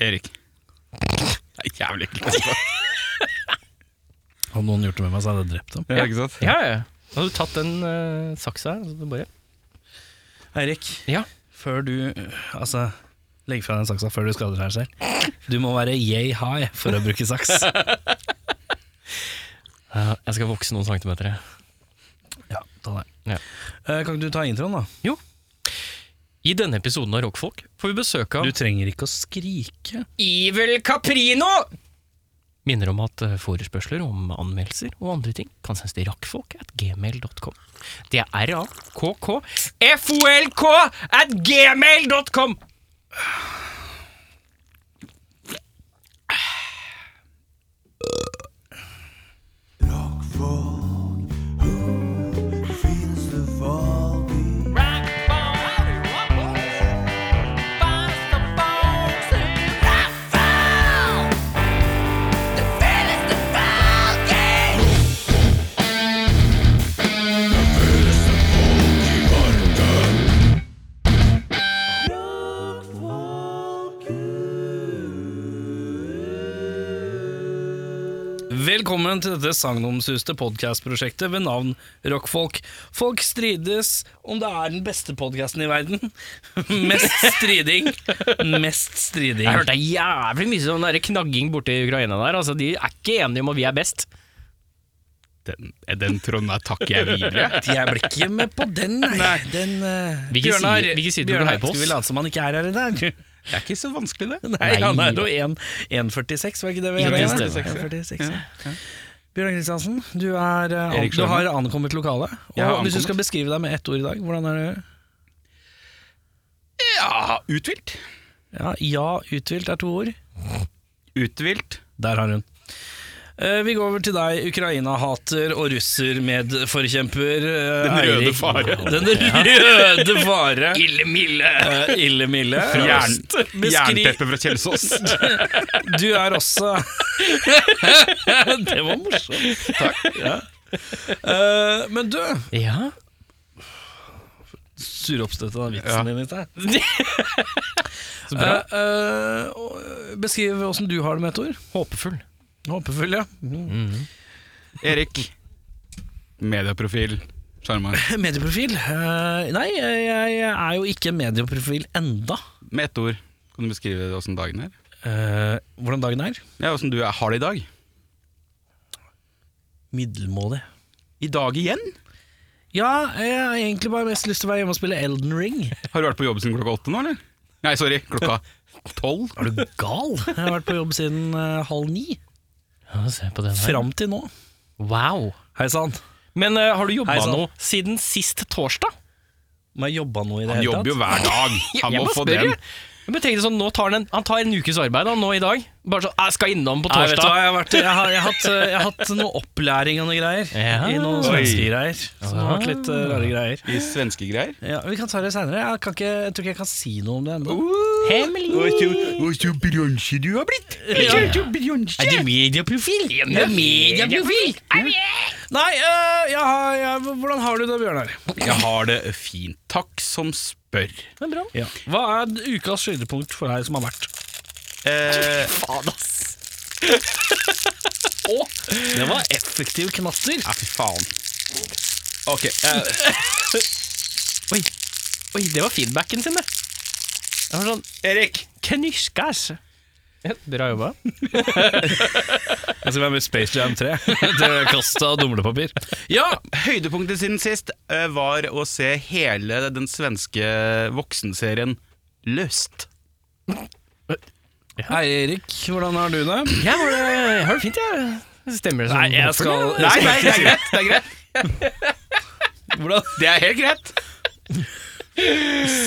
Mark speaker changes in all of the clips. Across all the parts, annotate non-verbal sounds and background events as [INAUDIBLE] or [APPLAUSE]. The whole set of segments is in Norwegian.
Speaker 1: Erik. Det er jævlig ekkelt. altså.
Speaker 2: Hadde noen gjort det med meg, så hadde jeg drept dem.
Speaker 1: Ja, ikke sant?
Speaker 3: Ja, ja. Da hadde du tatt den eh, saksa her, og så bare
Speaker 2: Eirik,
Speaker 3: Ja.
Speaker 2: før du Altså, legg fra den saksa før du skader deg selv. Du må være yay high for å bruke saks.
Speaker 3: [LAUGHS] Ja, Jeg skal vokse noen centimeter. jeg.
Speaker 2: Ja, ta det.
Speaker 3: Ja.
Speaker 2: Eh, Kan ikke du ta introen, da?
Speaker 3: I denne episoden av Rockfolk får vi besøk av
Speaker 2: Du trenger ikke å skrike.
Speaker 3: Evil Caprino! Minner om at eh, forespørsler om anmeldelser og andre ting kan sendes til rakkfolk at gmail.com. Det er r-a-k-k-f-o-l-k at gmail.com!
Speaker 2: Velkommen til dette sagnomsuste podkastprosjektet ved navn Rockfolk. Folk strides om det er den beste podkasten i verden. [LAUGHS] Mest striding. Mest striding.
Speaker 3: Jeg hørte jævlig mye sånn der knagging borti Ukraina der. Altså, de er ikke enige om at vi er best.
Speaker 1: Den, den tråden der takker jeg videre.
Speaker 2: [LAUGHS] Jeg ble ikke med på den, nei. Den, eh,
Speaker 3: Hvilke sider- hvilke sider vil du
Speaker 2: Bjørnar,
Speaker 3: heie på oss?
Speaker 2: Skal vi late som han ikke er her i dag?
Speaker 1: Det er ikke så vanskelig, det.
Speaker 2: Nei, han er jo 1 1,46, var ikke det vi
Speaker 3: Jo, det
Speaker 2: enige om?
Speaker 3: stemmer.
Speaker 2: 1,46, ja. Bjørnar Kristiansen, du, er, eh, an,
Speaker 1: Erik
Speaker 2: du har ankommet lokalet.
Speaker 1: Jeg har
Speaker 2: Og hvis du
Speaker 1: ankommet.
Speaker 2: skal beskrive deg med ett ord i dag, hvordan er det?
Speaker 1: Ja, uthvilt.
Speaker 2: Ja, ja uthvilt er to ord.
Speaker 1: Uthvilt.
Speaker 2: Der har hun. Eh, Vi går over til deg, Ukraina-hater og russer-medforkjemper. eh,
Speaker 1: Den røde
Speaker 2: Eirik.
Speaker 1: fare.
Speaker 2: Den røde
Speaker 1: [LAUGHS]
Speaker 2: fare.
Speaker 3: Ille milde!
Speaker 2: Eh, Ille milde.
Speaker 1: Jern,
Speaker 2: Beskri-
Speaker 1: jernteppe fra Kjelsås.
Speaker 2: Du er også [LAUGHS] Det var morsomt. Takk. Ja. Eh, men du
Speaker 3: Ja.
Speaker 2: Suroppstøtet av vitsen
Speaker 1: Ja.
Speaker 2: din litt [LAUGHS] her.
Speaker 3: Så bra.
Speaker 2: Eh, eh, og beskriv åssen du har det med et ord.
Speaker 3: Håpefull.
Speaker 2: Håpefull, ja.
Speaker 1: [LAUGHS] Erik. Medieprofil. Sjarmør.
Speaker 2: [LAUGHS] Medieprofil? Eh, nei, jeg er jo ikke medieprofil enda.
Speaker 1: Med ett ord. Kan du beskrive åssen dagen er?
Speaker 2: Eh, hvordan dagen er?
Speaker 1: Ja, Åssen du er- har det i dag?
Speaker 2: Middelmådig.
Speaker 1: I dag igjen?
Speaker 2: Ja, jeg har egentlig bare mest lyst til å være hjemme og spille Elden Ring.
Speaker 1: Har du vært på jobb siden klokka åtte nå, eller? Nei, sorry, klokka tolv.
Speaker 2: Er du gal? Jeg har vært på jobb siden eh, halv ni.
Speaker 3: Ja, se på den her.
Speaker 2: Fram til nå.
Speaker 3: Wow.
Speaker 2: Hei sann.
Speaker 3: Men eh, har du jobba
Speaker 2: Hei, sann.
Speaker 3: noe siden sist torsdag?
Speaker 2: Må jeg jobba noe i det
Speaker 1: Han
Speaker 2: hele tatt?
Speaker 1: jobber jo hver [LAUGHS] dag. Han
Speaker 3: Jeg
Speaker 1: må
Speaker 3: bare
Speaker 1: få
Speaker 3: spør,
Speaker 1: den.
Speaker 3: jeg. Jeg bare tenkte sånn, nå tar han, en, han tar en ukes arbeid da, nå i dag. Bare sånn, jeg skal innom på
Speaker 2: Nei, vet du hva,
Speaker 3: torsdag.
Speaker 2: jeg har, vært, jeg, har, jeg, har hatt, eh, jeg har hatt noe opplæring og noe greier.
Speaker 3: Ja.
Speaker 2: I noen
Speaker 1: Oi.
Speaker 2: svenske greier. Så det har vært litt eh, rare greier.
Speaker 1: I svenske greier.
Speaker 2: Ja, vi kan ta det seinere. Jeg, kan ikke- jeg tror ikke jeg kan si noe om det ennå.
Speaker 1: Uh.
Speaker 3: Hemmelig!
Speaker 1: Og så bronse du har blitt!
Speaker 3: Er det medieprofil? Ja, det er medieprofil!
Speaker 2: Nei, eh, jeg har, jeg, hvordan har du det, Bjørnar?
Speaker 1: Jeg har det fint. Takk som spør.
Speaker 3: Det er bra.
Speaker 2: Hva er ukas høydepunkt for deg som har vært?
Speaker 1: Eh,
Speaker 3: Faen, ass. Å,
Speaker 2: Det var effektiv knatter.
Speaker 1: ja, fy faen. Ok. Eh,
Speaker 3: oi. oi, det var feedbacken sin det. Det var sånn,
Speaker 1: Erik!
Speaker 3: knyskas. Ja, bra jobba.
Speaker 2: [LAUGHS] Jeg skal være med i Space Jam
Speaker 3: [LAUGHS]
Speaker 2: 3. Til kasta dumlepapir.
Speaker 1: Ja, høydepunktet siden sist eh, var å se hele den svenske voksenserien Løst.
Speaker 2: Hei, Erik. Hvordan har du det?
Speaker 3: Jeg har det, jeg har det fint, jeg. Stemmer det sånn?
Speaker 2: Nei, jeg skal-
Speaker 3: håper det?
Speaker 1: Nei, nei, det er greit. Det er, greit.
Speaker 2: Hvordan?
Speaker 1: Det er helt greit.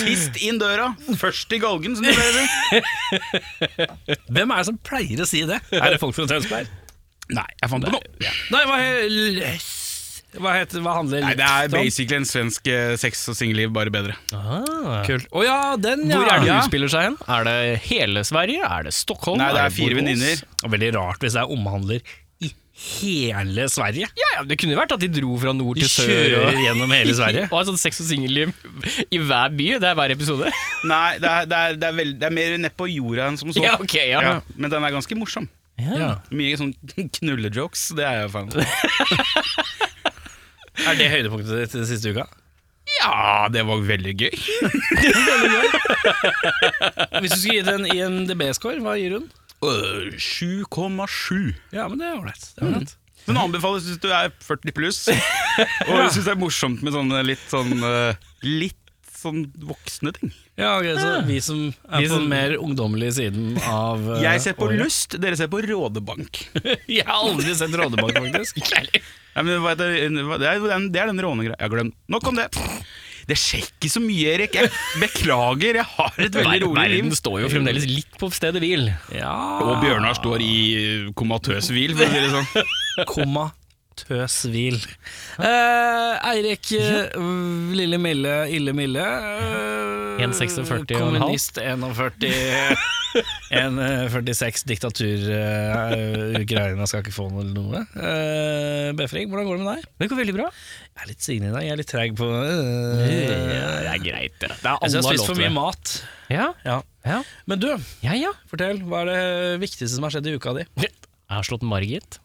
Speaker 1: Sist inn døra, først i galgen, som det pleier å si.
Speaker 2: Hvem er det som pleier å si det? Er det folk fra Tønsberg?
Speaker 1: Nei, jeg fant på noe.
Speaker 2: Nei, hva, he- løs- hva, heter, hva handler
Speaker 1: Nei, det er
Speaker 2: om?
Speaker 1: basically en svensk eh, sex- og singelliv, bare bedre.
Speaker 3: Ah.
Speaker 2: Kult. Å ja, den, ja.
Speaker 3: Hvor er det
Speaker 2: ja.
Speaker 3: hun spiller seg hen? Er det hele Sverige? Er det Stockholm?
Speaker 1: Nei, det er
Speaker 3: Borås?
Speaker 1: fire venninner.
Speaker 2: Veldig rart hvis det er omhandler i hele Sverige.
Speaker 3: Ja, ja, Det kunne jo vært at de dro fra nord
Speaker 2: De
Speaker 3: til sør.
Speaker 2: kjører [LAUGHS]
Speaker 3: Og,
Speaker 2: gjennom hele Sverige.
Speaker 3: og en sånn sex og single i, i hver by. Det er hver episode.
Speaker 1: Nei, det er, det er, det er, veld, det er mer nedpå jorda enn som så.
Speaker 3: Ja, ok, ja.
Speaker 1: Ja, men den er ganske morsom.
Speaker 2: Ja.
Speaker 1: Mye sånn [LAUGHS] knullejokes. Det er jeg fan av.
Speaker 2: Er det høydepunktet ditt den siste uka?
Speaker 1: Ja, det var veldig gøy.
Speaker 2: Hvis du skulle gi den IMDb-score, hva gir hun?
Speaker 1: Øh, 7,7.
Speaker 2: Ja, men det er ålreit. Det er ålreit.
Speaker 1: Den anbefales hvis du er 40
Speaker 3: [LAUGHS]
Speaker 1: pluss og syns det er morsomt med sånne litt sånn eh, Litt sånn voksne ting.
Speaker 2: Ja, ok, så vi som er
Speaker 3: Ah. Vi
Speaker 2: på
Speaker 3: som-
Speaker 2: den mer ungdommelige siden
Speaker 3: [LAUGHS]
Speaker 2: av eh,
Speaker 1: Jeg ser på
Speaker 2: året.
Speaker 1: lyst, dere ser på rådebank.
Speaker 2: Jeg har aldri sett Rådebank,
Speaker 3: [LAUGHS]
Speaker 2: faktisk.
Speaker 1: Ja, men, hva heter, hva- det, er, jo den- det er den rånegreia. Jeg har glemt. Nok om det. Det skjer ikke så mye, Erik. Jeg beklager, jeg har et veldig
Speaker 3: Ver-
Speaker 1: rolig liv.
Speaker 3: Verden står jo fremdeles litt på stedet hvil.
Speaker 2: Ja
Speaker 1: Og Bjørnar står i eh, komatøs hvil, for å si det sånn.
Speaker 2: [LAUGHS] Komma tøsvil. Eh, Eirik eh, Lille Mille, Ille Mille. eh,
Speaker 3: 1,46 og en halv.
Speaker 2: Kommunist 41.
Speaker 3: [LAUGHS]
Speaker 2: 1,46 eh, diktatur eh, Ukraina skal ikke få noe. noe. Eh, Befring, hvordan går det med deg?
Speaker 3: Det går veldig bra.
Speaker 2: Jeg er litt signe i dag. Jeg er litt treig på eh,
Speaker 3: Det er greit. Det er
Speaker 2: Jeg
Speaker 3: alle
Speaker 2: synes jeg har
Speaker 3: har lov
Speaker 2: spist for
Speaker 3: til
Speaker 2: mye
Speaker 3: det.
Speaker 2: mat.
Speaker 3: Ja,
Speaker 2: Ja.
Speaker 3: ja,
Speaker 2: Men du,
Speaker 3: ja. ja.
Speaker 2: fortell. Hva er det viktigste som har skjedd i uka di?
Speaker 3: Jeg har slått Margit.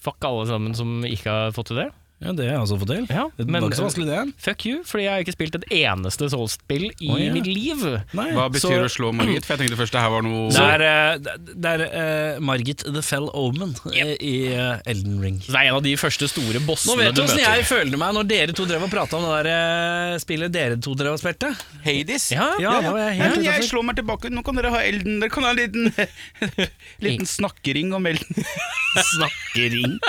Speaker 3: Fuck alle sammen som ikke har fått til det.
Speaker 2: Ja, Det har jeg også fått til.
Speaker 3: Ja,
Speaker 2: det
Speaker 3: men-
Speaker 2: var ikke så vanskelig, det.
Speaker 3: Fuck you, fordi jeg har ikke spilt et eneste Souls-spill i
Speaker 2: Å, ja.
Speaker 3: mitt liv.
Speaker 2: Nei.
Speaker 1: Hva betyr
Speaker 3: Så-
Speaker 1: å slå Margit? For jeg tenkte først det her var noe
Speaker 2: Det er, eh, det- det er eh, Margit the Fell Omen eh, i eh, Elden Ring.
Speaker 3: Så det er en av de første store bossene
Speaker 2: Nå vet du
Speaker 3: du
Speaker 2: åssen
Speaker 3: møter.
Speaker 2: jeg følte meg når dere to drev og prata om det der eh, spillet dere to drev og spilte.
Speaker 1: Hades.
Speaker 3: Ja, sånn.
Speaker 2: Ja, da var jeg
Speaker 1: Ja,
Speaker 2: helt
Speaker 1: men jeg
Speaker 2: utenfor.
Speaker 1: slår meg tilbake. Nå kan dere ha Elden. Dere kan ha en liten, [LAUGHS] liten snakkering om Elden.
Speaker 3: snakkering.
Speaker 2: [LAUGHS]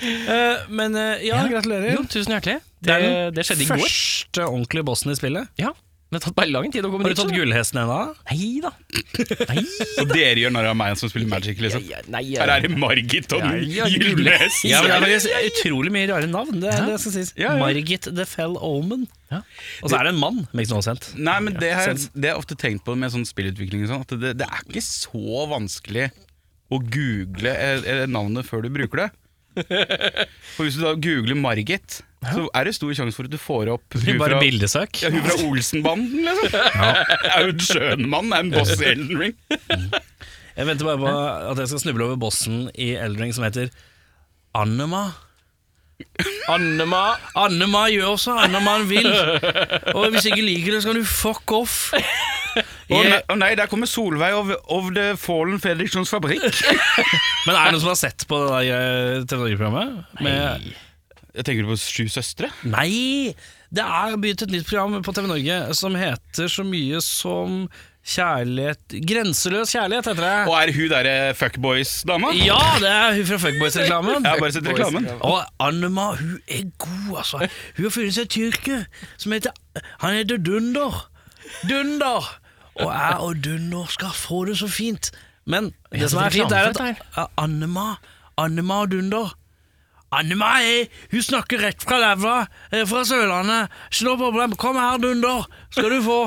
Speaker 2: Eh, Men eh, ja, gratulerer.
Speaker 3: Jo, tusen hjertelig.
Speaker 2: Det
Speaker 3: Det,
Speaker 2: er
Speaker 3: det,
Speaker 2: den
Speaker 3: skjedde i går.
Speaker 2: Første ordentlige bossen i spillet.
Speaker 3: Ja, sånn. men det har tatt bare lang tid å komme
Speaker 2: Har du
Speaker 3: dit,
Speaker 2: tatt
Speaker 3: så-
Speaker 2: gullhesten ennå?
Speaker 3: Nei da. Nei,
Speaker 1: Og dere gjør narr av meg som spiller Magic, liksom.
Speaker 3: Ja, ja, nei, ja.
Speaker 1: Her er det Margit og den
Speaker 3: Ja, ja,
Speaker 1: gylne
Speaker 3: gule.
Speaker 1: hest.
Speaker 2: Ja, men det er faktisk utrolig mye rare navn. Det, er det skal sies.
Speaker 1: Ja, ja.
Speaker 2: Margit the Fell Omen.
Speaker 3: Ja.
Speaker 2: Og så er det en mann. Makes no sense.
Speaker 1: Nei, men det, her, det har jeg ofte tenkt på med sånn spillutvikling og sånn, at det, det er ikke så vanskelig å google eh, eh, navnet før du bruker det. For hvis du da googler Margit, så er det stor sjanse for at du får opp hun
Speaker 2: Bare
Speaker 1: fra,
Speaker 2: bildesøk.
Speaker 1: ja, hun fra Olsenbanden, liksom. [LAUGHS] Aud Schønmann er en boss i Elden Ring.
Speaker 2: Jeg venter bare på at jeg skal snuble over bossen i Eldring som heter Annema.
Speaker 3: Annema
Speaker 2: Annema gjør så Annema han vil. Og hvis ikke liker det, så kan du fuck off.
Speaker 1: Å nei,
Speaker 2: Jeg,
Speaker 1: å nei, der kommer Solveig of, of the Fallen Fredrikssons fabrikk.
Speaker 2: men er det noen som har sett på det der TV Norge-programmet? Med-
Speaker 1: Jeg tenker du på Sju søstre?
Speaker 2: Nei! Det er begynt et nytt program på TV Norge som heter så mye som Kjærlighet Grenseløs kjærlighet, heter det.
Speaker 1: Og er hun derre fuckboys-dama?
Speaker 2: Ja, det er hun fra Fuckboys-reklamen.
Speaker 1: Jeg har bare sett reklamen.
Speaker 2: Og Annema, hun er god, altså. Hun har funnet seg en tyrker som heter Han heter Dunder. Dunder! Og jeg og Dunder skal få det så fint. Men det som er fint, er
Speaker 3: reklamefett
Speaker 2: at Annema, Annema og Dunder Annema er, hun snakker rett fra leva, eh, fra Sørlandet. Ikke noe problem. Kom her, Dunder, skal du få.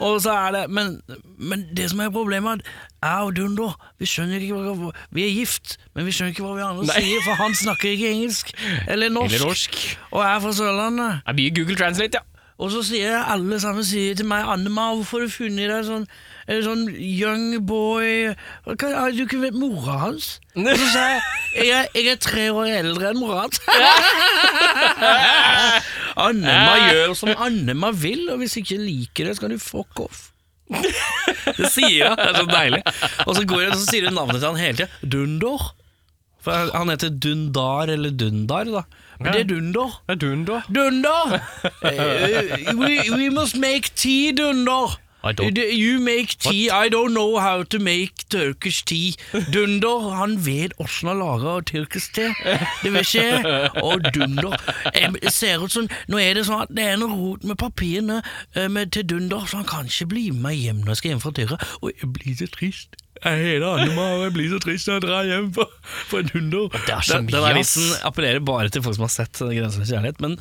Speaker 2: Og så er det, men, men det som er problemet, er at jeg og Dunder vi skjønner ikke hva, vi er gift, men vi skjønner ikke hva vi andre sier, for han snakker ikke engelsk eller norsk.
Speaker 3: Eller norsk.
Speaker 2: Og jeg er fra Sørlandet.
Speaker 3: Det er mye Google Translate, ja.
Speaker 2: Og så sier alle sammen sier til meg, Annema, hvorfor har du funnet deg sånn, en sånn young boy Hva, Har du ikke vet mora hans? [LAUGHS] Og så sa jeg, jeg er, jeg er tre år eldre enn mora hans. Annema gjør som Annema vil, og hvis ikke liker det, så kan du fuck off. Det sier hun, det er så deilig. Og så, går jeg, og så sier hun navnet til han hele tida. Dunder. For han heter Dundar eller Dundar, da. Men det er Dunder.
Speaker 3: Det er dun, da.
Speaker 2: Dunder! Eh, we, we must make tea, Dunder.
Speaker 3: I don't-
Speaker 2: You- You make tea, I don't know how to make Turkish tea. Dunder, han vet åssen han lager tyrkisk te. Det vet ikke jeg. Og Dunder eh, det ser ut som, Nå er det sånn at det er noe rot med papirene eh, med, til Dunder, så han kan ikke bli med meg hjem når jeg skal hjem fra Tyrkia. Og jeg blir så trist. Jeg heter Annema, og jeg blir så trist når jeg drar hjem for, for Dunder.
Speaker 3: Det er så
Speaker 2: Den-
Speaker 3: mye,
Speaker 2: Den sånn
Speaker 3: ass.
Speaker 2: avisen appellerer bare til folk som har sett Grenseløs kjærlighet, men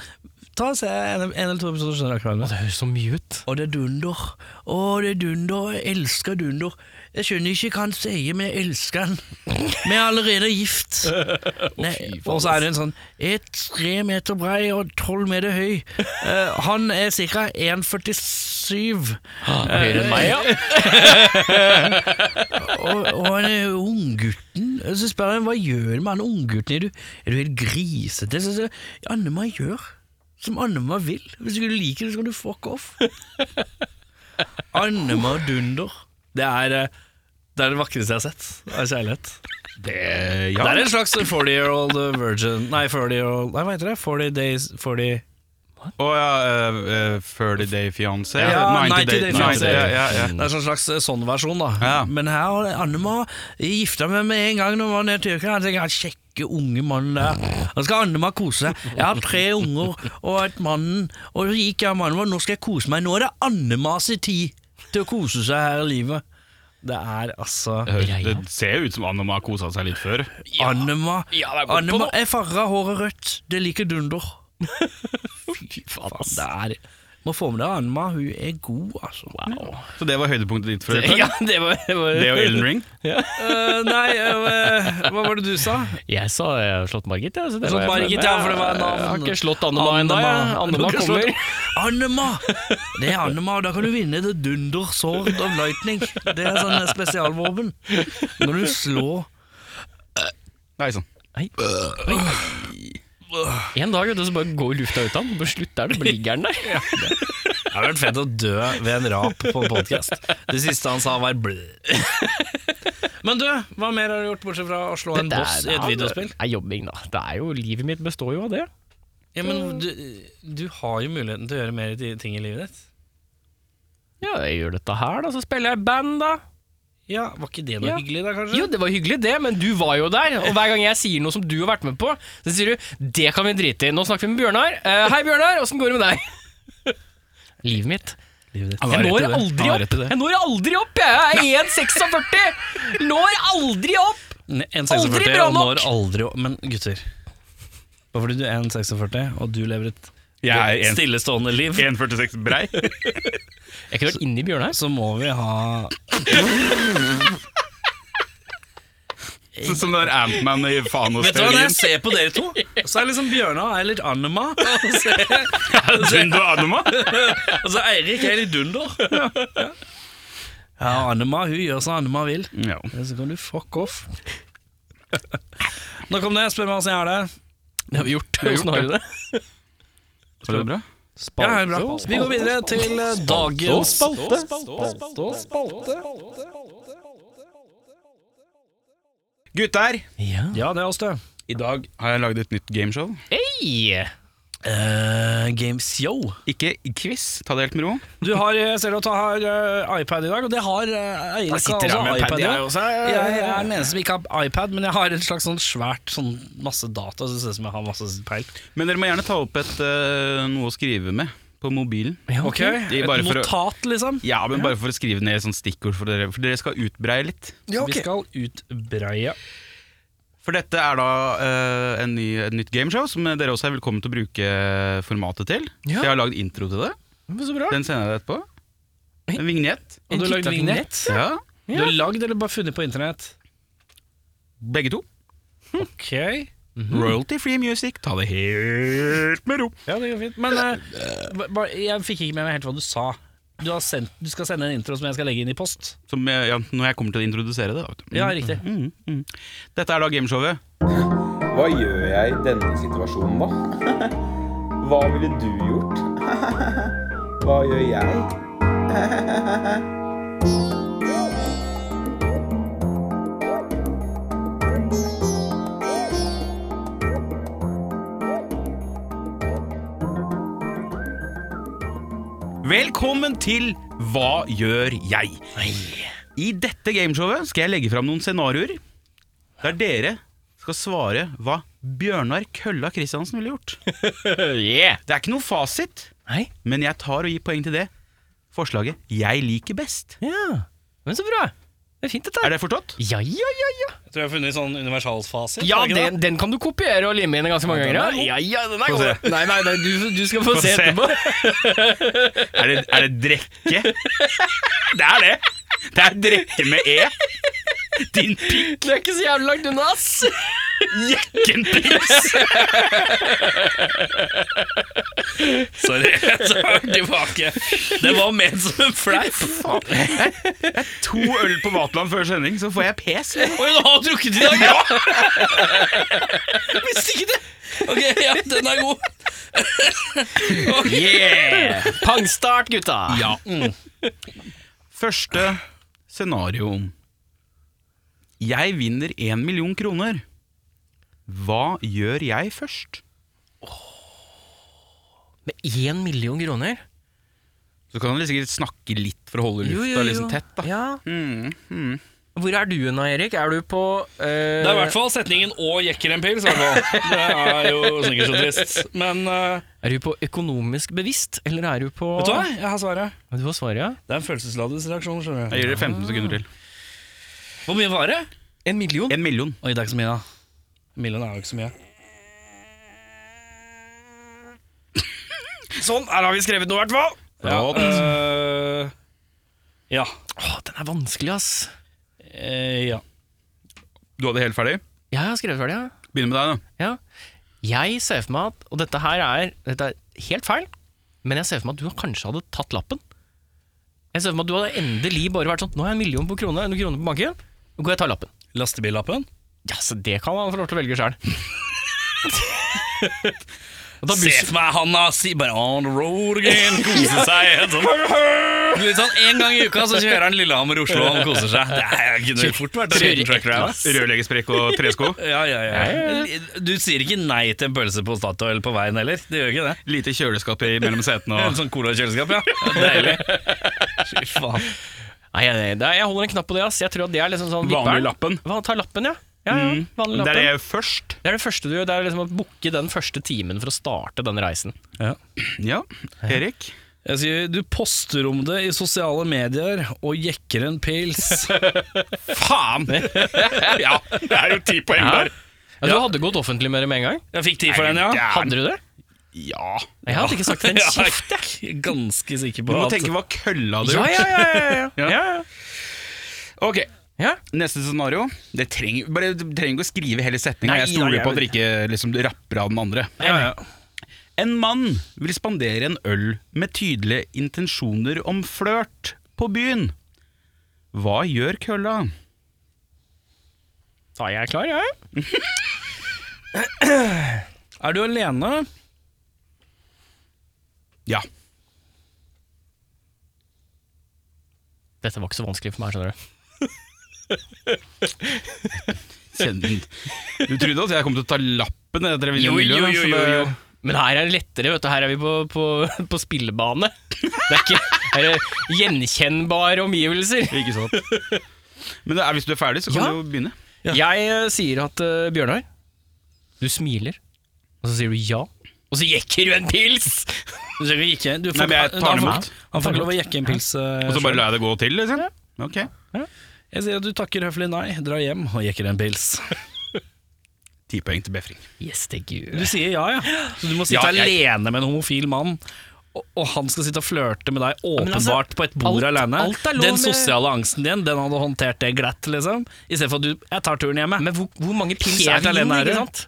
Speaker 2: ta og se en, en eller to episoder skjønner jeg akkurat
Speaker 3: Å,
Speaker 2: det.
Speaker 3: det høres så mye ut.
Speaker 2: Og det er dunder. Å, det er dunder. Jeg elsker dunder. Jeg skjønner ikke hva han sier, men jeg elsker han. Vi er allerede [LAUGHS] gift. Nei, og så er det en sånn Er tre meter brei og tolv meter høy. Eh, han er ca. 1,47.
Speaker 3: Høyere enn meg, ja.
Speaker 2: [LAUGHS] Og, og han er unggutten. eh, Så spør han hva gjør du med han unggutten. Er, du- er du helt grisete? Så sier jeg, Annema gjør som Annema vil. Hvis du ikke liker det, så kan du fuck off. Annema dunder. Det er eh, det er det vakreste jeg har sett av kjærlighet.
Speaker 1: Det, ja.
Speaker 2: Det er en slags 40 year old virgin Nei, 40 year old Nei, hva heter det? 40 days 40
Speaker 1: Å ja, eh, eh, 30 Day Fiancé.
Speaker 2: Ja, 90 Day Fiancé.
Speaker 1: Ja, ja, ja.
Speaker 2: Det er en slags eh, sånn versjon, da.
Speaker 1: Ja.
Speaker 2: Men her har det- Annema gifta meg med en gang når man er tyrker. Jeg tenker, han kjekke unge mannen der. Nå skal Annema kose seg. Jeg har tre unger og et mannen, og så gikk jeg og mannen vår. Nå skal jeg kose meg. Nå er det Annema sin tid til å kose seg her i livet. Det er altså
Speaker 1: Det høres- Det ser jo ut som Annema har kosa seg litt før.
Speaker 2: Annema.
Speaker 3: Ja, det er godt på
Speaker 2: Annema
Speaker 3: nå.
Speaker 2: er farga, håret rødt. Det liker dunder. Fy faen, det er Må få med deg Annema. Hun er god, altså. Wow.
Speaker 1: Så det var høydepunktet ditt for dette?
Speaker 3: ja det var, det var
Speaker 1: Det og Elden Ring?
Speaker 2: nei, eh, hva var det du sa?
Speaker 3: Jeg sa jeg har slått Margit, ja, så det
Speaker 2: Slått
Speaker 3: var jeg. fornøyd
Speaker 2: Margit,
Speaker 3: med.
Speaker 2: ja, for det var
Speaker 3: Jeg- Jeg har
Speaker 2: navn.
Speaker 3: ikke slått Annema ennå. jeg. Annema
Speaker 2: Du har ikke
Speaker 3: kommer.
Speaker 2: slått- Annema! Det er Annema, og da kan du vinne The Dunder Sword of Lightning. Det er sånn spesialvåpen. Når du slår
Speaker 1: Nei sånn.
Speaker 3: Nei. Oi. [LAUGHS] En dag vet du, så bare går lufta ut av den. På slutt der, det ligger den der.
Speaker 2: Det hadde vært fett å dø ved en rap på en podkast. Det siste han sa, var blø. Men du, hva mer har du gjort, bortsett fra å slå [LAUGHS] en
Speaker 3: Dette er-
Speaker 2: boss i
Speaker 3: ja,
Speaker 2: et
Speaker 3: det
Speaker 2: videospill?
Speaker 3: er jobbing, da. Det er jo, livet mitt består jo av det.
Speaker 2: Ja, men du, du har jo muligheten til å gjøre mer ti- ting i livet ditt.
Speaker 3: Ja, jeg gjør dette her, da. Så spiller jeg i band, da.
Speaker 2: Ja, Var ikke det noe
Speaker 3: Ja.
Speaker 2: hyggelig, da, kanskje?
Speaker 3: Jo, det var hyggelig det, men du var jo der. Og hver gang jeg sier noe som du har vært med på, så sier du 'det kan vi drite i'. Nå snakker vi med Bjørnar. Eh, 'Hei, Bjørnar, åssen går det med deg?' [LAUGHS] Livet mitt.
Speaker 2: Livet ditt.
Speaker 3: Jeg når aldri opp. Jeg når aldri opp, jeg. Jeg er 1,46. Når aldri opp.
Speaker 2: Ne- en
Speaker 3: Aldri
Speaker 2: 46,
Speaker 3: bra
Speaker 2: og
Speaker 3: nok!
Speaker 2: Når aldri, opp- men gutter Bare fordi du er 1,46 og du lever et
Speaker 1: Jeg er en-
Speaker 2: stillestående liv,
Speaker 1: 1,46 brei.
Speaker 3: Jeg kunne vært inni Bjørnar.
Speaker 2: så må vi ha
Speaker 1: Sånn Som det der Antman i
Speaker 2: Vet du hva, når jeg
Speaker 1: Fanos-teorien.
Speaker 2: ser på dere to, så er liksom Bjørnar er litt Annema. Og så, [LAUGHS]
Speaker 1: Dundo Annema?
Speaker 2: og så Eirik er litt dunder. Ja, Annema hun gjør som Annema vil.
Speaker 1: Ja.
Speaker 2: Så kan du fuck off. Nok om det. Spør meg åssen jeg har det.
Speaker 3: Det har vi gjort. Åssen har du det?
Speaker 1: Var det bra?
Speaker 2: Ja, det er bra. Vi går videre til eh, dagens
Speaker 1: Gutter!
Speaker 3: Ja.
Speaker 2: Ja, det er oss, det.
Speaker 1: I dag har jeg lagd et nytt gameshow.
Speaker 3: Hei!
Speaker 2: Eh, Games Yo.
Speaker 1: Ikke quiz, ta det helt med ro.
Speaker 2: Du har, jeg ser at du har eh, iPad i dag, og det har uh, Eirik har også iPad. Jeg,
Speaker 1: også.
Speaker 2: jeg, er den eneste som ikke har iPad, men jeg har et slags sånn svært sånn masse data, så det ser ut som jeg har masse peil.
Speaker 1: Men dere må gjerne ta opp et, eh, noe å skrive med på mobilen.
Speaker 3: Ja, ok.
Speaker 1: Det er
Speaker 2: Et
Speaker 1: bare for å-
Speaker 2: notat, liksom.
Speaker 1: Ja, men bare for å skrive ned sånn stikkord for dere, for dere skal utbreie litt.
Speaker 2: Vi skal utbreie.
Speaker 1: For dette er da eh, en ny, et nytt gameshow som dere også er velkommen til å bruke formatet til.
Speaker 3: Ja.
Speaker 1: Så jeg har lagd intro til det.
Speaker 3: Så bra.
Speaker 1: Den sender jeg deg etterpå. En vignett.
Speaker 2: Og du har lagd
Speaker 3: liten
Speaker 2: vignett?
Speaker 1: Ja,
Speaker 2: Du har lagd eller bare funnet på internett?
Speaker 1: Begge to.
Speaker 2: Ok.
Speaker 1: Royalty free music. Ta det helt med ro.
Speaker 2: Ja, det går fint. Men eh, ba- bare- jeg fikk ikke med meg helt hva du sa. Du, har sendt, du skal sende en intro som jeg skal legge inn i post.
Speaker 1: Som jeg, ja, når jeg kommer til å introdusere det. da, vet du.
Speaker 2: Ja, riktig.
Speaker 1: Mm, mm. Dette er da gameshowet.
Speaker 4: Hva gjør jeg i denne situasjonen, da? Hva ville du gjort? Hva gjør jeg?
Speaker 1: Velkommen til Hva gjør jeg? I dette gameshowet skal jeg legge fram noen scenarioer der dere skal svare hva Bjørnar Kølla Kristiansen ville gjort.
Speaker 3: Yeah.
Speaker 1: Det er ikke noe fasit,
Speaker 3: Nei.
Speaker 1: men jeg tar og gir poeng til det forslaget jeg liker best.
Speaker 3: Ja. Men så bra. Det er fint, dette.
Speaker 1: Er det forstått?
Speaker 3: Ja, ja, ja, ja.
Speaker 2: Jeg tror jeg har funnet en sånn universalfasit.
Speaker 3: ja
Speaker 2: er det ikke det?
Speaker 3: den, den kan du kopiere og lime inn ganske mange ganger. Ja, ja, den er
Speaker 1: Få
Speaker 3: god. Nei, nei, nei du, du skal få se
Speaker 1: se.
Speaker 3: etterpå.
Speaker 1: Er det, er det drekke? Det er det. Det er drekke med e. Din pikk,
Speaker 3: Du er ikke så jævlig langt unna, ass.
Speaker 1: jekken pils.
Speaker 2: Sorry, [LAUGHS] jeg tar den tilbake. Det var ment som en fleip.
Speaker 1: To øl på Vatland før sending, så får jeg pes.
Speaker 2: Oi, du har drukket i dag, ja! Visste ikke det. Ok, [LAUGHS] ja, den er god.
Speaker 1: Yeah!
Speaker 3: Pangstart, gutta. [LAUGHS]
Speaker 1: Ja.
Speaker 3: Mm.
Speaker 1: Første scenario. Jeg vinner én million kroner. Hva gjør jeg først?
Speaker 3: Med én million kroner?
Speaker 1: Så kan han sikkert snakke litt for å holde lufta liksom tett. da.
Speaker 3: Ja.
Speaker 1: Mm, mm.
Speaker 3: Hvor er du nå, Erik? Er du på eh,
Speaker 2: Det er i hvert fall setningen 'og jekker en pils'. i hvert fall. Det er jo sikkert så trist. Men eh,
Speaker 3: Er du på økonomisk bevisst, eller er du på
Speaker 2: vet du hva? Jeg har svaret.
Speaker 3: Du får svaret, ja.
Speaker 2: Det er en følelsesladet reaksjon. skjønner
Speaker 1: Jeg
Speaker 2: du.
Speaker 1: gir dere
Speaker 3: Ah.
Speaker 1: 15 sekunder til.
Speaker 2: Hvor mye var det?
Speaker 3: En million?
Speaker 1: En million.
Speaker 2: Oi, det er ikke så mye, da. En million er jo ikke så mye.
Speaker 3: [LAUGHS] Sånn, her har vi skrevet noe, i hvert fall. eh,
Speaker 2: Ja.
Speaker 1: Flott.
Speaker 2: øh, ja.
Speaker 3: Åh, den er vanskelig, ass.
Speaker 2: Eh, ja.
Speaker 1: Du hadde helt ferdig?
Speaker 3: Jeg har skrevet ferdig, ja.
Speaker 1: Begynner med deg, da.
Speaker 3: ja. Jeg ser for meg at Og dette her er, dette er helt feil, men jeg ser for meg at du kanskje hadde tatt lappen. Jeg ser for meg at du hadde endelig bare vært sånn Nå har jeg en million på krone, en krone på banken, nå går jeg og tar lappen.
Speaker 2: Lastebillappen?
Speaker 3: Ja, så det kan han få lov til å velge sjøl.
Speaker 2: [LAUGHS] Se for meg han har si bare on the road again, koser seg. Sånn. Litt sånn En gang i uka så kjører han Lillehammer-Oslo og han koser seg. Det er- kunne fort vært en liten truck round.
Speaker 1: Rørleggersprekk og tresko.
Speaker 2: Ja, ja, ja. Du sier ikke nei til en pølse på Statoil på veien heller. Det gjør ikke det.
Speaker 1: Lite kjøleskap i- mellom setene
Speaker 2: En
Speaker 1: og
Speaker 2: sånn colakjøleskap, ja. [LAUGHS] Deilig. Fy faen.
Speaker 3: Nei, nei, nei, jeg holder en knapp på det. ass Jeg tror at det er liksom sånn
Speaker 1: vanlig
Speaker 3: vipperen.
Speaker 1: lappen.
Speaker 3: Hva, ta lappen, ja. ja, ja
Speaker 2: Mm.
Speaker 3: vanlig
Speaker 1: Det
Speaker 3: lappen.
Speaker 1: er
Speaker 3: Det, er det.
Speaker 1: det først.
Speaker 3: første du gjør. Det er liksom å booke den første timen for å starte den reisen.
Speaker 1: Ja, Erik.
Speaker 2: Jeg sier du poster om det i sosiale medier og jekker en pils.
Speaker 3: [LAUGHS]
Speaker 1: Faen! ja, det er jo ti poeng der.
Speaker 3: Ja, du hadde gått offentlig med det med en gang?
Speaker 2: Jeg fikk tid for den, ja.
Speaker 1: Gæren.
Speaker 3: Hadde du det?
Speaker 1: Ja.
Speaker 3: Jeg hadde ikke [LAUGHS] sagt en
Speaker 2: Jeg
Speaker 3: kjeft.
Speaker 2: er ganske sikker
Speaker 1: Du
Speaker 2: på
Speaker 1: må
Speaker 2: at
Speaker 1: tenke hva kølla du
Speaker 3: altså. Ja, ja, ja, ja, ja. ja.
Speaker 1: Ok,
Speaker 3: ja.
Speaker 1: Neste scenario. Det trenger, bare, du trenger ikke å skrive hele setninga.
Speaker 3: Nei,
Speaker 1: Jeg stoler
Speaker 3: ja, jeg
Speaker 1: på at dere ikke liksom, rapper av den andre. En mann vil spandere en øl med tydelige intensjoner om flørt på byen. Hva gjør kølla?
Speaker 3: Da er jeg klar, jeg. Ja.
Speaker 2: Er du alene?
Speaker 1: Ja.
Speaker 3: Dette var ikke så vanskelig for meg, skjønner du.
Speaker 1: Send. Du trodde at jeg kom til å ta lappen etter en million? altså, det-
Speaker 3: Men her er det lettere, vet du. Her er vi på, på, på spillebane. Det er ikke her er det gjenkjennbare omgivelser.
Speaker 1: Ikke sant. Men det er, hvis du er ferdig, så kan
Speaker 3: Ja.
Speaker 1: du jo begynne.
Speaker 3: [LAUGHS] Jeg eh, sier at eh, Bjørnar, du smiler, og så sier du ja, og så jekker du en pils!
Speaker 2: Du trenger ikke jekke. Du
Speaker 1: Nei, men jeg tar
Speaker 2: han
Speaker 1: den
Speaker 2: får-
Speaker 1: imot.
Speaker 2: Han får ikke lov å jekke en pils. eh,
Speaker 1: Og så
Speaker 2: selv.
Speaker 1: bare lar jeg det gå til, liksom? Ok.
Speaker 2: Jeg sier at du takker høflig nei, drar hjem og jekker en pils.
Speaker 1: Ti poeng til befring.
Speaker 3: Yes, thank you.
Speaker 2: Du sier ja, ja. Så du må sitte
Speaker 1: Ja, jeg-
Speaker 2: alene med en homofil mann. Og, og han skal sitte og flørte med deg
Speaker 3: men
Speaker 2: åpenbart
Speaker 3: altså,
Speaker 2: på et bord
Speaker 3: alt-
Speaker 2: alene.
Speaker 3: alt er lov
Speaker 2: den
Speaker 3: med-
Speaker 2: sosiale angsten din, den hadde håndtert det glatt, liksom. Istedenfor at du Jeg tar turen hjemme.
Speaker 3: Men hvor, hvor mange pils
Speaker 2: Helt
Speaker 3: er vin,
Speaker 2: alene er du.
Speaker 3: ikke sant?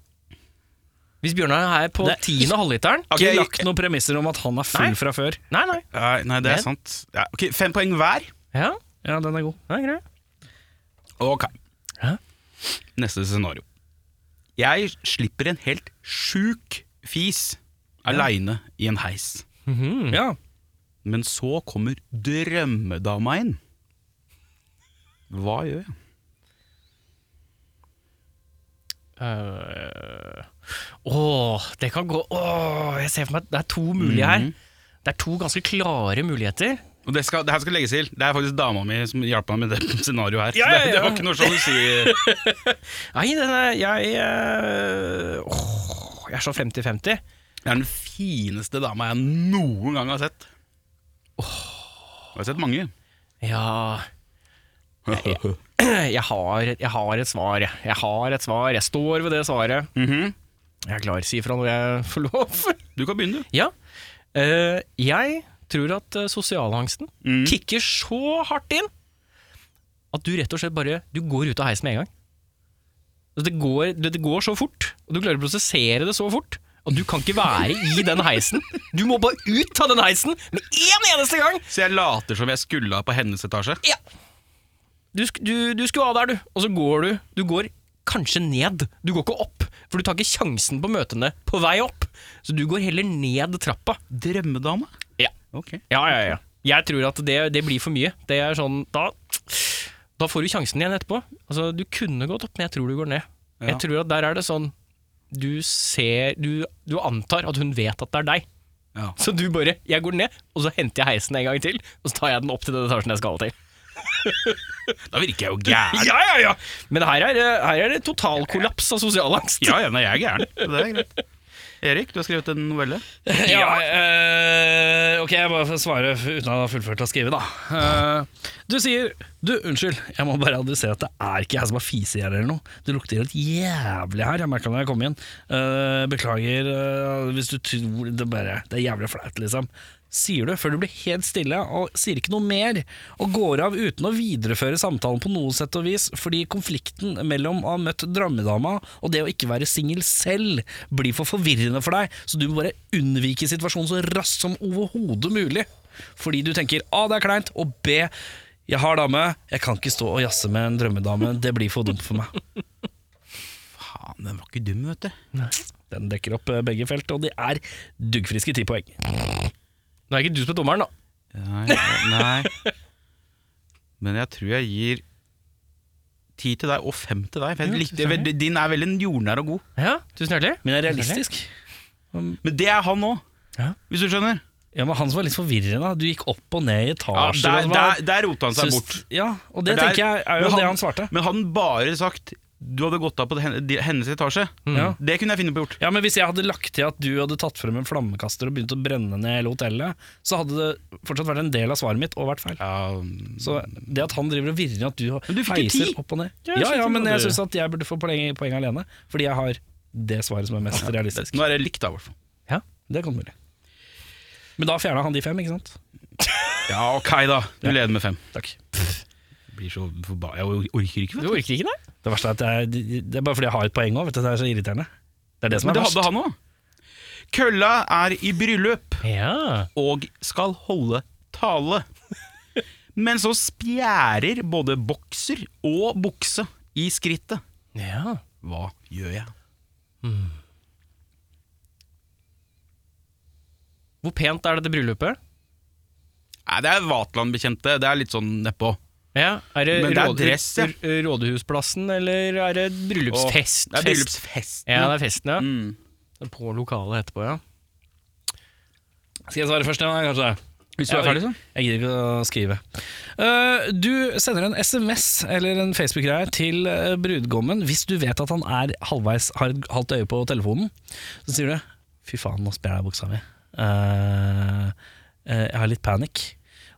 Speaker 3: Hvis Bjørnar er på
Speaker 2: Det er
Speaker 3: tiende halvliteren
Speaker 1: Ok,
Speaker 2: Ikke lagt noen premisser om at han er full
Speaker 3: Nei.
Speaker 2: fra før.
Speaker 3: Nei, nei.
Speaker 1: Nei, nei, det er
Speaker 3: Men-
Speaker 1: sant. Ja, ok, Fem poeng hver.
Speaker 3: Ja,
Speaker 2: Ja, den er god.
Speaker 3: det er greit.
Speaker 1: Ok.
Speaker 3: Hæ?
Speaker 1: Neste scenario. Jeg slipper en helt sjuk fis aleine i en heis.
Speaker 2: Ja.
Speaker 1: Men så kommer drømmedama inn. Hva gjør jeg?
Speaker 3: Øh, Åh, det kan gå Åh, jeg ser for meg at det er to mulige her.
Speaker 2: Mm.
Speaker 3: Det er to ganske klare muligheter.
Speaker 1: Og det, skal, det her skal legges til. Det er faktisk dama mi som hjalp meg med det [LAUGHS] scenarioet her.
Speaker 2: Ja,
Speaker 1: Så
Speaker 2: ja,
Speaker 1: det, det var
Speaker 2: ja.
Speaker 1: ikke noe sånn sjalusi.
Speaker 3: Nei, den er Jeg øh, Åh, jeg er så 50-50.
Speaker 1: Det er den fineste dama jeg noen gang har sett. Jeg har sett mange.
Speaker 3: Ja [CLEARS THROAT] Jeg har, jeg har et svar. jeg. Jeg har et svar. Jeg står ved det svaret. Jeg er klar. Si ifra når jeg [LAUGHS] får lov.
Speaker 1: Mhm. Du kan begynne, du.
Speaker 3: Ja. Eh, jeg tror at eh, sosialangsten kicker så hardt inn at du rett og slett bare Du går ut av heisen med en gang. Altså, Det går, det, det går så fort, og du klarer å prosessere det så fort. Og du kan ikke være i den heisen. Du må bare ut av den heisen med en eneste gang!
Speaker 1: Så jeg later som jeg skulle ha på hennes etasje.
Speaker 3: Du, sk- du, du skulle av der, du. Og så går du. Du går kanskje ned. Du går ikke opp, for du tar ikke sjansen på å møte henne på vei opp. Så du går heller ned trappa.
Speaker 1: Drømmedame?
Speaker 3: Ja.
Speaker 1: Ok.
Speaker 3: Ja, ja, ja. Jeg tror at det, det blir for mye. Det er sånn, da, da får du sjansen igjen etterpå. Altså, du kunne gått opp, men jeg tror du går ned.
Speaker 1: Ja.
Speaker 3: Jeg tror at der er det sånn du ser du, du antar at hun vet at det er deg.
Speaker 1: Ja.
Speaker 3: Så du bare Jeg går ned, og så henter jeg heisen en gang til, og så tar jeg den opp til den etasjen jeg skal til.
Speaker 1: Da virker [LAUGHS] jeg jo gæren.
Speaker 3: Ja, ja, ja! Men her er, det- her er det total kollaps av sosial angst.
Speaker 1: Ja, ja, nei, jeg er gæren. [LAUGHS] Det er greit. Erik, du har skrevet en novelle.
Speaker 2: Ja, eh, ok, jeg bare får svare f- uten å ha fullført å skrive, da. Eh, du sier Du, unnskyld, jeg må bare adressere at det er ikke jeg som har fise i hjel eller noe. Det lukter helt jævlig her. Jeg merka det da jeg kom inn. Eh, beklager eh, hvis du tror det bare Det er jævlig flaut, liksom. Sier du før du blir helt stille og sier ikke noe mer, og går av uten å videreføre samtalen på noe sett og vis, fordi konflikten mellom å ha møtt drømmedama og det å ikke være singel selv blir for forvirrende for deg, så du må bare unnvike situasjonen så raskt som overhodet mulig. Fordi du tenker A, det er kleint, og B, jeg har dame, jeg kan ikke stå og jazze med en drømmedame, det blir for dumt for meg.
Speaker 1: Faen, den var ikke dum, vet du.
Speaker 2: Den dekker opp eh, begge felt, og de er duggfriske ti poeng.
Speaker 3: Nå er ikke du som er dommeren, da.
Speaker 1: Nei, nei. Men jeg tror jeg gir ti til deg og fem til deg. For jeg likte, jeg- din er veldig jordnær og god.
Speaker 3: Ja, tusen hjertelig.
Speaker 2: Men jeg er realistisk.
Speaker 1: Men det er han òg,
Speaker 2: Ja.
Speaker 1: hvis du skjønner.
Speaker 2: Ja, men han som var litt forvirrende, du gikk opp og ned i
Speaker 1: Ja,
Speaker 2: etasjer.
Speaker 1: der,
Speaker 2: og det var-
Speaker 1: der, der rota han seg bort.
Speaker 2: Syns- Ja, og det
Speaker 1: Der-
Speaker 2: tenker jeg er jo
Speaker 1: men
Speaker 2: det han svarte.
Speaker 1: Men hadde han bare sagt du hadde gått av på hen- de- hennes etasje,
Speaker 2: Ja.
Speaker 1: det kunne jeg finne på gjort.
Speaker 2: Ja, men Hvis jeg hadde lagt til at du hadde tatt frem en flammekaster og begynt å brenne ned hele hotellet, så hadde det fortsatt vært en del av svaret mitt og vært feil. Så det at han driver og virrer at du
Speaker 1: Men du fikk jo
Speaker 2: heiser
Speaker 1: ti.
Speaker 2: opp og ned
Speaker 3: Ja, jeg
Speaker 2: Ja, ja,
Speaker 3: skjønner
Speaker 2: men
Speaker 3: hva
Speaker 2: jeg
Speaker 3: du-
Speaker 2: syns at jeg burde få poeng, poeng alene, fordi jeg har det svaret som er
Speaker 1: [LAUGHS]
Speaker 2: mest realistisk.
Speaker 1: Nå er det likt, da, i hvert fall.
Speaker 2: Det er godt mulig. Men da fjerna han de fem, ikke sant?
Speaker 1: Ja, ok, da. Du leder med fem.
Speaker 2: Takk.
Speaker 1: Jeg Blir så forba jeg or- orker ikke,
Speaker 3: Du
Speaker 1: vet du.
Speaker 3: orker ikke det?
Speaker 2: Det verste er at det er, det er bare fordi jeg har et poeng òg, vet du. Det er så irriterende. Det er det som
Speaker 1: Men
Speaker 2: er
Speaker 1: det
Speaker 2: verst.
Speaker 1: hadde han òg. Kølla er i bryllup
Speaker 3: Ja.
Speaker 1: og skal holde tale. Men så spjærer både bokser og bukse i skrittet.
Speaker 3: ja.
Speaker 1: Hva gjør jeg?
Speaker 3: Hvor pent er dette bryllupet?
Speaker 1: Nei, det er Vatland-bekjente. Det er litt sånn nedpå.
Speaker 3: Ja, er det,
Speaker 1: Men det er
Speaker 3: råd-
Speaker 1: dress, ja.
Speaker 3: r- Rådhusplassen, eller er det bryllupsfest?
Speaker 1: Det er
Speaker 3: Fest.
Speaker 1: bryllupsfest.
Speaker 3: Ja, det er festen, ja.
Speaker 1: Mm.
Speaker 3: Det er På lokalet etterpå, ja.
Speaker 2: Skal jeg svare først, ja, kanskje?
Speaker 1: Hvis du er ferdig, så.
Speaker 2: Jeg gidder ikke å skrive. Eh, du sender en SMS eller en Facebook-greie til eh, brudgommen hvis du vet at han er halvveis, har et halvt øye på telefonen. Så sier du 'fy faen, nå spjærer jeg buksa mi'. Eh, eh, jeg har litt panikk.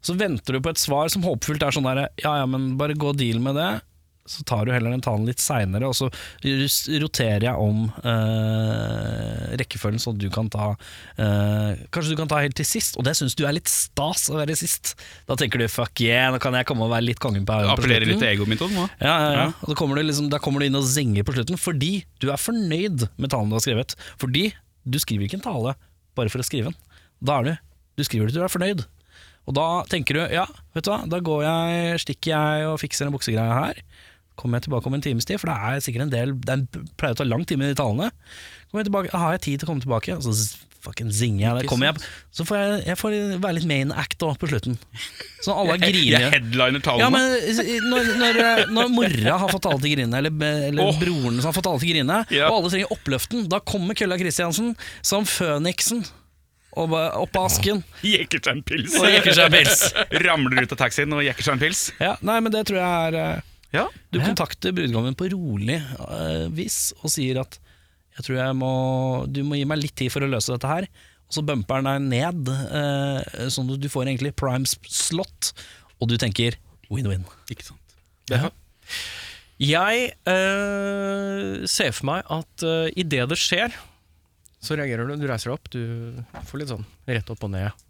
Speaker 2: Så venter du på et svar som håpefullt er sånn der 'ja ja, men bare gå og deal med det'. Så tar du heller den talen litt seinere, og så rus- roterer jeg om eh, rekkefølgen, så du kan ta eh, Kanskje du kan ta helt til sist, og det syns du er litt stas å være sist. Da tenker du 'fuck yeah, nå kan jeg komme og være litt kongen på haugen på
Speaker 1: Appellerer
Speaker 2: slutten».
Speaker 1: litt til egoet mitt òg nå.
Speaker 2: Ja, ja, ja. Og da kommer, du liksom, da kommer du inn og zinger på slutten fordi du er fornøyd med talen du har skrevet. Fordi du skriver ikke en tale bare for å skrive den. Da er du, du skriver det til du er fornøyd. Og da tenker du ja, vet du hva, da går jeg, stikker jeg og fikser en buksegreie her. Kommer jeg tilbake om en times tid, for det er sikkert en del Det er- pleier å ta lang time i de talene. Kommer jeg tilbake, da har jeg tid til å komme tilbake, og så z- fucking zinger jeg. Der kommer jeg så får jeg, jeg får være litt main act da, på slutten. Så [LAUGHS] alle griner.
Speaker 1: Jeg
Speaker 2: Ja,
Speaker 1: headliner tallene.
Speaker 2: men når, når, eh, når mora har fått alle til å grine, eller, eller
Speaker 1: Åh.
Speaker 2: broren som har fått alle til å grine,
Speaker 1: Ja.
Speaker 2: og alle trenger oppløften, da kommer Kølla Kristiansen som føniksen og ba- opp av asken.
Speaker 1: Jekker seg en pils.
Speaker 2: Og jekker seg en pils.
Speaker 1: Ramler ut av taxien og jekker seg en pils.
Speaker 2: [LAUGHS] Ja, nei, men det tror jeg er eh,
Speaker 1: Ja.
Speaker 2: Du kontakter brudgommen på rolig eh, vis og sier at jeg tror jeg må, du må gi meg litt tid for å løse dette her. Og så bumper han deg ned, eh, sånn at du får egentlig prime s- slot, og du tenker win-win.
Speaker 1: Ikke sant. Stefan?
Speaker 3: Jeg eh, ser for meg at uh, idet det skjer, så reagerer du. Du reiser deg opp. Du får litt sånn rett opp og ned.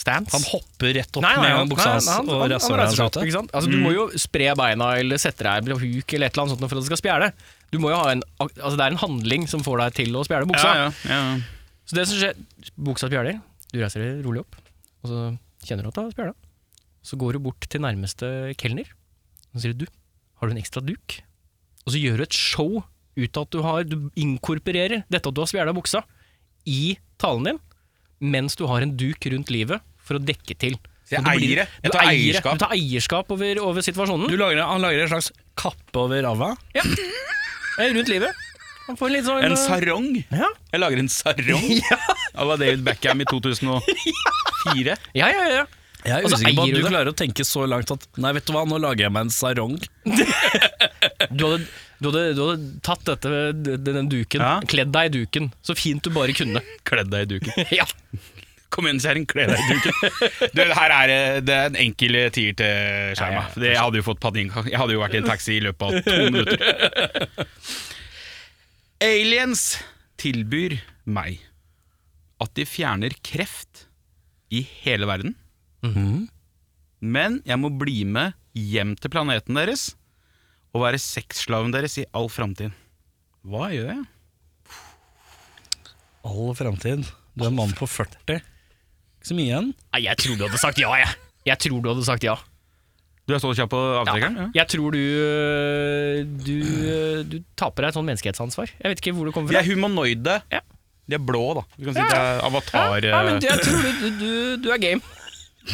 Speaker 3: Stance.
Speaker 2: Han hopper rett opp
Speaker 3: Nei, nei,
Speaker 2: med
Speaker 3: han-
Speaker 2: en buksa
Speaker 3: nei,
Speaker 2: hans
Speaker 3: han-
Speaker 2: og
Speaker 3: han- han
Speaker 2: rasshølet
Speaker 3: reiser
Speaker 2: hans
Speaker 3: seg opp,
Speaker 2: ute. Mm.
Speaker 3: ikke sant? Altså, Du må jo spre beina eller sette deg på huk eller et eller annet sånt for at det skal spjæle. Du må jo ha en, ak- altså Det er en handling som får deg til å spjæle buksa.
Speaker 1: Ja, ja, ja. ja.
Speaker 3: Så det som skjer, buksa spjæler, du reiser deg rolig opp, og så kjenner du at det har spjæla. Så går du bort til nærmeste kelner, og så sier du du, har du en ekstra duk? Og så gjør du et show ut av at du har, du inkorporerer dette at du har spjæla buksa, i talen din, mens du har en duk rundt livet for å dekke til.
Speaker 1: Så jeg
Speaker 3: Og du blir-
Speaker 1: eier det.
Speaker 3: du
Speaker 1: Jeg tar
Speaker 3: eier det.
Speaker 1: eierskap.
Speaker 3: Du tar eierskap over, over situasjonen.
Speaker 2: Du lager, han lager en slags kappe over ræva.
Speaker 3: Eh, rundt livet. Han får en litt sånn
Speaker 1: En
Speaker 3: eh,
Speaker 1: sarong?
Speaker 3: Ja.
Speaker 1: Jeg lager en sarong à la David Beckham i 2004.
Speaker 3: Ja, ja, ja. ja.
Speaker 2: Jeg er
Speaker 3: Og så
Speaker 2: usikker på
Speaker 3: eier
Speaker 2: at
Speaker 3: du
Speaker 2: du
Speaker 3: det.
Speaker 2: klarer å tenke så langt at Nei, vet du hva, nå lager jeg meg en sarong.
Speaker 3: Du hadde, du hadde, du hadde tatt dette, den, den duken,
Speaker 1: Ja.
Speaker 3: kledd deg i duken, så fint du bare kunne. [LAUGHS]
Speaker 1: Kledd deg i duken.
Speaker 3: ja.
Speaker 1: Kom igjen, kjerring, kle deg i [LAUGHS] duken. Du, her er eh, det- det er en enkel tier til skjerma. Det- Jeg hadde jo fått padinka. Jeg hadde jo vært i en taxi i løpet av to minutter. [LAUGHS] Aliens tilbyr meg at de fjerner kreft i hele verden. Mhm. Men jeg må bli med hjem til planeten deres og være sexslaven deres i all framtid. Hva gjør jeg?
Speaker 2: All framtid. Du er en mann på 40. Ikke så mye igjen.
Speaker 3: Nei, jeg tror du hadde sagt ja, jeg. Jeg tror du hadde sagt ja.
Speaker 1: Du er så kjapp på avtrekkeren? Ja.
Speaker 3: Jeg tror du øh, Du, øh, du taper deg et sånn menneskehetsansvar. Jeg vet ikke hvor det kommer
Speaker 1: De
Speaker 3: fra.
Speaker 1: er humanoide.
Speaker 3: Ja.
Speaker 1: De er blå, da. Du kan si det er avatar
Speaker 3: ja, men
Speaker 1: eh,
Speaker 3: jeg tror du, du, du, du er game.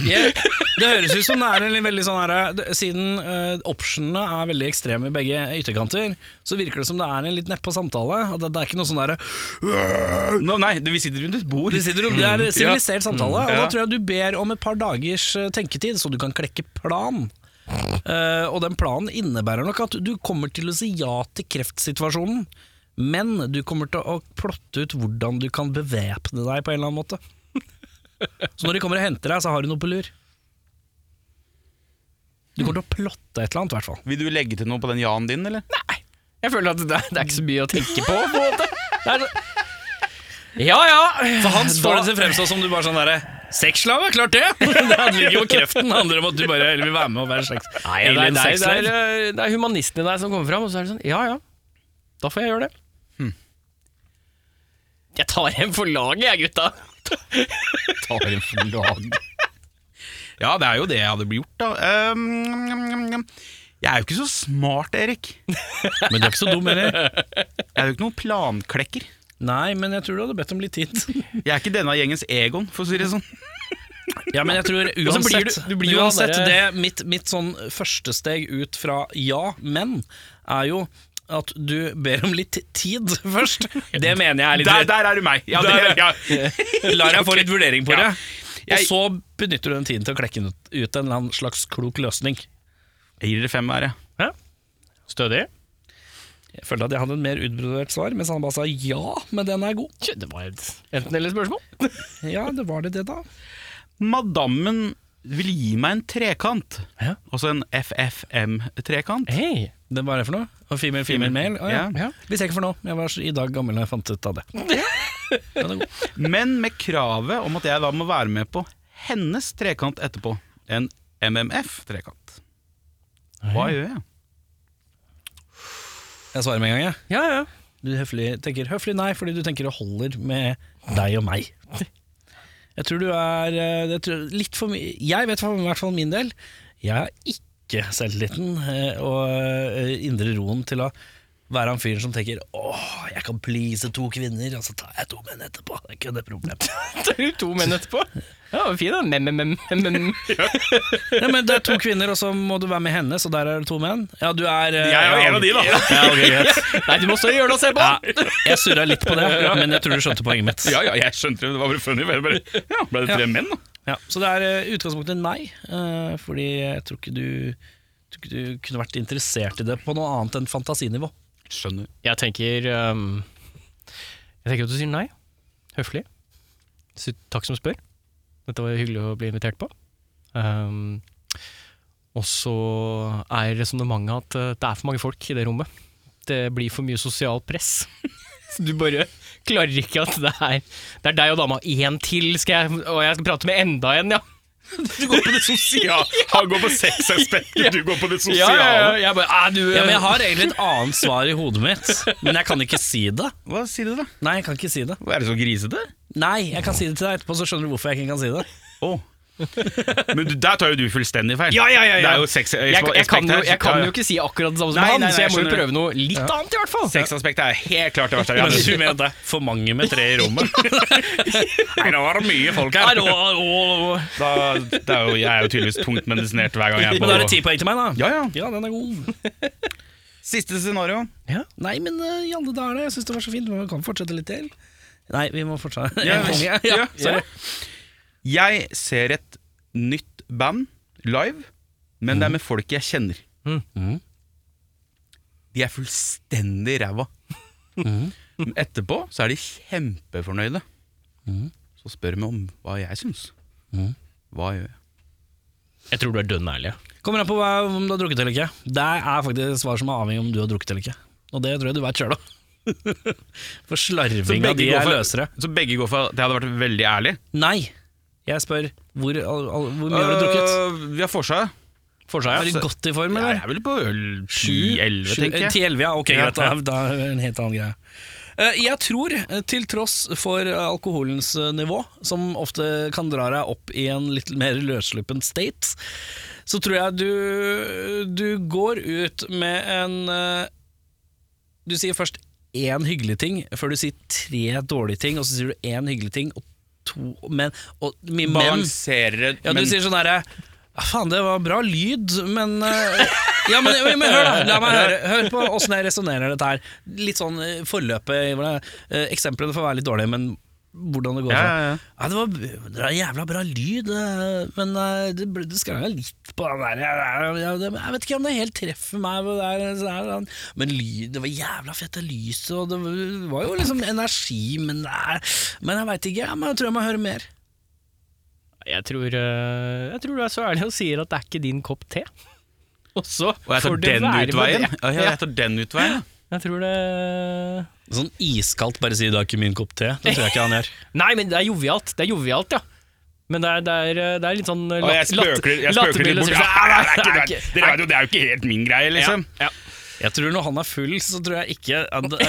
Speaker 2: Jeg- Det høres ut som det er en veldig sånn her det- Siden eh, optionene er veldig ekstreme i begge ytterkanter, så virker det som det er en litt nedpå samtale. At det, det er ikke noe sånn derre
Speaker 1: eh, Nå, Nei, vi sitter rundt et bord.
Speaker 2: Det sitter om- det er en sivilisert samtale, og da
Speaker 1: Ja.
Speaker 2: tror jeg du ber om et par dagers eh, tenketid, så du kan klekke plan. Eh, og den planen innebærer nok at du kommer til å si ja til kreftsituasjonen, men du kommer til å plotte ut hvordan du kan bevæpne deg på en eller annen måte. Så når de kommer og henter deg, så har du noe på lur. Du kommer til å plotte et eller annet, i hvert fall.
Speaker 1: Vil du legge til noe på den ja-en din, eller?
Speaker 3: Jeg føler at det er, det er ikke så mye å tenke på, på en måte. Det er så... Ja ja.
Speaker 2: For hans får
Speaker 3: Da-
Speaker 2: det til å fremstå som du bare sånn derre Sexslave, klart det! [LAUGHS] Det handler ikke om kreften, det handler om at du bare vil være med og være slags
Speaker 3: Nei, det, er, det, er, det, er, eh, det er humanisten i deg som kommer fram, og så er det sånn Ja ja, da får jeg gjøre det.
Speaker 2: Hm.
Speaker 3: Jeg tar en for laget, jeg, gutta.
Speaker 1: Ja, det er jo det jeg hadde blitt gjort, da. Um, jeg er jo ikke så smart, Erik.
Speaker 2: Men du er ikke så dum heller.
Speaker 1: Jeg er jo ikke noen planklekker.
Speaker 2: Nei, men jeg tror du hadde bedt om litt tid.
Speaker 1: Jeg er ikke denne gjengens Egon, for å si det sånn.
Speaker 2: Ja, men jeg
Speaker 3: [LAUGHS]
Speaker 2: tror
Speaker 3: så blir
Speaker 2: uansett,
Speaker 3: du- du blir jo
Speaker 2: uansett
Speaker 3: han
Speaker 2: det
Speaker 3: derre-
Speaker 2: mitt, mitt sånn første steg ut fra ja, men, er jo at du ber om litt tid [LAUGHS] først. Det mener jeg er litt
Speaker 1: Der, der er du meg! Ja, det, ja.
Speaker 2: [LAUGHS] Lar jeg få litt vurdering på det.
Speaker 1: Ja.
Speaker 2: Og
Speaker 1: Jeg-
Speaker 2: så benytter du den tiden til å klekke ut, ut en eller annen slags klok løsning.
Speaker 1: Jeg gir dere fem hver, jeg.
Speaker 3: Stødig.
Speaker 2: Jeg følte at jeg hadde en mer utbrodert svar, mens han bare sa ja, men den er god.
Speaker 3: Det var et [LAUGHS] enten eller spørsmål.
Speaker 2: Ja, det var det, det, da.
Speaker 1: Madammen vil gi meg en trekant.
Speaker 2: Ja.
Speaker 1: Altså en FFM-trekant.
Speaker 3: Hei.
Speaker 2: Det var det for noe? Og female, female, male? Å,
Speaker 1: Ja.
Speaker 2: ja. Hvis jeg ikke for noe. Jeg var så- i dag gammel da jeg fant ut av det. Den er god.
Speaker 1: Men med kravet om at jeg da må være med på hennes trekant etterpå. En MMF-trekant. Hva gjør jeg?
Speaker 2: Jeg svarer med en gang, jeg.
Speaker 3: Ja ja.
Speaker 2: Du høflig, tenker høflig nei fordi du tenker det holder med deg og meg. Jeg tror du er eh, jeg tror, litt for mye Jeg vet for i hvert fall min del. Jeg har ikke selvtilliten eh, og eh, indre roen til å være han fyren som tenker åh, jeg kan please to kvinner, og så tar jeg to menn etterpå. Det er ikke noe
Speaker 1: [LAUGHS]
Speaker 2: problem.
Speaker 3: [LAUGHS] Det er jo to menn etterpå. Ja, det var fin, da. Mem, mem, mem, mem.
Speaker 2: Ja, men det er to kvinner, og så må du være med henne, så der er det to menn. Ja, du er eh,
Speaker 1: Jeg er jo en av de, da.
Speaker 2: Ja, ok, greit.
Speaker 3: [LAUGHS] Nei, du må stå i hjørnet og se på!
Speaker 2: Ja, jeg surra litt på
Speaker 1: [LAUGHS]
Speaker 2: det, men jeg tror du skjønte poenget mitt.
Speaker 1: Ja, ja, jeg skjønte det. Det var bare funny. men jeg Bare, ja, ble det tre menn, da?
Speaker 2: Ja, så det er eh, utgangspunktet nei, eh, fordi jeg tror ikke du tror ikke du kunne vært interessert i det på noe annet enn fantasinivå.
Speaker 1: Skjønner.
Speaker 3: Jeg tenker ehm, Jeg tenker at du sier nei. Høflig. Si takk som spør. Dette var hyggelig å bli invitert på. Ehm, Um, Og så er resonnementet at eh, det er for mange folk i det rommet. Det blir for mye sosial press. [LAUGHS] Så du bare klarer ikke at det er Det er deg og dama én til, skal jeg, og jeg skal prate med enda en, ja.
Speaker 2: Du går på det sosiale. Han går på sexaspektet, du går på det
Speaker 3: Ja, ja, ja. Jeg bare, «Æ, du,
Speaker 2: Ja, men Jeg har egentlig et annet svar i hodet mitt, men jeg kan ikke si det.
Speaker 1: Hva sier du, da?
Speaker 2: Nei, jeg kan ikke si det.
Speaker 1: Er det så grisete?
Speaker 2: Nei, jeg kan si det til deg etterpå, så skjønner du hvorfor jeg ikke kan si det.
Speaker 1: Å. Men du, der tar jo du fullstendig feil.
Speaker 2: Ja, ja, ja, ja.
Speaker 1: Det er jo sex
Speaker 3: jeg, jeg, kan jo, jeg kan
Speaker 1: ja,
Speaker 3: jo
Speaker 1: ja.
Speaker 3: ikke si akkurat det samme som
Speaker 1: Nei,
Speaker 3: han,
Speaker 1: nei, nei,
Speaker 3: så jeg må
Speaker 1: jeg
Speaker 3: jo
Speaker 1: skjønner.
Speaker 3: prøve noe litt annet, i hvert fall.
Speaker 1: Sexaspektet er helt klart det verste. jeg har
Speaker 2: Men
Speaker 1: hørt.
Speaker 2: du mener at det er for mange med tre i rommet? [LAUGHS] Nei, nå var det mye folk
Speaker 3: Nei,
Speaker 2: her.
Speaker 3: nå- nå-
Speaker 1: Da, det er jo, jeg er jo tydeligvis tungt medisinert hver gang jeg er på
Speaker 2: Men da er det ti poeng til meg, da.
Speaker 1: Ja, ja.
Speaker 2: den er god.
Speaker 1: Siste scenario.
Speaker 2: Nei, men eh, i alle dager, jeg syns det var så fint. Men vi kan fortsette litt til. Nei, vi må fortsette.
Speaker 1: Ja,
Speaker 2: [LAUGHS] ja,
Speaker 1: ja,
Speaker 2: sorry.
Speaker 1: Jeg ser et nytt band live, men det er med folk jeg kjenner.
Speaker 2: Mm.
Speaker 1: De er fullstendig ræva. Men etterpå så er de kjempefornøyde. Så spør de meg om hva jeg syns. Hva gjør jeg?
Speaker 3: Jeg tror du er dønn ærlig.
Speaker 2: Kommer an på hva, om du har drukket eller ikke. Det er faktisk svar som er avhengig om du har drukket eller ikke. Og det tror jeg du vet sjøl, da. [LAUGHS] For slarvinga di er løsere.
Speaker 1: så begge går for at jeg hadde vært veldig ærlig?
Speaker 2: Nei. Jeg spør hvor, al, al, hvor mye har du drukket?
Speaker 1: Øh, vi har forsa.
Speaker 2: Forsa,
Speaker 3: altså.
Speaker 2: Er du godt i form,
Speaker 1: Jeg
Speaker 2: eller?
Speaker 1: er vel på øl
Speaker 2: Sju?
Speaker 1: 10-11,
Speaker 2: Sju-
Speaker 1: tenker jeg.
Speaker 2: 10-11, ja. Ok,
Speaker 1: Ja,
Speaker 2: greit. Da, da er det en helt annen greie. Eh, Jeg tror, eh, til tross for eh, alkoholens eh, nivå, som ofte kan dra deg opp i en litt mer løssluppen state, så tror jeg du, du går ut med en eh, Du sier først én hyggelig ting, før du sier tre dårlige ting, og så sier du én hyggelig ting og to men, og, mye men.
Speaker 1: Balanserer
Speaker 2: Ja,
Speaker 1: men-
Speaker 2: du sier sånn herre «Ah, Faen, det var bra lyd, men eh, Ja, men, men, men hør, da. La meg høre. Hør på åssen jeg resonnerer dette her. Litt sånn eh, forløpet i hvordan eh, Eksemplene får være litt dårlige, men hvordan det går.
Speaker 1: Ja,
Speaker 2: fra.
Speaker 1: ja, ja.
Speaker 2: Ja, det, var, det var jævla bra lyd, eh, men eh, det, ble- det skrangla litt på den der jeg, jeg, jeg, jeg vet ikke om det helt treffer meg. hvor det er- så er det- Men lyd, det var jævla fett det lyset, og det var jo liksom energi, men, det er- men jeg veit ikke. Jeg, må- jeg tror jeg må høre mer.
Speaker 3: Jeg tror, eh, jeg tror du er så ærlig og sier at det er ikke din kopp te. [LAUGHS] Og så
Speaker 1: Og jeg tar
Speaker 3: får det
Speaker 1: den
Speaker 3: være med
Speaker 1: utveien?
Speaker 3: det.
Speaker 1: Ja, ja, jeg tar den [LAUGHS] utveien.
Speaker 3: Jeg tror det
Speaker 2: Sånn iskaldt bare si 'du har ikke min kopp te'. Det tror jeg ikke han gjør.
Speaker 3: Nei, men det er jovialt. Det er jovialt, ja. Men det er, det er, eh, det er litt sånn eh,
Speaker 1: Og jeg
Speaker 3: latt- latt-
Speaker 1: spøker, jeg spøker litt
Speaker 3: latterbilde,
Speaker 1: bort.
Speaker 3: sier
Speaker 1: Ja,
Speaker 3: sånn,
Speaker 1: "Ah, nei,
Speaker 3: «Nei,
Speaker 1: det, er
Speaker 3: det
Speaker 1: ikke,
Speaker 3: er ikke-
Speaker 1: det, er jo, det er jo ikke helt min greie, liksom.
Speaker 2: [LAUGHS] Jeg tror når han er full, så tror jeg ikke Da, da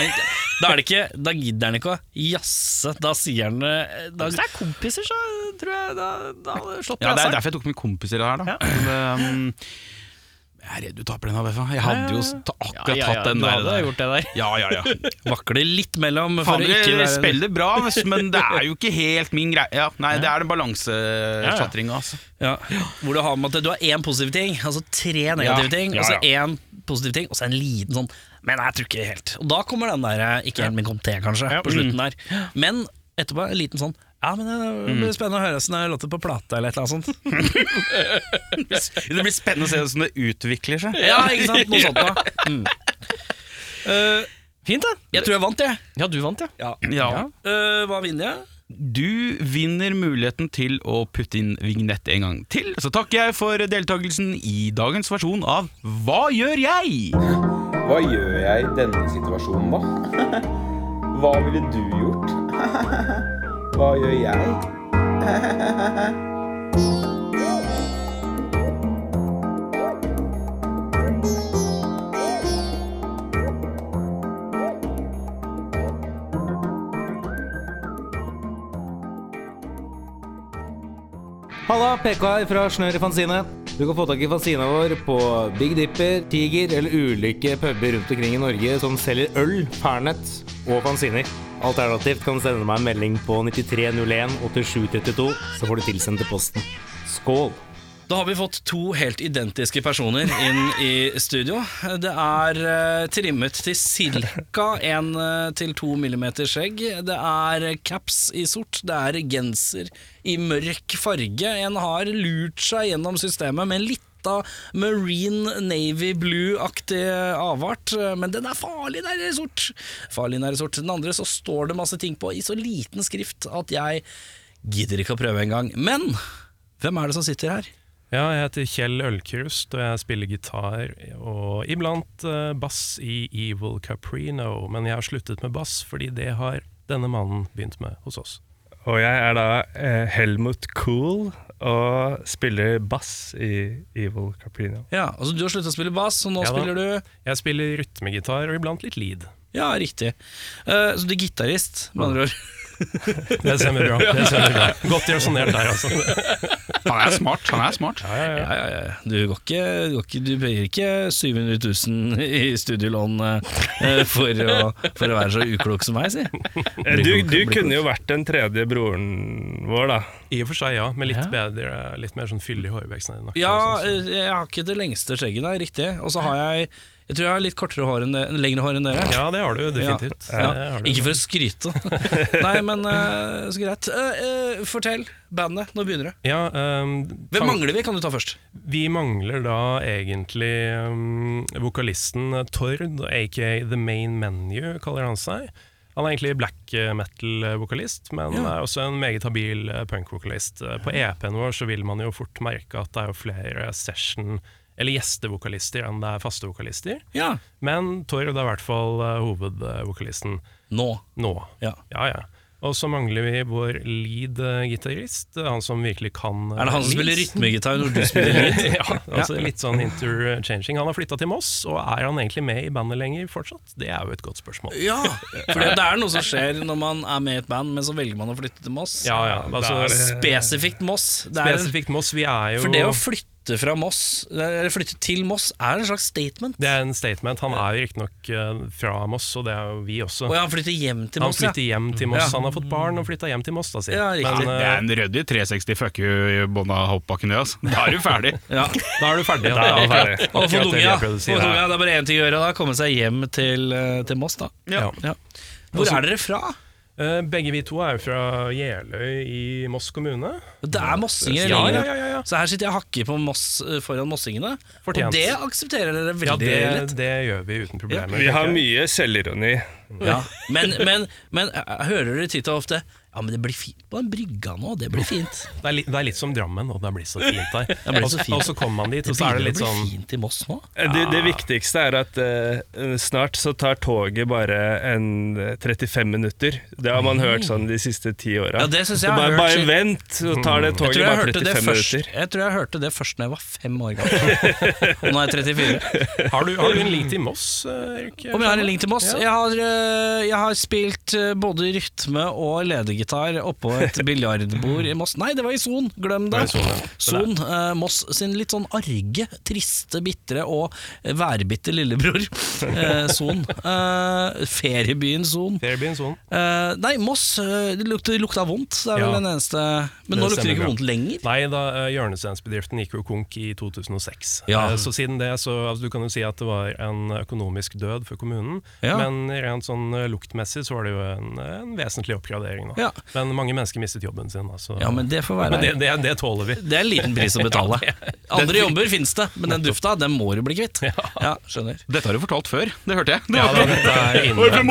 Speaker 2: er det ikke Da gidder han ikke å jazze. Da sier han eh, da,
Speaker 3: Hvis det er kompiser, så tror jeg da, da hadde det slått
Speaker 1: Ja, det er
Speaker 3: seg.
Speaker 1: derfor jeg tok med kompiser her, da. Men, um, jeg er redd du taper den, ABF. Jeg hadde jo ta- akkurat
Speaker 3: Ja, ja, ja,
Speaker 1: tatt den
Speaker 3: du
Speaker 1: der.
Speaker 3: hadde gjort det der.
Speaker 1: Ja, ja, ja.
Speaker 2: vakler litt mellom for
Speaker 1: Faen,
Speaker 2: å ikke
Speaker 1: dere
Speaker 2: være
Speaker 1: spiller bra, ass, men det er jo ikke helt min greie. Ja, nei, det er den balansesjatringa, altså.
Speaker 2: ja. Hvor du har med at du har én positiv ting, altså tre negative
Speaker 1: Ja,
Speaker 2: ting,
Speaker 1: ja,
Speaker 2: og så én positiv ting, og så en liten sånn Men jeg tror ikke helt. Og da kommer den der eh, ikke helt min kom te, kanskje, på slutten der. Men etterpå en liten sånn ja, men Det blir spennende å høre åssen det låter på plate, eller et eller annet sånt.
Speaker 1: Det blir spennende å se hvordan det utvikler seg.
Speaker 2: Ja, ikke sant? Noe sånt da.
Speaker 3: [LAUGHS]
Speaker 2: Mm. Eh,
Speaker 3: Fint, da.
Speaker 2: Jeg tror jeg vant, jeg.
Speaker 3: Ja, du vant, ja.
Speaker 1: Ja.
Speaker 2: Øh, hva vinner jeg?
Speaker 1: Du vinner muligheten til å putte inn vignett en gang til. Så takker jeg for deltakelsen i dagens versjon av Hva gjør jeg?
Speaker 4: Hva gjør jeg i denne situasjonen, da? Hva ville du gjort? [LAUGHS] Hva gjør jeg?
Speaker 5: Halla, PK her fra Snør i Fanzine. Du kan få tak i fanzina vår på Big Dipper, Tiger eller ulike puber rundt omkring i Norge som selger øl, Pernet og fanziner. Alternativt kan du sende meg en melding på 9301 8732, så får du tilsendt til posten. Skål!
Speaker 2: Da har vi fått to helt identiske personer inn i studio. Det er eh, trimmet til cirka en eh, til to millimeter skjegg. Det er caps i sort. Det er genser i mørk farge. En har lurt seg gjennom systemet med en litt av Marine Navy Blue-aktig avart, eh, men den er farlig nære sort. Farlig nære sort. Den andre så står det masse ting på i så liten skrift at jeg gidder ikke å prøve engang. Men hvem er det som sitter her?
Speaker 6: Ja, jeg heter Kjell Ølkurst, og jeg spiller gitar og iblant eh, bass i Evil Caprino. Men jeg har sluttet med bass, fordi det har denne mannen begynt med hos oss.
Speaker 7: Og jeg er da eh, Helmut Kohl og spiller bass i Evil Caprino.
Speaker 2: Ja, altså Du har slutta å spille bass, og nå
Speaker 6: Ja da.
Speaker 2: spiller du
Speaker 6: Jeg spiller rytmegitar og iblant litt lead.
Speaker 2: Ja, riktig. Eh, så du er gitarist, med andre ord.
Speaker 6: Det
Speaker 7: [LAUGHS]
Speaker 6: stemmer bra. Det stemmer bra. Godt resonnert der, altså.
Speaker 1: Han er smart. han er smart
Speaker 2: Ja, ja, ja. Du, går ikke, du, går ikke, du bøyer ikke 700 000 i studielån eh, for, å, for å være så uklok som meg, si.
Speaker 7: Eh, [LAUGHS] Du, du kunne jo vært den tredje broren vår, da.
Speaker 6: I og for seg, ja. Med litt, bedre, litt mer sånn fyll i hårveksten. enn nakken
Speaker 2: Ja,
Speaker 6: og sånn, så-
Speaker 2: eh, jeg har ikke det lengste skjegget, nei, riktig. Og så har jeg Jeg tror jeg har litt kortere hår enn det, lengre hår enn dere.
Speaker 6: ja, det har du definitivt.
Speaker 2: Ja.
Speaker 6: Det har du.
Speaker 2: Ikke for å skryte. [LAUGHS] nei, men eh, så greit. Eh, eh, fortell bandet. Nå begynner det.
Speaker 6: Ja, um,
Speaker 2: Hvem mangler vi, kan du ta først?
Speaker 6: Vi mangler da egentlig um, vokalisten Tord, aka The Main Menu, kaller han seg. Han er egentlig black metal-vokalist, men er også en meget habil eh, punk-vokalist. Eh, På EP-en vår så vil man jo fort merke at det er jo flere session- eller gjestevokalister enn det er faste vokalister.
Speaker 2: Ja.
Speaker 6: Men Tord er i hvert fall eh, hovedvokalisten
Speaker 2: Nå.
Speaker 6: nå.
Speaker 2: Ja.
Speaker 6: ja, ja. Og så mangler vi vår lead-gitarist, eh, han som virkelig kan eh,
Speaker 2: Er det han som
Speaker 6: leads?
Speaker 2: spiller rytmegitar når du spiller lead?
Speaker 6: [LAUGHS] ja, altså Litt sånn interchanging. Han har flytta til Moss, og er han egentlig med i bandet lenger fortsatt? Det er jo et godt spørsmål.
Speaker 2: Ja, for det er noe som skjer når man er med i et band, men så velger man å flytte til Moss.
Speaker 6: Ja, ja, altså,
Speaker 2: Spesifikt Moss. Det er en,
Speaker 6: Spesifikt Moss, vi er jo
Speaker 2: for det å flytte fra Moss, eller flytte til Moss, er en slags statement.
Speaker 6: Det er en statement. Han er jo riktignok eh, fra Moss, og det er jo vi også.
Speaker 2: Og ja, han flytter hjem til
Speaker 6: Han
Speaker 2: Moss, ja.
Speaker 6: flytter hjem til Moss.
Speaker 2: Ja.
Speaker 6: Han har fått barn og flytta hjem til Moss, da, si.
Speaker 2: Ja, riktig.
Speaker 6: Men
Speaker 1: Det
Speaker 6: eh,
Speaker 1: er en ryddig 360 fuck you i bånn av hoppbakken. det, Altså. Da er du ferdig.
Speaker 2: ja.
Speaker 6: [LAUGHS] da er du ferdig.
Speaker 7: Da er han
Speaker 6: Ja.
Speaker 7: ferdig.
Speaker 2: Og for
Speaker 6: Akkurat det
Speaker 2: tunga,
Speaker 6: jeg prøvde å si
Speaker 2: for
Speaker 6: der.
Speaker 2: tunga, det er bare én ting å gjøre, da. Komme seg hjem til, eh, til Moss, da.
Speaker 1: Ja.
Speaker 2: Ja. Hvor
Speaker 6: Altså-
Speaker 2: er dere fra?
Speaker 6: Eh, Begge vi to er jo fra Jeløy i Moss kommune.
Speaker 2: Det er mossinger
Speaker 6: Ja,
Speaker 2: lenger.
Speaker 6: ja, ja, ja, ja.
Speaker 2: Så her sitter jeg og hakker på Moss eh, foran mossingene. Og
Speaker 6: Fortjent.
Speaker 2: det aksepterer dere veldig
Speaker 6: Ja,
Speaker 2: lett.
Speaker 6: det, det gjør vi uten problemer.
Speaker 7: Vi har
Speaker 6: tenker jeg.
Speaker 7: mye selvironi.
Speaker 2: Ja. Men, men, men eh, hører dere titt og ofte Ja, men det blir fint på den brygga nå, det blir fint.
Speaker 6: [LAUGHS] Det er, litt, det er litt som Drammen, og det blir så fint
Speaker 2: [LAUGHS]
Speaker 6: der.
Speaker 2: blir
Speaker 6: Og
Speaker 2: så
Speaker 6: så-
Speaker 2: fint.
Speaker 6: Og så kommer man dit, og så er det litt
Speaker 2: blir
Speaker 6: sånn
Speaker 2: fint i Moss nå.
Speaker 7: Eh, Det,
Speaker 2: Ah.
Speaker 7: det viktigste er at eh, snart så tar toget bare en eh, 35 minutter. Det har man hørt sånn de siste ti åra.
Speaker 2: Ja, det synes jeg
Speaker 7: Så
Speaker 2: jeg har
Speaker 7: bare,
Speaker 2: hørt
Speaker 7: bare
Speaker 2: siden-
Speaker 7: vent, så tar det
Speaker 2: Jeg
Speaker 7: toget
Speaker 2: tror jeg,
Speaker 7: bare
Speaker 2: hørte det
Speaker 7: 35
Speaker 2: først,
Speaker 7: minutter.
Speaker 2: jeg tror jeg hørte det først da jeg var fem år gammel. Og nå er jeg 34.
Speaker 6: Har du, har du en link til Moss, eh, Erik?
Speaker 2: Om jeg har en link til Moss? Jeg har, eh, jeg har spilt eh, både rytme og ledegitar oppå
Speaker 6: [LAUGHS]
Speaker 2: et biljardbord i Moss. Nei, det var i Son, glem det. Son, eh, Moss sin litt sånn arge, triste, bitre og værbitte [LAUGHS] lillebror. Eh, Son. Eh, feriebyen Son.
Speaker 6: Fairbyen Son.
Speaker 2: Eh, nei, Moss eh, det lukta, lukta vondt. Det er
Speaker 6: Ja.
Speaker 2: vel den eneste Men nå lukter
Speaker 6: Det
Speaker 2: det
Speaker 6: stemmer
Speaker 2: ikke
Speaker 6: bra.
Speaker 2: vondt lenger.
Speaker 6: Nei, da eh, hjørnesteinsbedriften gikk jo konk i 2006.
Speaker 2: Ja.
Speaker 6: Eh, Så siden det, så altså, Du kan jo si at det var en økonomisk død for kommunen,
Speaker 2: Ja.
Speaker 6: men rent sånn eh, luktmessig så var det jo en, en vesentlig oppgradering. Da.
Speaker 2: Ja.
Speaker 6: Men mange mennesker mistet jobben sin. Da, så.
Speaker 2: Ja, men det får være.
Speaker 6: Men det, det, det tåler vi.
Speaker 2: Det er en liten pris [LAUGHS] å betale. Andre jobber finnes det, men den dufta den må du bli kvitt. Ja, skjønner
Speaker 1: Dette har du fortalt før. Det hørte jeg. Det
Speaker 6: [LAUGHS] Ja,
Speaker 1: var
Speaker 6: da, dette er inne-
Speaker 2: ja, men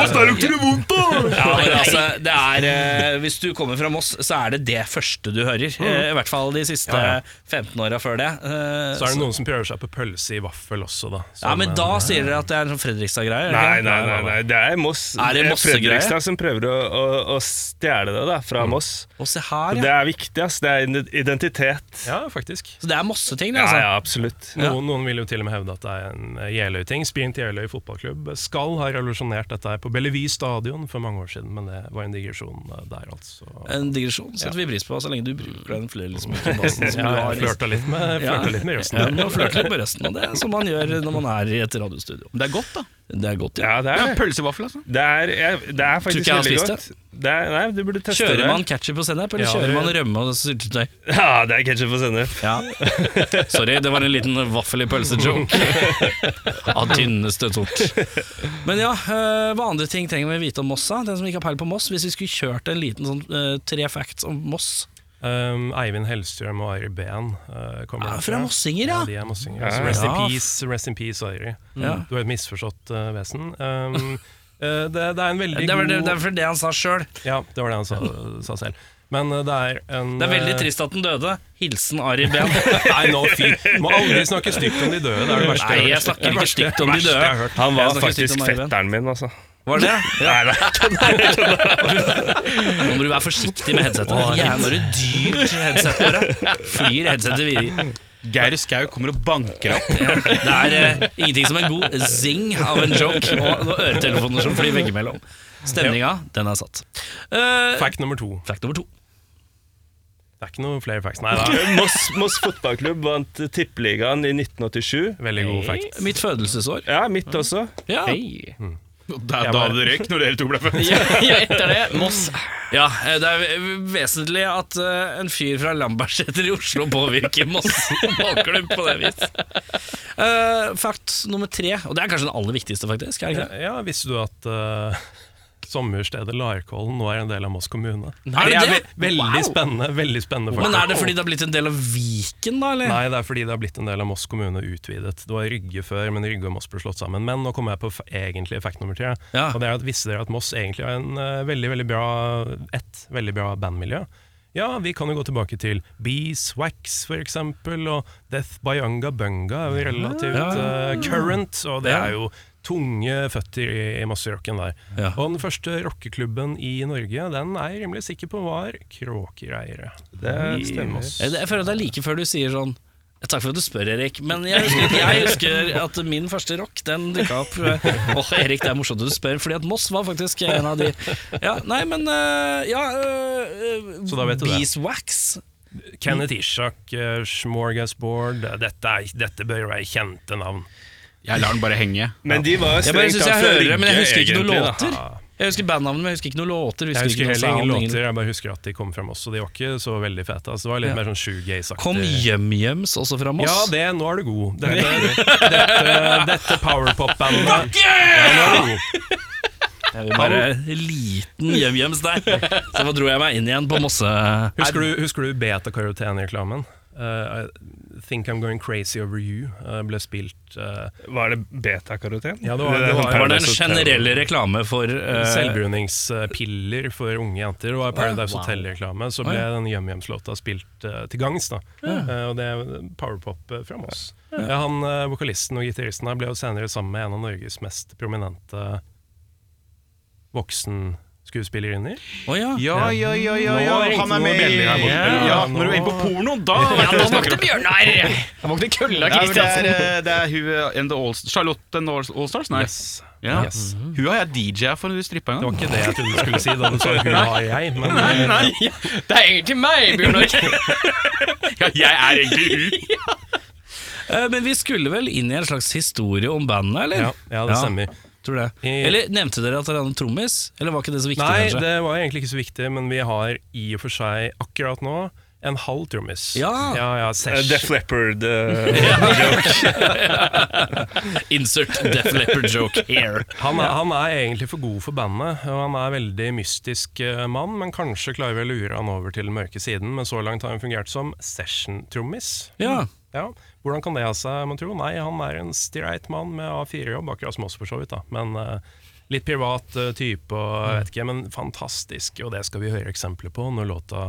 Speaker 2: altså, det er, eh, Hvis du kommer fra Moss, så er det det første du hører. Eh, I hvert fall de siste
Speaker 6: Ja, ja.
Speaker 2: 15 åra før det. Eh,
Speaker 6: Så er det noen som prøver seg på pølse i vaffel også, da.
Speaker 2: ja,
Speaker 6: Som,
Speaker 2: Men
Speaker 6: eh,
Speaker 2: da sier dere at det er en sånn Fredrikstad-greie? er det
Speaker 7: Nei,
Speaker 2: ikke?
Speaker 7: nei, nei, nei, det er Moss.
Speaker 2: Er det
Speaker 7: eh,
Speaker 2: Mossegreie?
Speaker 7: Fredrikstad som prøver å, å, å stjele det da,
Speaker 2: Mm.
Speaker 7: fra Moss.
Speaker 2: Og se
Speaker 7: Og
Speaker 2: her,
Speaker 7: Det
Speaker 2: ja.
Speaker 7: er viktig, ass. Det er ide- identitet.
Speaker 6: Ja, faktisk.
Speaker 2: Så det er Mosseting, det,
Speaker 7: Ja,
Speaker 2: altså?
Speaker 7: ja, absolutt.
Speaker 6: Noen, noen vil jo til og med hevde at det er en eh, Jeløy-ting. Sprint Jeløy fotballklubb skal ha revolusjonert dette her på Bellevue stadion for mange år siden, men det var en digresjon eh, der, altså.
Speaker 2: En digresjon setter vi pris på, så lenge du bruker den flørlesmykken som du
Speaker 6: Ja,
Speaker 2: har.
Speaker 6: jeg flørta litt med,
Speaker 2: Ja.
Speaker 6: flørta litt med
Speaker 2: Ja,
Speaker 6: røsten.
Speaker 2: du må flørte litt med resten, og det er som man gjør når man er i et radiostudio.
Speaker 1: Det er godt, da.
Speaker 2: Det er godt, ja.
Speaker 7: Ja, det er det.
Speaker 1: Pølsevaffel, altså.
Speaker 7: Det er, jeg, det er faktisk
Speaker 2: ikke jeg har
Speaker 7: veldig
Speaker 2: spist
Speaker 7: godt. Det er, nei, du burde teste
Speaker 2: Kjører
Speaker 7: det.
Speaker 2: man ketchup og sennep, eller
Speaker 6: Ja,
Speaker 2: kjører
Speaker 6: det-
Speaker 2: man rømme og syltetøy?
Speaker 7: Ja, det er ketsjup og sennep.
Speaker 2: Ja. [LAUGHS] Sorry, det var en liten vaffel i pølse-joke. Av tynneste tort. Men ja, eh, hva andre ting trenger vi vite om Moss? da? Den som ikke har peil på Moss, hvis vi skulle kjørt en liten sånn eh, tre facts om Moss
Speaker 6: Um, Eivind Hellstrøm og Ari Behn eh, kommer
Speaker 2: Ja,
Speaker 6: derfra.
Speaker 2: Fra Mossinger, ja!
Speaker 6: Ja, de er mossinger. Så Rest in
Speaker 2: Ja. Mm.
Speaker 6: peace, rest in peace, Ari.
Speaker 2: Ja.
Speaker 6: Du er et misforstått eh, vesen.
Speaker 2: [LAUGHS]
Speaker 6: Um, eh, det, det er en veldig
Speaker 2: Det var det,
Speaker 6: god
Speaker 2: det, var det han sa sjøl.
Speaker 6: Ja, det var det han sa, sa selv.
Speaker 7: Men eh, det er en
Speaker 2: Det er veldig
Speaker 7: eh,
Speaker 2: trist at den døde. Hilsen Ari Behn.
Speaker 7: Nei, nå fy. Må aldri snakke stygt om de døde. [LAUGHS] Det er det verste
Speaker 2: Nei,
Speaker 7: jeg
Speaker 2: jeg
Speaker 7: har hørt.
Speaker 2: snakker ikke stygt om de døde.
Speaker 8: Han
Speaker 2: Jeg
Speaker 8: var
Speaker 2: snakker stygt
Speaker 8: faktisk
Speaker 2: om Arven.
Speaker 8: fetteren min, altså.
Speaker 2: Var
Speaker 7: [LAUGHS]
Speaker 2: det? Ja. [LAUGHS] Nå må du være forsiktig med headsetet. Gjerne når du dypt i headsetet. Flyr headsetet videre.
Speaker 1: Geir Skau kommer og banker opp.
Speaker 2: Ja, det er eh, ingenting som en god zing av en joke og og øretelefoner som flyr veggimellom. Stemninga, den er satt. Eh,
Speaker 7: Fact nummer to.
Speaker 2: fact nummer to.
Speaker 7: Det er ikke noe flere facts. Nei, det
Speaker 8: Eh, Moss, Moss fotballklubb vant tippeligaen i 1987.
Speaker 7: er veldig god fact.
Speaker 2: Mitt fødelsesår.
Speaker 8: Ja, mitt også.
Speaker 2: Ja.
Speaker 1: [LAUGHS] Da, da det røyk når dere to ble født.
Speaker 3: Etter det, Moss
Speaker 2: Ja, eh, det er vesentlig at eh, en fyr fra Lambertseter i Oslo påvirker Moss [LAUGHS] ballklubb på det vis. Eh, fact nummer tre, og det er kanskje den aller viktigste, faktisk. Er det ikke det?
Speaker 7: Ja, visste du at eh, sommerstedet Larkollen nå er en del av Moss kommune?
Speaker 2: Er det det?
Speaker 7: ve- Veldig spennende. veldig spennende
Speaker 2: Men er det fordi det har blitt en del av Viken, da? eller?
Speaker 7: Nei, det er fordi det har blitt en del av Moss kommune utvidet. Det var Rygge før, men Rygge og Moss ble slått sammen. Men nå kommer jeg på f egentlig fact nummer tre.
Speaker 2: Ja.
Speaker 7: Og det er at Visste dere at Moss egentlig har en eh, veldig, veldig bra ett veldig bra bandmiljø? Ja, vi kan jo gå tilbake til Bees Wax for eksempel, og Death Bayanga Bunga er jo relativt eh, current, og det
Speaker 2: Ja.
Speaker 7: er jo tunge føtter i, i Mosserocken der.
Speaker 2: Ja.
Speaker 7: Og den første rockeklubben i Norge, den er jeg rimelig sikker på var Kråkereire. Det stemmer.
Speaker 2: Eh, det- Jeg føler det er like før du sier sånn eh, Takk for at du spør, Erik, men jeg husker, jeg husker at min første rock Den dukka opp. eh, Åh, Erik, det er morsomt at du spør, fordi at Moss var faktisk en av de. Ja, nei, men eh, Ja, eh,
Speaker 7: Så da vet du det.
Speaker 2: Beeswax.
Speaker 7: Kenneth Ishak, eh, Smorgasbord eh, dette, er, dette bør være kjente navn.
Speaker 1: Jeg lar den bare henge.
Speaker 8: Men de var
Speaker 2: Jeg bare
Speaker 8: strengt
Speaker 2: synes
Speaker 8: tatt
Speaker 2: jeg
Speaker 8: fra
Speaker 2: hører det, men jeg
Speaker 8: Rygge,
Speaker 2: husker ikke noen
Speaker 8: egentlig, da.
Speaker 2: låter. Jeg husker bandnavnet, men jeg husker ikke noen låter.
Speaker 7: Jeg husker
Speaker 2: ikke noe
Speaker 7: heller ingen
Speaker 2: sound,
Speaker 7: låter, jeg bare husker at de kom fra Moss. Og de var ikke så veldig fete. Altså, det var litt
Speaker 2: Ja.
Speaker 7: mer sånn shoegaze-aktig.
Speaker 2: Kom Hjem-Hjems også fra Moss?
Speaker 7: Ja, det, nå er du god. Dette, dette, dette powerpop-bandet ja, nå er du god.
Speaker 2: Bare liten Hjem-Hjems
Speaker 7: [LAUGHS]
Speaker 2: der. Så da dro jeg meg inn igjen på Mosse.
Speaker 7: Husker du, husker du beta-karoten-reklamen? Eh, I think I'm going crazy over you eh, ble spilt eh,
Speaker 8: Var det betakaroten?
Speaker 7: Ja, det var-
Speaker 8: er
Speaker 7: det
Speaker 8: sånn
Speaker 7: var-
Speaker 2: Var det en
Speaker 8: Paradise Hotel.
Speaker 2: generell reklame for eh,
Speaker 7: selvbruningspiller for unge jenter. Det var Paradise Hotel-reklame. Så ble den Yum-Yums-låta spilt eh, til gangs. da Eh, Og det er powerpop eh, fra Moss. Ja, han eh, vokalisten og gitaristen her ble jo senere sammen med en av Norges mest prominente voksenskuespillerinner.
Speaker 2: Å ja.
Speaker 1: Ja, ja, ja, ja, ja.
Speaker 7: Nå
Speaker 1: han er med
Speaker 7: ringte noen bjeller her borte.
Speaker 1: Ja,
Speaker 7: Ja,
Speaker 1: Når du er inne på porno, da
Speaker 3: Ja, nå våkte Bjørnar
Speaker 2: [LAUGHS]
Speaker 3: Han våkte kølla
Speaker 1: Ja, men det er,
Speaker 3: Kristiansen
Speaker 1: eh, det er hun eh, and the All- Charlotte and the All- Allstars? Nei.
Speaker 7: Yes.
Speaker 1: Ja. Mm-hmm.
Speaker 7: Yes.
Speaker 1: Hun har jeg DJ-a for når du strippa en
Speaker 7: Det var
Speaker 1: gang.
Speaker 7: ikke det jeg trodde du skulle si da du sa 'hun har jeg', men eh,
Speaker 3: Det er egentlig meg, Bjørnar
Speaker 1: Ja, jeg er egentlig hun.
Speaker 2: Eh, Men vi skulle vel inn i en slags historie om bandet, eller?
Speaker 7: ja, ja, det stemmer.
Speaker 2: Tror det.
Speaker 7: I-
Speaker 2: Eller nevnte dere at dere hadde en trommis? Eller var ikke det så viktig?
Speaker 7: Nei,
Speaker 2: kanskje?
Speaker 7: det var egentlig ikke så viktig, men vi har i og for seg akkurat nå en halv trommis.
Speaker 2: Ja.
Speaker 7: ja, ja
Speaker 8: Eh,
Speaker 7: sesh.
Speaker 8: Def Leppard eh,
Speaker 2: Insert Def Leppard joke here.
Speaker 7: Han er, han er egentlig for god for bandet, og han er veldig mystisk eh, mann, men kanskje klarer vi å lure han over til den mørke siden, men så langt har han fungert som session-trommis.
Speaker 2: Ja.
Speaker 7: Ja, Hvordan kan det ha seg, man tro? Nei, han er en streit mann med A4-jobb, akkurat som oss for så vidt, da. Men eh, litt privat eh, type, og jeg vet ikke, men fantastisk, og det skal vi høre eksempler på når låta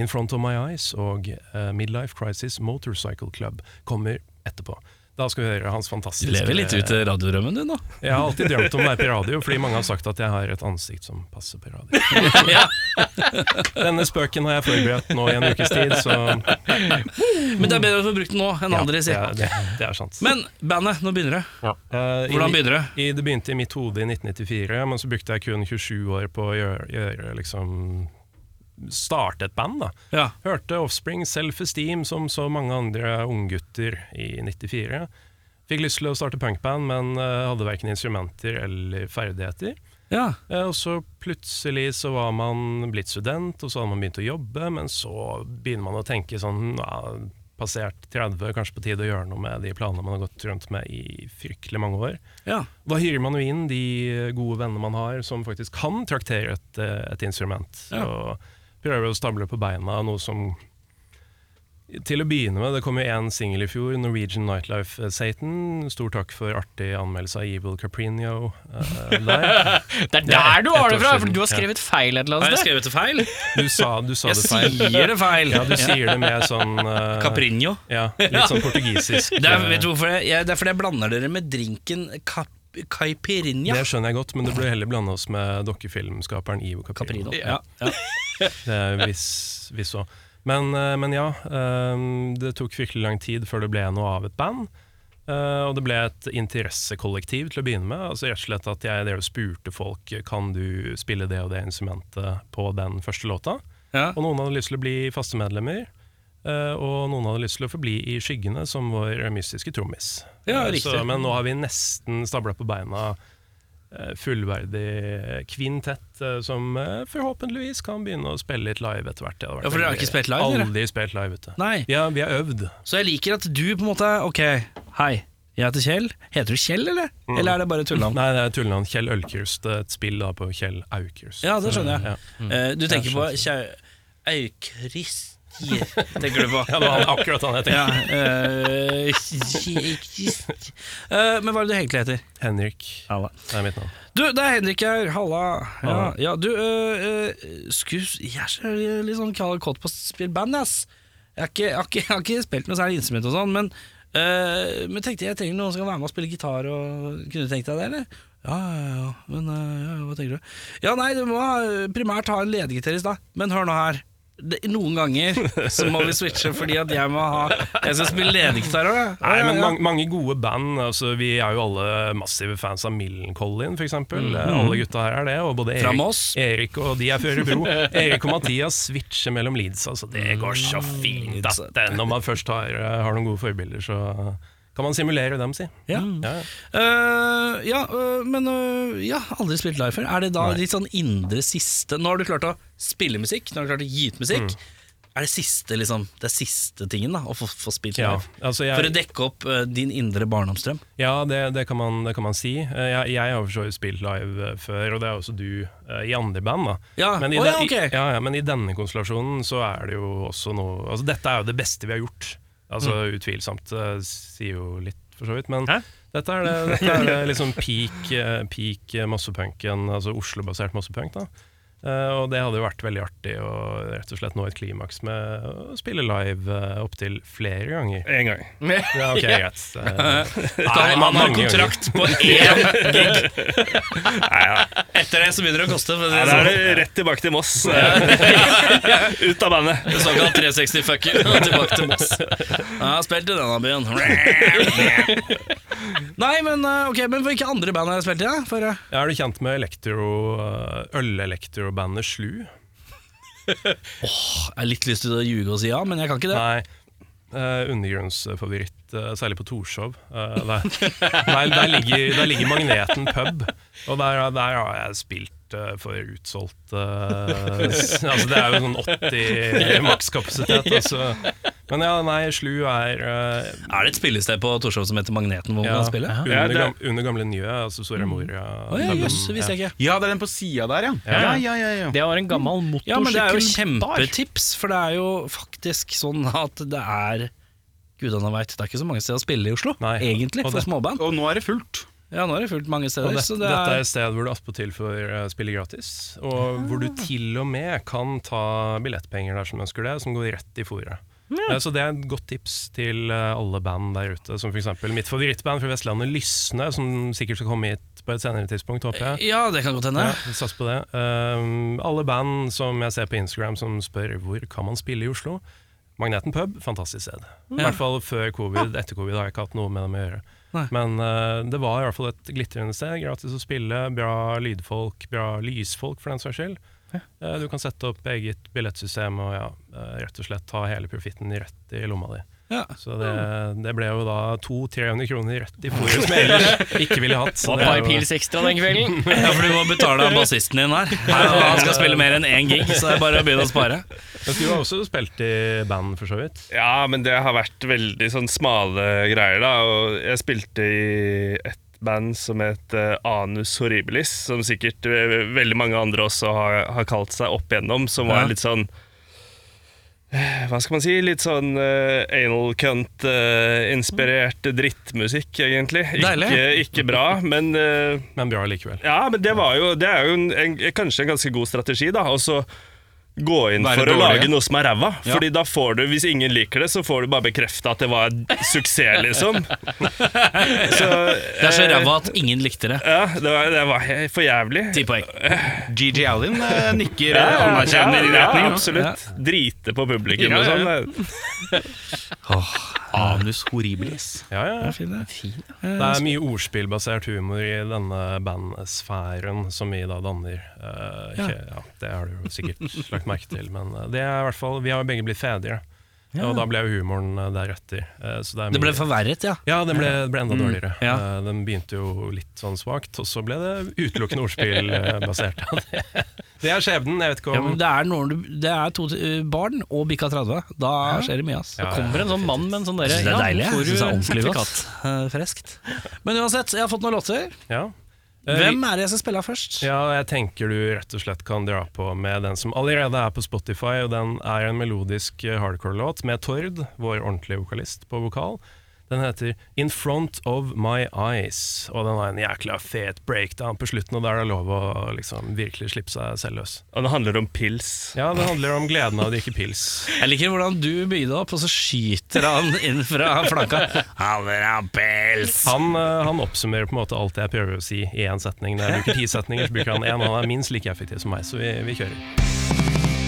Speaker 7: In Front of My Eyes og eh, Midlife Crisis Motorcycle Club kommer etterpå. Da skal vi høre hans
Speaker 2: Du [LAUGHS]
Speaker 7: fantastiske
Speaker 2: lever litt ut eh, radiodrømmen du nå.
Speaker 7: jeg har alltid drømt om å være på radio, fordi mange har sagt at jeg har et ansikt som passer på [LAUGHS] radio. Denne spøken har jeg forberedt nå i en ukes tid, så
Speaker 2: Men det er bedre å få brukt den nå enn
Speaker 7: ja,
Speaker 2: andre
Speaker 7: det,
Speaker 2: sier.
Speaker 7: er- det, det er sant.
Speaker 2: Men bandet, nå begynner det.
Speaker 7: Eh, i-
Speaker 2: Hvordan begynner det?
Speaker 7: i, det begynte i mitt hode i 1994, men så brukte jeg kun 27 år på å gjøre, gjøre liksom Starte et band, da.
Speaker 2: Ja.
Speaker 7: Hørte Offspring Self-Esteem som så mange andre unggutter i 94. Fikk lyst til å starte punkband, men eh, hadde verken instrumenter eller ferdigheter.
Speaker 2: ja.
Speaker 7: Eh, Og så plutselig så var man blitt student, og så hadde man begynt å jobbe, men så begynner man å tenke sånn ja, Passert 30, kanskje på tide å gjøre noe med de planene man har gått rundt med i fryktelig mange år.
Speaker 2: ja.
Speaker 7: Da hyrer man jo inn de gode vennene man har, som faktisk kan traktere et, eh, et instrument.
Speaker 2: Ja.
Speaker 7: Og prøver å stable på beina noe som Til å begynne med, det kom jo én singel i fjor, 'Norwegian Nightlife eh, Satan'. Stor takk for artig anmeldelse av Evil Caprino eh, der.
Speaker 3: Det er
Speaker 7: Det er
Speaker 3: der du har det
Speaker 7: ett år
Speaker 3: fra!
Speaker 7: siden,
Speaker 3: For du har
Speaker 7: ja.
Speaker 3: skrevet feil et eller
Speaker 2: Har
Speaker 3: annet
Speaker 2: jeg
Speaker 3: sted.
Speaker 2: skrevet det feil?
Speaker 7: Du sa, du sa
Speaker 2: Jeg
Speaker 7: det feil.
Speaker 2: sier det feil!
Speaker 7: Ja, du sier det med
Speaker 2: [LAUGHS]
Speaker 7: sånn eh,
Speaker 2: Caprinho.
Speaker 7: Ja, litt sånn portugisisk.
Speaker 2: [LAUGHS] Det er,
Speaker 7: eh,
Speaker 2: vet du hvorfor jeg, jeg, det er fordi jeg blander dere med drinken cap, caipirinha.
Speaker 7: Det skjønner jeg godt, men det burde heller blande oss med dokkefilmskaperen Ivo Caprino.
Speaker 2: Caprino. Ja.
Speaker 7: Det er hvis, hvis så. Men, eh, men ja, eh, det tok virkelig lang tid før det ble noe av et band. Eh, og det ble et interessekollektiv til å begynne med. Altså rett og slett at jeg drev og spurte folk Kan du spille det og det instrumentet på den første låta.
Speaker 2: Ja.
Speaker 7: Og noen hadde lyst til å bli faste medlemmer. eh, og noen hadde lyst til å forbli i skyggene som vår mystiske trommis.
Speaker 2: Ja,
Speaker 7: Eh,
Speaker 2: riktig.
Speaker 7: så, men nå har vi nesten stabla på beina eh, fullverdig kvintett eh, som eh, forhåpentligvis kan begynne å spille litt live etter hvert. Det hadde vært
Speaker 2: Ja, for dere har
Speaker 7: veldig-
Speaker 2: ikke spilt live, dere?
Speaker 7: Aldri spilt live, vet du.
Speaker 2: Nei.
Speaker 7: Vi har, vi har øvd.
Speaker 2: Så jeg liker at du på en måte Ok, hei, jeg heter Kjell. Heter du Kjell, eller? Eller er det bare tullenavn?
Speaker 7: Nei, det er tullenavn. Kjell Ølkrust. Et spill da på Kjell Aukrust.
Speaker 2: Ja, det skjønner jeg.
Speaker 7: Ja.
Speaker 2: Eh, du tenker på Kjau- Aukristi, tenker du på.
Speaker 7: Ja, det var [LAUGHS] akkurat han jeg tenkte.
Speaker 2: Ja, eh, [LAUGHS] Aukristi. Eh, men hva er det du egentlig heter?
Speaker 7: Henrik. Det er mitt navn.
Speaker 2: Du, det er Henrik her. Halla. Ja, ja du øh, øh, Skus, jeg er så litt sånn kald- kåt på å spille band, ass. Jeg har ikke, jeg har ikke, jeg har ikke spilt noe særlig instrument og sånn, men, øh, men tenkte jeg trenger noen som kan være med og spille gitar og Kunne du tenkt deg det, eller? Ja, ja, ja. Men øh, ja, ja, hva tenker du? Ja, nei, du må ha- primært ha en ledegitarist, da. Men hør nå her. Det, noen ganger så må vi switche fordi at jeg må ha Jeg skal spille ledegitar òg, jeg.
Speaker 7: Nei,
Speaker 2: Ja,
Speaker 7: men
Speaker 2: ja, ja.
Speaker 7: mange, mange gode band. Altså, vi er jo alle massive fans av Millencolin, f.eks. Mm. Alle gutta her er det. Og både
Speaker 2: Fra
Speaker 7: Erik,
Speaker 2: Moss.
Speaker 7: Erik og de er før i [LAUGHS] bro. Erik og Mathias switcher mellom leads. Altså, det går så fint at det, når man først har, eh, har noen gode forbilder, så kan man simulere dem, si.
Speaker 2: Ja.
Speaker 7: Ja.
Speaker 2: Eh, ja, eh, men eh, ja, aldri spilt live før. Er det da litt sånn indre siste Nå har du klart å spille musikk, nå har du klart å gi ut musikk.
Speaker 7: Mm.
Speaker 2: Er det siste liksom Det er siste tingen, da, å få, få spilt
Speaker 7: Ja,
Speaker 2: live?
Speaker 7: altså jeg-
Speaker 2: For å dekke opp eh, din indre barndomsdrøm.
Speaker 7: Ja, det, det, kan man, det kan man si. Eh, Jeg, jeg har for så vidt spilt live eh, før, og det har også du eh, i andre band. da
Speaker 2: Ja,
Speaker 7: men, i
Speaker 2: å ja,
Speaker 7: den-
Speaker 2: ok.
Speaker 7: i, ja, ja, men i denne konstellasjonen så er det jo også noe altså, Dette er jo det beste vi har gjort. Altså
Speaker 2: Mm.
Speaker 7: Utvilsomt. eh, Sier jo litt, for så vidt. Men dette er det, dette er det liksom peak, eh, peak eh, massepunken, altså Oslo-basert massepunk. da Eh, og det hadde jo vært veldig artig å rett og slett nå et klimaks med å spille live eh, opptil flere ganger.
Speaker 8: En gang.
Speaker 7: Ja, ok, greit. Eh, nei,
Speaker 2: Man har
Speaker 7: mange ganger.
Speaker 2: kontrakt
Speaker 7: [LAUGHS]
Speaker 2: på én gig! Etter det så begynner det å koste. For å si det
Speaker 8: Nei, da
Speaker 2: sånn.
Speaker 8: er det rett tilbake til Moss. eh, [LAUGHS] Ut av bandet.
Speaker 2: Såkalt 360 fuck you, og tilbake til Moss. Jeg har spilt i denne byen. Nei, men eh, ok, men hvilke andre band har jeg spilt i? da? For, eh,
Speaker 7: Ja, Er du kjent med elektro, eh, øl-elektrobandet Slu?
Speaker 2: jeg har litt lyst til å ljuge og si ja, men jeg kan ikke det.
Speaker 7: Nei. eh, undergrunnsfavoritt, eh, særlig på Torshov. Eh, der, der, der, ligger, der ligger Magneten pub, og der, der har jeg spilt eh, for utsolgt eh, s- altså Det er jo sånn 80 makskapasitet. Altså. Men ja, nei, Slu er eh,
Speaker 2: Er det et spillested på Torshov som heter Magneten, hvor man
Speaker 7: ja,
Speaker 2: kan spille?
Speaker 7: under,
Speaker 8: Ja, det-
Speaker 7: gam, under gamle Njø, altså Soria Moria.
Speaker 2: Å ja, jøss, det visste jeg ikke.
Speaker 1: Ja, det er den på sida der, ja. Ja, ja, ja, ja.
Speaker 3: Det var en gammel
Speaker 2: Mm. Ja, men det er jo
Speaker 3: motorsykkelbar.
Speaker 2: kjempetips, for det er jo faktisk sånn at det er Gudene veit, det er ikke så mange steder å spille i Oslo,
Speaker 7: Nei,
Speaker 2: egentlig,
Speaker 7: og
Speaker 2: for
Speaker 7: det-
Speaker 2: småband.
Speaker 1: Og nå er det fullt.
Speaker 2: Ja, nå er det fullt mange steder,
Speaker 7: Og det,
Speaker 2: så det
Speaker 7: Dette er
Speaker 2: er
Speaker 7: et sted hvor du attpåtil får eh, spille gratis, og hvor du til og med kan ta billettpenger dersom du ønsker det, som går rett i fôret. Eh, Så det er et godt tips til eh, alle band der ute, som f.eks. mitt favorittband fra Vestlandet, Lysne, som sikkert skal komme hit på et senere tidspunkt,
Speaker 3: Eh,
Speaker 7: håper jeg.
Speaker 2: Ja, det kan godt hende.
Speaker 7: Ja, vi Sats på det. Um, alle band som jeg ser på Instagram som spør hvor kan man spille i Oslo. Magneten pub, fantastisk sted. I hvert fall før covid. Etter covid har jeg ikke hatt noe med dem å gjøre.
Speaker 2: Nei.
Speaker 7: Men eh, det var i hvert fall et glitrende sted. Gratis å spille, bra lydfolk, bra lysfolk for den saks skyld. Eh, du kan sette opp eget billettsystem og ja, eh, rett og slett ta hele profitten rett i lomma di.
Speaker 2: Ja.
Speaker 7: Så det,
Speaker 6: Eh,
Speaker 7: det ble jo da 200-300 kroner rett i fôret [LAUGHS] som jeg ellers ikke ville hatt. Så
Speaker 3: Det var et par
Speaker 7: det er jo-
Speaker 3: pils ekstra den kvelden.
Speaker 2: Ja, for du må [LAUGHS] betale av bassisten din her. Han skal spille mer enn én gig, så det er bare å begynne å spare.
Speaker 7: Men du har også spilt i band, for så vidt.
Speaker 8: Ja, men det har vært veldig sånn smale greier, da. Og jeg spilte i et band som het eh, Anus Horribilis, som sikkert eh, veldig mange andre også har, har kalt seg opp igjennom, som var
Speaker 2: Ja.
Speaker 8: litt sånn eh, hva skal man si, litt sånn eh, anal cunt-inspirert drittmusikk, egentlig. Ikke,
Speaker 6: Deilig.
Speaker 8: ikke bra, men eh,
Speaker 6: Men bra likevel.
Speaker 8: Ja, men det, var jo, det er jo en, en, kanskje en ganske god strategi, da. Og så gå inn
Speaker 7: Være
Speaker 8: for å
Speaker 7: dårlig.
Speaker 8: lage noe som er ræva. Fordi da får du, hvis ingen liker det, så får du bare bekrefta at det var en suksess, liksom. Så,
Speaker 3: Det er så ræva at ingen likte det.
Speaker 8: ja, det var, det var he- for jævlig.
Speaker 3: Ti poeng.
Speaker 7: GG Allin eh, [LAUGHS] nikker
Speaker 8: Ja, ja,
Speaker 7: anerkjennende i
Speaker 8: ja,
Speaker 7: retning.
Speaker 8: absolutt. Drite på publikum og
Speaker 7: Ja,
Speaker 8: sånn.
Speaker 7: ja,
Speaker 8: det-
Speaker 7: Anus horribilis.
Speaker 6: Ja, ja. Eh, Det er mye ordspillbasert humor i denne bandsfæren som vi da danner. Eh, ikke, ja. det har du jo sikkert lagt merke til, men eh, det er i hvert fall, vi har jo begge blitt fedre. Og da ble jo humoren eh, deretter. Eh, så det, er
Speaker 2: Det ble
Speaker 6: mye-
Speaker 2: forverret, ja.
Speaker 6: ja, den ble, det ble enda dårligere.
Speaker 2: ja.
Speaker 6: Eh, Den begynte jo litt sånn svakt, og så ble det utelukkende [LAUGHS] ordspillbasert. det er skjebnen, jeg vet ikke
Speaker 2: Ja,
Speaker 6: om
Speaker 2: men det er, når du, det er to eh, barn og bikka 30. Da skjer det mye. ass
Speaker 6: Ja, ja,
Speaker 9: Kommer en sånn mann med en sånn derre
Speaker 2: Jeg synes det er deilig.
Speaker 9: nå får
Speaker 2: Jeg synes det er
Speaker 9: du
Speaker 2: ordentlig
Speaker 9: sertifikat.
Speaker 2: godt. Eh, Freskt. Men uansett, jeg har fått noen låter.
Speaker 6: Ja. Eh,
Speaker 2: Hvem er det jeg skal spille av først?
Speaker 6: Ja, jeg tenker du rett og slett kan dra på med den som allerede er på Spotify, og den er en melodisk eh, hardcore-låt med Tord, vår ordentlige vokalist, på vokal. Den heter In Front of My Eyes, og den har en jækla fet breakdown på slutten, og der er det lov å liksom virkelig slippe seg selv løs.
Speaker 8: Og det handler om pils.
Speaker 6: Ja, det handler om gleden av å drikke pils.
Speaker 2: Jeg liker hvordan du bygde opp, og så skyter han [LAUGHS] inn fra flanka.
Speaker 6: Han, eh, han oppsummerer på en måte alt jeg prøver å si i én setning. Når jeg bruker ti setninger, så bruker han én, og han er minst like effektiv som meg, så vi, vi kjører.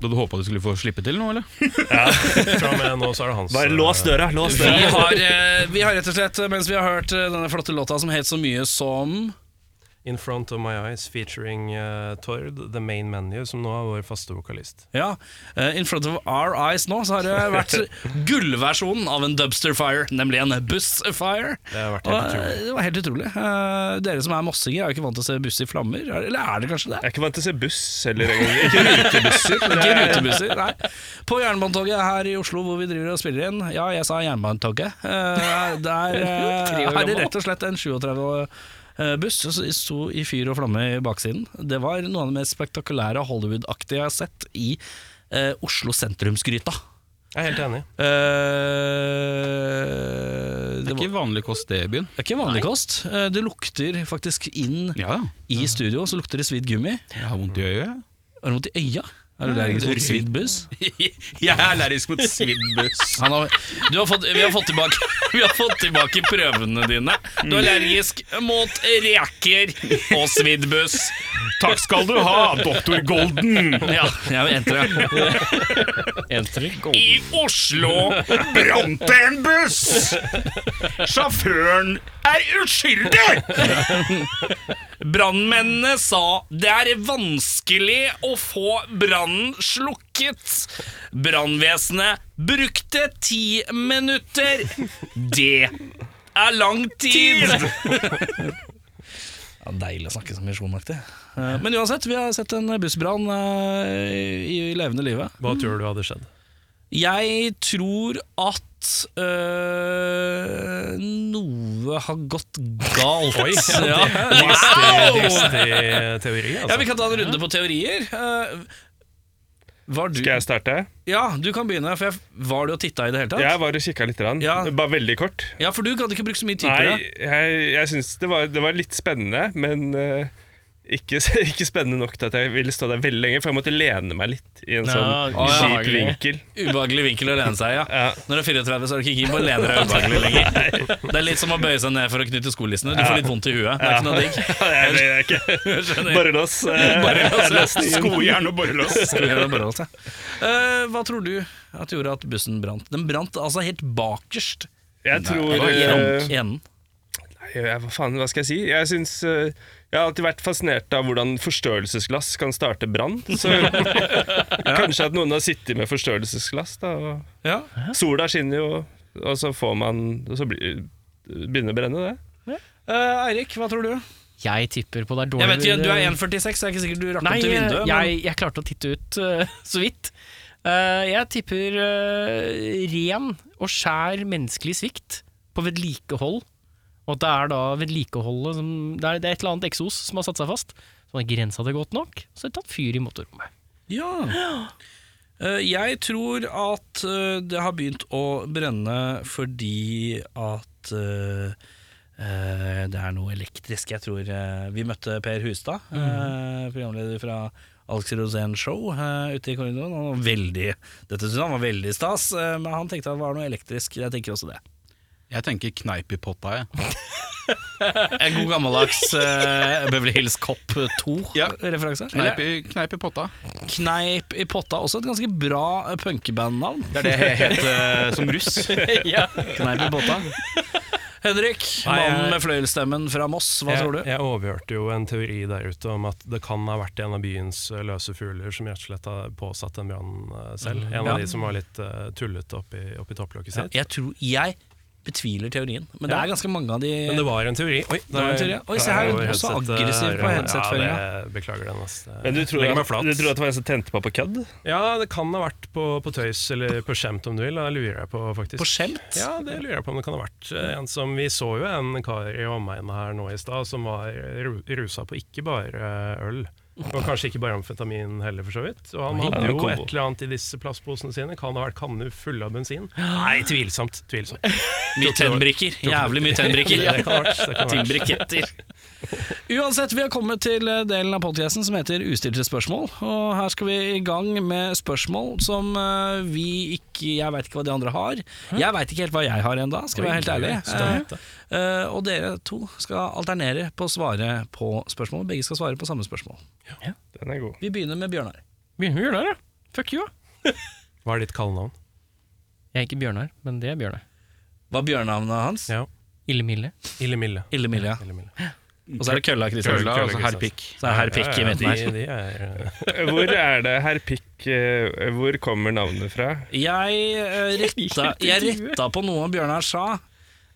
Speaker 7: Da du håpa du skulle få slippe til noe, eller?
Speaker 6: Fra og med nå så er det hans
Speaker 8: Bare lås døra! Lås
Speaker 2: Vi
Speaker 8: døra.
Speaker 2: har, eh, vi har rett og slett, mens vi har hørt eh, denne flotte låta som het så mye som
Speaker 6: In Front of My Eyes featuring eh, Tord, The Main Menu, som nå er vår faste vokalist.
Speaker 2: Ja, eh, In front of our eyes nå Så har det vært gullversjonen av en dubster fire Nemlig en buss fire
Speaker 6: Det har vært
Speaker 2: Og,
Speaker 6: helt utrolig.
Speaker 2: eh, Det var helt utrolig Eh, Dere som er mossinger er jo ikke vant til å se buss i flammer er- Eller er det kanskje det?
Speaker 8: Jeg er ikke vant til å se buss eller engang. Ikke rutebusser. men det
Speaker 2: Ikke
Speaker 8: er-
Speaker 2: rutebusser, nei På jernbanetorget her i Oslo hvor vi driver og spiller inn Ja, jeg sa jernbanetorget Eh, Der eh, er det rett og slett en 37 eh, buss som sto i fyr og flamme i baksiden Det var noe av det mest spektakulære Hollywood-aktige jeg har sett i eh, Oslo sentrumsgryta
Speaker 7: Jeg er helt enig.
Speaker 2: Eh,
Speaker 1: Det
Speaker 2: det,
Speaker 1: er
Speaker 2: var,
Speaker 1: ikke vanlig kost det i byen.
Speaker 2: det er ikke vanlig kost. Eh, Det lukter faktisk inn
Speaker 1: Ja,
Speaker 2: i studio, så lukter det svidd gummi.
Speaker 1: jeg har vondt i øyet.
Speaker 2: Er det vondt i øya? Er du allergisk mot svidd buss?
Speaker 1: [LAUGHS] jeg er allergisk mot sviddbuss.
Speaker 2: Han har, du har fått, vi, har fått tilbake, [LAUGHS] vi har fått tilbake prøvene dine. Du er allergisk mot reker og sviddbuss.
Speaker 8: Takk skal du ha, doktor Golden!
Speaker 2: Ja, jeg entrer.
Speaker 8: I Oslo brant det en buss! Sjåføren er uskyldig!
Speaker 2: Brannmennene sa det er vanskelig å få brannen slukket. Brannvesenet brukte ti minutter. Det er lang tid! Ja, deilig å snakke som misjonaktig. Eh, Men uansett, vi har sett en bussbrann eh, i i levende live.
Speaker 7: Hva tror du hadde skjedd?
Speaker 2: Jeg tror at øh, noe har gått galt. Oi, ja, Wow!
Speaker 7: Dristig teori,
Speaker 2: Ja, vi
Speaker 7: altså.
Speaker 2: kan ta en runde på teorier. Eh, Var du
Speaker 8: Skal jeg starte?
Speaker 2: Ja, du kan begynne. For jeg, var du og titta i det hele tatt?
Speaker 8: Jeg var og kikka litt. Rann.
Speaker 2: Ja.
Speaker 8: Bare veldig kort.
Speaker 2: Ja, for du hadde ikke brukt så mye tid på
Speaker 8: Nei,
Speaker 2: det.
Speaker 8: jeg, jeg syns det var, det var litt spennende, men eh, ikke, [LAUGHS] ikke spennende nok til at jeg ville stå der veldig lenge, for jeg måtte lene meg litt i en sånn
Speaker 3: å, ja.
Speaker 8: kjip vinkel.
Speaker 2: Ubehagelig vinkel å lene seg i. Ja.
Speaker 8: Ja.
Speaker 2: Når du er 34, så er du ikke keen på å lene deg ubehagelig lenger. Det er litt som å bøye seg ned for å knytte skolissene. Du får litt vondt i huet. Det er ikke noe digg.
Speaker 8: [LAUGHS]
Speaker 2: [LAUGHS]
Speaker 8: Nei, det er ikke [LAUGHS] Borrelås. eh,
Speaker 1: Skojern og borrelås.
Speaker 2: Skulle bare holdt seg. Eh, hva tror du at gjorde at bussen brant? Den brant altså helt bakerst
Speaker 8: Jeg
Speaker 2: i
Speaker 8: tror eh,
Speaker 2: enden.
Speaker 8: jeg, Hva faen, hva skal jeg si? Jeg syns eh, jeg har alltid vært fascinert av hvordan forstørrelsesglass kan starte brann. Så kanskje at noen har sittet med forstørrelsesglass, da. Og
Speaker 2: Ja.
Speaker 8: sola skinner jo, og så får man Og så blir, begynner det å brenne, det.
Speaker 2: Eh, Eirik, hva tror du?
Speaker 3: Jeg tipper på det er dårlig
Speaker 2: Jeg vet ikke, Du er 1,46, så jeg er ikke sikkert du rakk
Speaker 3: Nei, eh,
Speaker 2: opp til vinduet. men-
Speaker 3: jeg, jeg klarte å titte ut eh, [LAUGHS] så vidt. Eh, jeg tipper eh, ren og skjær menneskelig svikt på vedlikehold. Og at det er da vedlikeholdet som Det er, det er et eller annet eksos som har satt seg fast. Så har grensa det godt nok, så har det tatt fyr i motorrommet.
Speaker 2: Ja. [GASPS] Eh, jeg tror at eh, det har begynt å brenne fordi at eh, eh, det er noe elektrisk. Jeg tror eh, Vi møtte Per Hustad, eh, programleder fra Alex Rosén Show, eh, ute i korridoren. Han var veldig Dette synes han var veldig stas, eh, men han tenkte at det var noe elektrisk. Jeg tenker også det.
Speaker 1: Jeg tenker kneip i potta, jeg.
Speaker 2: [LAUGHS] En god gammeldags eh, Beverly Hills Cop 2-referanse.
Speaker 1: Kneip i, kneip i potta.
Speaker 2: Kneip i potta, også et ganske bra punkebandnavn.
Speaker 1: Det er det jeg het eh, som [LAUGHS] russ.
Speaker 2: Kneip i båta. Henrik, mannen med fløyelstemmen fra Moss, hva tror du?
Speaker 7: Jeg, jeg overhørte jo en teori der ute om at det kan ha vært en av byens eh, løse fugler som rett og slett har påsatt en brann eh, selv. En
Speaker 2: Ja.
Speaker 7: av de som var litt eh, tullete oppi, oppi topplokket sitt.
Speaker 2: Jeg tror jeg betviler teorien, men det
Speaker 7: Ja.
Speaker 2: er ganske mange av de
Speaker 7: Men det var en teori. Oi,
Speaker 2: var en teori, ja. Oi, se her,
Speaker 7: der
Speaker 2: hun er
Speaker 7: var
Speaker 2: også
Speaker 7: headsetet-
Speaker 3: eh,
Speaker 2: aggressiv på
Speaker 7: Ja,
Speaker 2: headsetføringa.
Speaker 7: det- Beklager den. ass. Det-
Speaker 8: Men du tror,
Speaker 7: Legger
Speaker 8: at,
Speaker 7: meg flat.
Speaker 8: du tror at det var en som tente på på kødd?
Speaker 7: Ja, det kan ha vært på, på tøys eller på skjemt, om du vil. Det lurer jeg på, faktisk.
Speaker 2: på skjemt.
Speaker 7: Ja, det lurer jeg på om det kan ha vært. eh, En som, vi så jo en kar i omegnen her nå i stad som var ru- rusa på ikke bare øl. Og kanskje ikke bare amfetamin heller, for så vidt. Og han hadde jo et eller annet i disse plastposene sine. Kan det ha vært kanner fulle av [GASPS] bensin? Nei, tvilsomt. tvilsomt.
Speaker 2: Mye tennbrikker. Jævlig mye [LAUGHS] tennbrikker.
Speaker 7: Det kan ha vært. Det kan ha vært.
Speaker 2: Timbriketter. [LAUGHS] Uansett, vi har kommet til eh, delen av podcasten som heter Ustilte spørsmål. Og her skal vi i gang med spørsmål som eh, vi ikke Jeg veit ikke hva de andre har. Jeg veit ikke helt hva jeg har ennå, skal vi være helt ærlig. Eh, eh, og dere to skal alternere på å svare på spørsmål. Begge skal svare på samme spørsmål.
Speaker 8: Den er god.
Speaker 2: Vi begynner med Bjørnar.
Speaker 3: Begynner vi å gjøre det, her, da? Fuck you, da.
Speaker 7: [LAUGHS] Hva er ditt kallenavn?
Speaker 3: Jeg er ikke Bjørnar, men det er Bjørnar.
Speaker 2: Hva er bjørnnavnet hans?
Speaker 7: Ja.
Speaker 3: Ille Mille.
Speaker 7: Ille Mille.
Speaker 2: Ille Milja.
Speaker 7: Ille Mille.
Speaker 2: Og så er det Kølla Kristiansen.
Speaker 1: Kølla, altså herr pikk.
Speaker 2: Så er det herr Pikk i midten her.
Speaker 7: De, de er,
Speaker 8: [LAUGHS]
Speaker 7: eh,
Speaker 8: Hvor er det herr Pikk eh, Hvor kommer navnet fra?
Speaker 2: Jeg eh, retta, jeg retta på noe Bjørnar sa,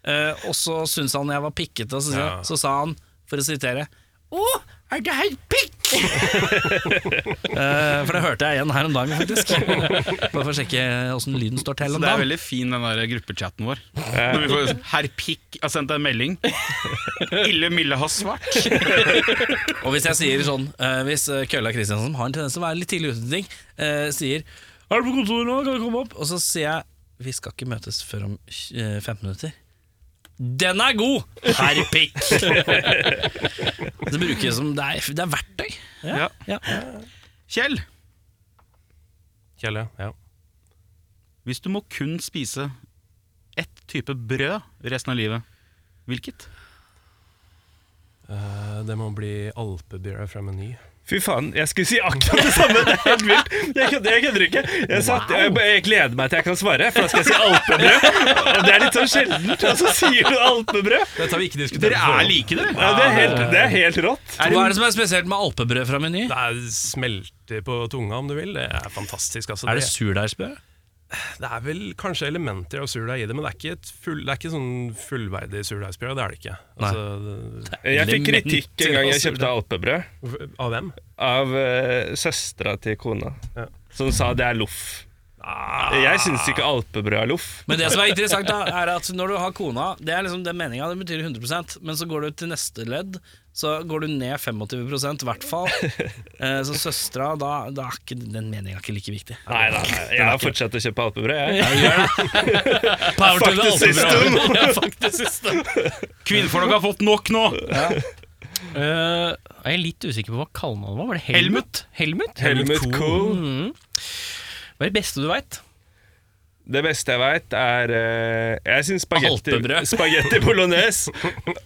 Speaker 2: eh, og så syntes han jeg var pikkete, og så, sa-
Speaker 7: Ja.
Speaker 2: så sa han, for å sitere Å, er det her
Speaker 1: [LAUGHS]
Speaker 2: pikk?! Eh, for det hørte jeg igjen her om dagen, faktisk. Bare for å sjekke åssen lyden står til
Speaker 1: Så
Speaker 2: om
Speaker 1: det er
Speaker 2: dagen.
Speaker 1: veldig fin den der gruppechatten vår. Når vi får herr Pikk har sendt deg en [LAUGHS] melding. Ille Mille har svart.
Speaker 2: Og hvis jeg sier sånn eh, Hvis eh, Kølla Kristiansen, som har en tendens til å være litt tidlig ute til ting, eh, sier Er du på kontoret nå? Kan du komme opp? Og så sier jeg Vi skal ikke møtes før om eh, 15 minutter. Den er god! Herr pikk! [LAUGHS] det brukes som det er, det er verktøy.
Speaker 7: Ja.
Speaker 1: Kjell,
Speaker 7: Kjell, ja. ja.
Speaker 1: hvis du må kun spise ett type brød resten av livet, hvilket?
Speaker 7: Eh, Det må bli alpebrød fra Meny.
Speaker 8: Fy faen, jeg skulle si akkurat det samme! Det er helt vilt. Jeg kødder jeg kødder ikke. Jeg, satt, jeg, jeg gleder meg til jeg kan svare, for da skal jeg si alpebrød. Og Det er litt sånn sjeldent, og så sier du alpebrød!
Speaker 7: Dette har vi ikke diskutert
Speaker 1: Dere er like, dere!
Speaker 8: Ja, det, er helt, det er helt rått.
Speaker 2: Hva er det som er spesielt med alpebrød fra Meny?
Speaker 7: Det er smelter på tunga, om du vil. Det er fantastisk. Altså.
Speaker 2: Er det surdeigsbrød?
Speaker 7: det er vel kanskje elementer av surdeig i det, men det er ikke, et full, det er ikke sånn fullverdig surdeigsbrød. Det er det ikke. Altså, det,
Speaker 8: Jeg fikk kritikk en gang jeg kjøpte alpebrød.
Speaker 7: hvorfor- av hvem?
Speaker 8: av uh, søstera til kona, som sa det er loff.
Speaker 7: Ah.
Speaker 8: Jeg syns ikke alpebrød er loff.
Speaker 2: Men det som er interessant, da, er at når du har kona Det er liksom den meninga, det betyr 100 men så går du til neste ledd, så går du ned 25 i hvert fall. Eh, Så søstera, da, da er ikke den meninga ikke like viktig.
Speaker 8: Nei, nei, nei. jeg har fortsatt å kjøpe alpebrød. Jeg.
Speaker 2: [LAUGHS] Power
Speaker 8: Fuck the system!
Speaker 1: Kvinnfolk har fått nok nå!
Speaker 3: Eh, jeg er litt usikker på hva kallenavnet var. Var det Helmut? Helmut?
Speaker 8: Helmut Kohl.
Speaker 3: Mhm. Hva er det beste du veit?
Speaker 8: Det beste jeg veit, er eh, Jeg syns spagetti,
Speaker 3: Alpebrød.
Speaker 8: [LAUGHS] spagetti
Speaker 7: [LAUGHS]
Speaker 8: bolognese.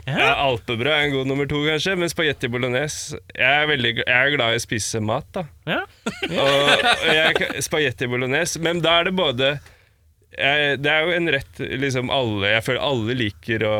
Speaker 8: Ja, alpebrød er en god nummer to, kanskje, men spagetti bolognese Jeg er, veldig, gl- jeg er glad i å spise mat, da.
Speaker 3: Ja.
Speaker 8: Og jeg, kan- spagetti bolognese. Men da er det både jeg, Det er jo en rett liksom alle Jeg føler alle liker å